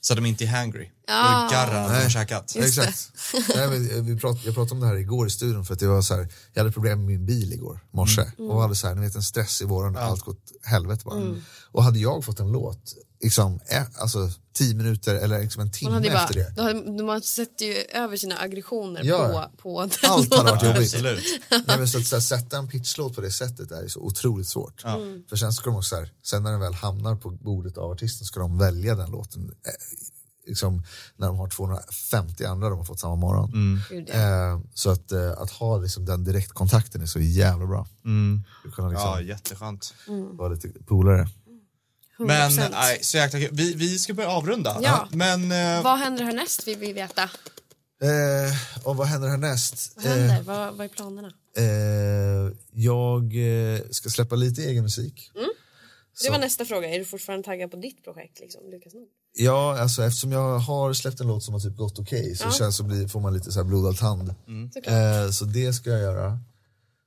Speaker 4: Så att de inte är hungry. Då är det garra att de har käkat.
Speaker 1: Ja, Exakt. Nej, men eh, vi prat, jag pratade om det här igår i studion för att det var så här, jag hade problem med min bil igår morse
Speaker 2: Mm.
Speaker 1: och hade så här, ni vet en stress i våran, allt gått helvete bara. Och hade jag fått en låt, liksom, eh, alltså tio minuter eller liksom en timme
Speaker 2: Man hade ju
Speaker 1: efter
Speaker 2: bara,
Speaker 1: det.
Speaker 2: då hade, man sätter ju över sina aggressioner
Speaker 1: Ja.
Speaker 2: på, på den
Speaker 1: Allt hade varit
Speaker 4: Ja,
Speaker 1: jobbigt.
Speaker 4: absolut.
Speaker 1: Nej, men så att, så här, sätta en pitchlåt på det sättet är ju så otroligt svårt.
Speaker 2: Mm.
Speaker 1: För sen ska de också så här, sen när den väl hamnar på bordet av artisten ska de välja den låten. eh, Liksom, när de har 250 andra de har fått samma morgon.
Speaker 2: Gud, ja.
Speaker 1: Eh, så att, eh, att ha liksom den direktkontakten är så jävla bra. Du kan liksom
Speaker 4: Ja, jätteskönt.
Speaker 1: vara lite polare.
Speaker 4: Men
Speaker 2: 100%.
Speaker 4: nej, så jäkla kul. Vi, vi ska börja avrunda.
Speaker 2: Ja.
Speaker 4: Men eh,
Speaker 2: Vad händer härnäst vill vi veta.
Speaker 1: Eh, och vad händer härnäst?
Speaker 2: Vad händer? Vad, vad är planerna?
Speaker 1: Eh, eh, jag eh, ska släppa lite egen musik.
Speaker 2: Det var nästa fråga, är du fortfarande taggad på ditt projekt? Liksom, Lukas Nord?
Speaker 1: Ja, alltså eftersom jag har släppt en låt som har typ gått okej så känns så blir, får man lite så här blodad tand. Eh, så det ska jag göra.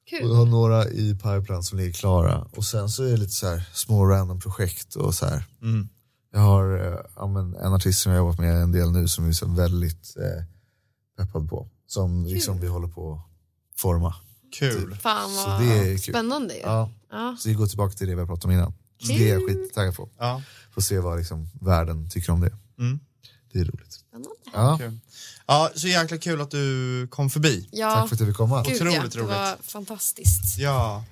Speaker 2: Kul.
Speaker 1: Och jag har några i pipeline som ligger klara. Och sen så är det lite så här små random projekt och så här. Jag har eh, ja, men en artist som jag har jobbat med en del nu som jag är så väldigt eh, peppad på. Som liksom vi håller på att forma.
Speaker 4: kul.
Speaker 2: Fan
Speaker 1: Så
Speaker 2: vad
Speaker 1: det är kul.
Speaker 2: spännande ju.
Speaker 1: Ja.
Speaker 2: Ja.
Speaker 1: Så vi går tillbaka till det vi har pratat om innan. Så det är jag skittaggad på.
Speaker 4: Ja,
Speaker 1: Får se vad liksom världen tycker om det. Det är roligt. Ja,
Speaker 4: kul. Ja, så jäkla kul att du kom förbi.
Speaker 2: Ja,
Speaker 1: tack för att du fick komma.
Speaker 2: Gud,
Speaker 4: Otroligt
Speaker 2: ja. Det var
Speaker 4: roligt.
Speaker 2: fantastiskt.
Speaker 4: Ja.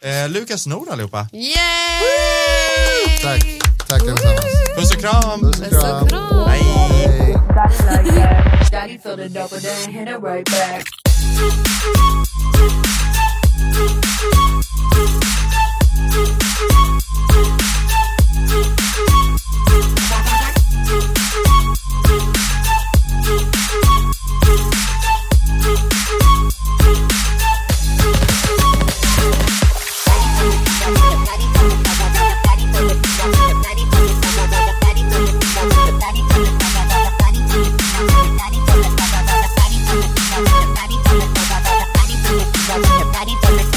Speaker 4: Eh, Lukas Nord allihopa.
Speaker 2: Yay!
Speaker 1: Tack. Tack allesammans.
Speaker 4: Puss och kram.
Speaker 2: Puss och kram.
Speaker 1: Hej.
Speaker 3: Body like that. Daddy filled it up, but then hit it right back.
Speaker 8: Daddy body from the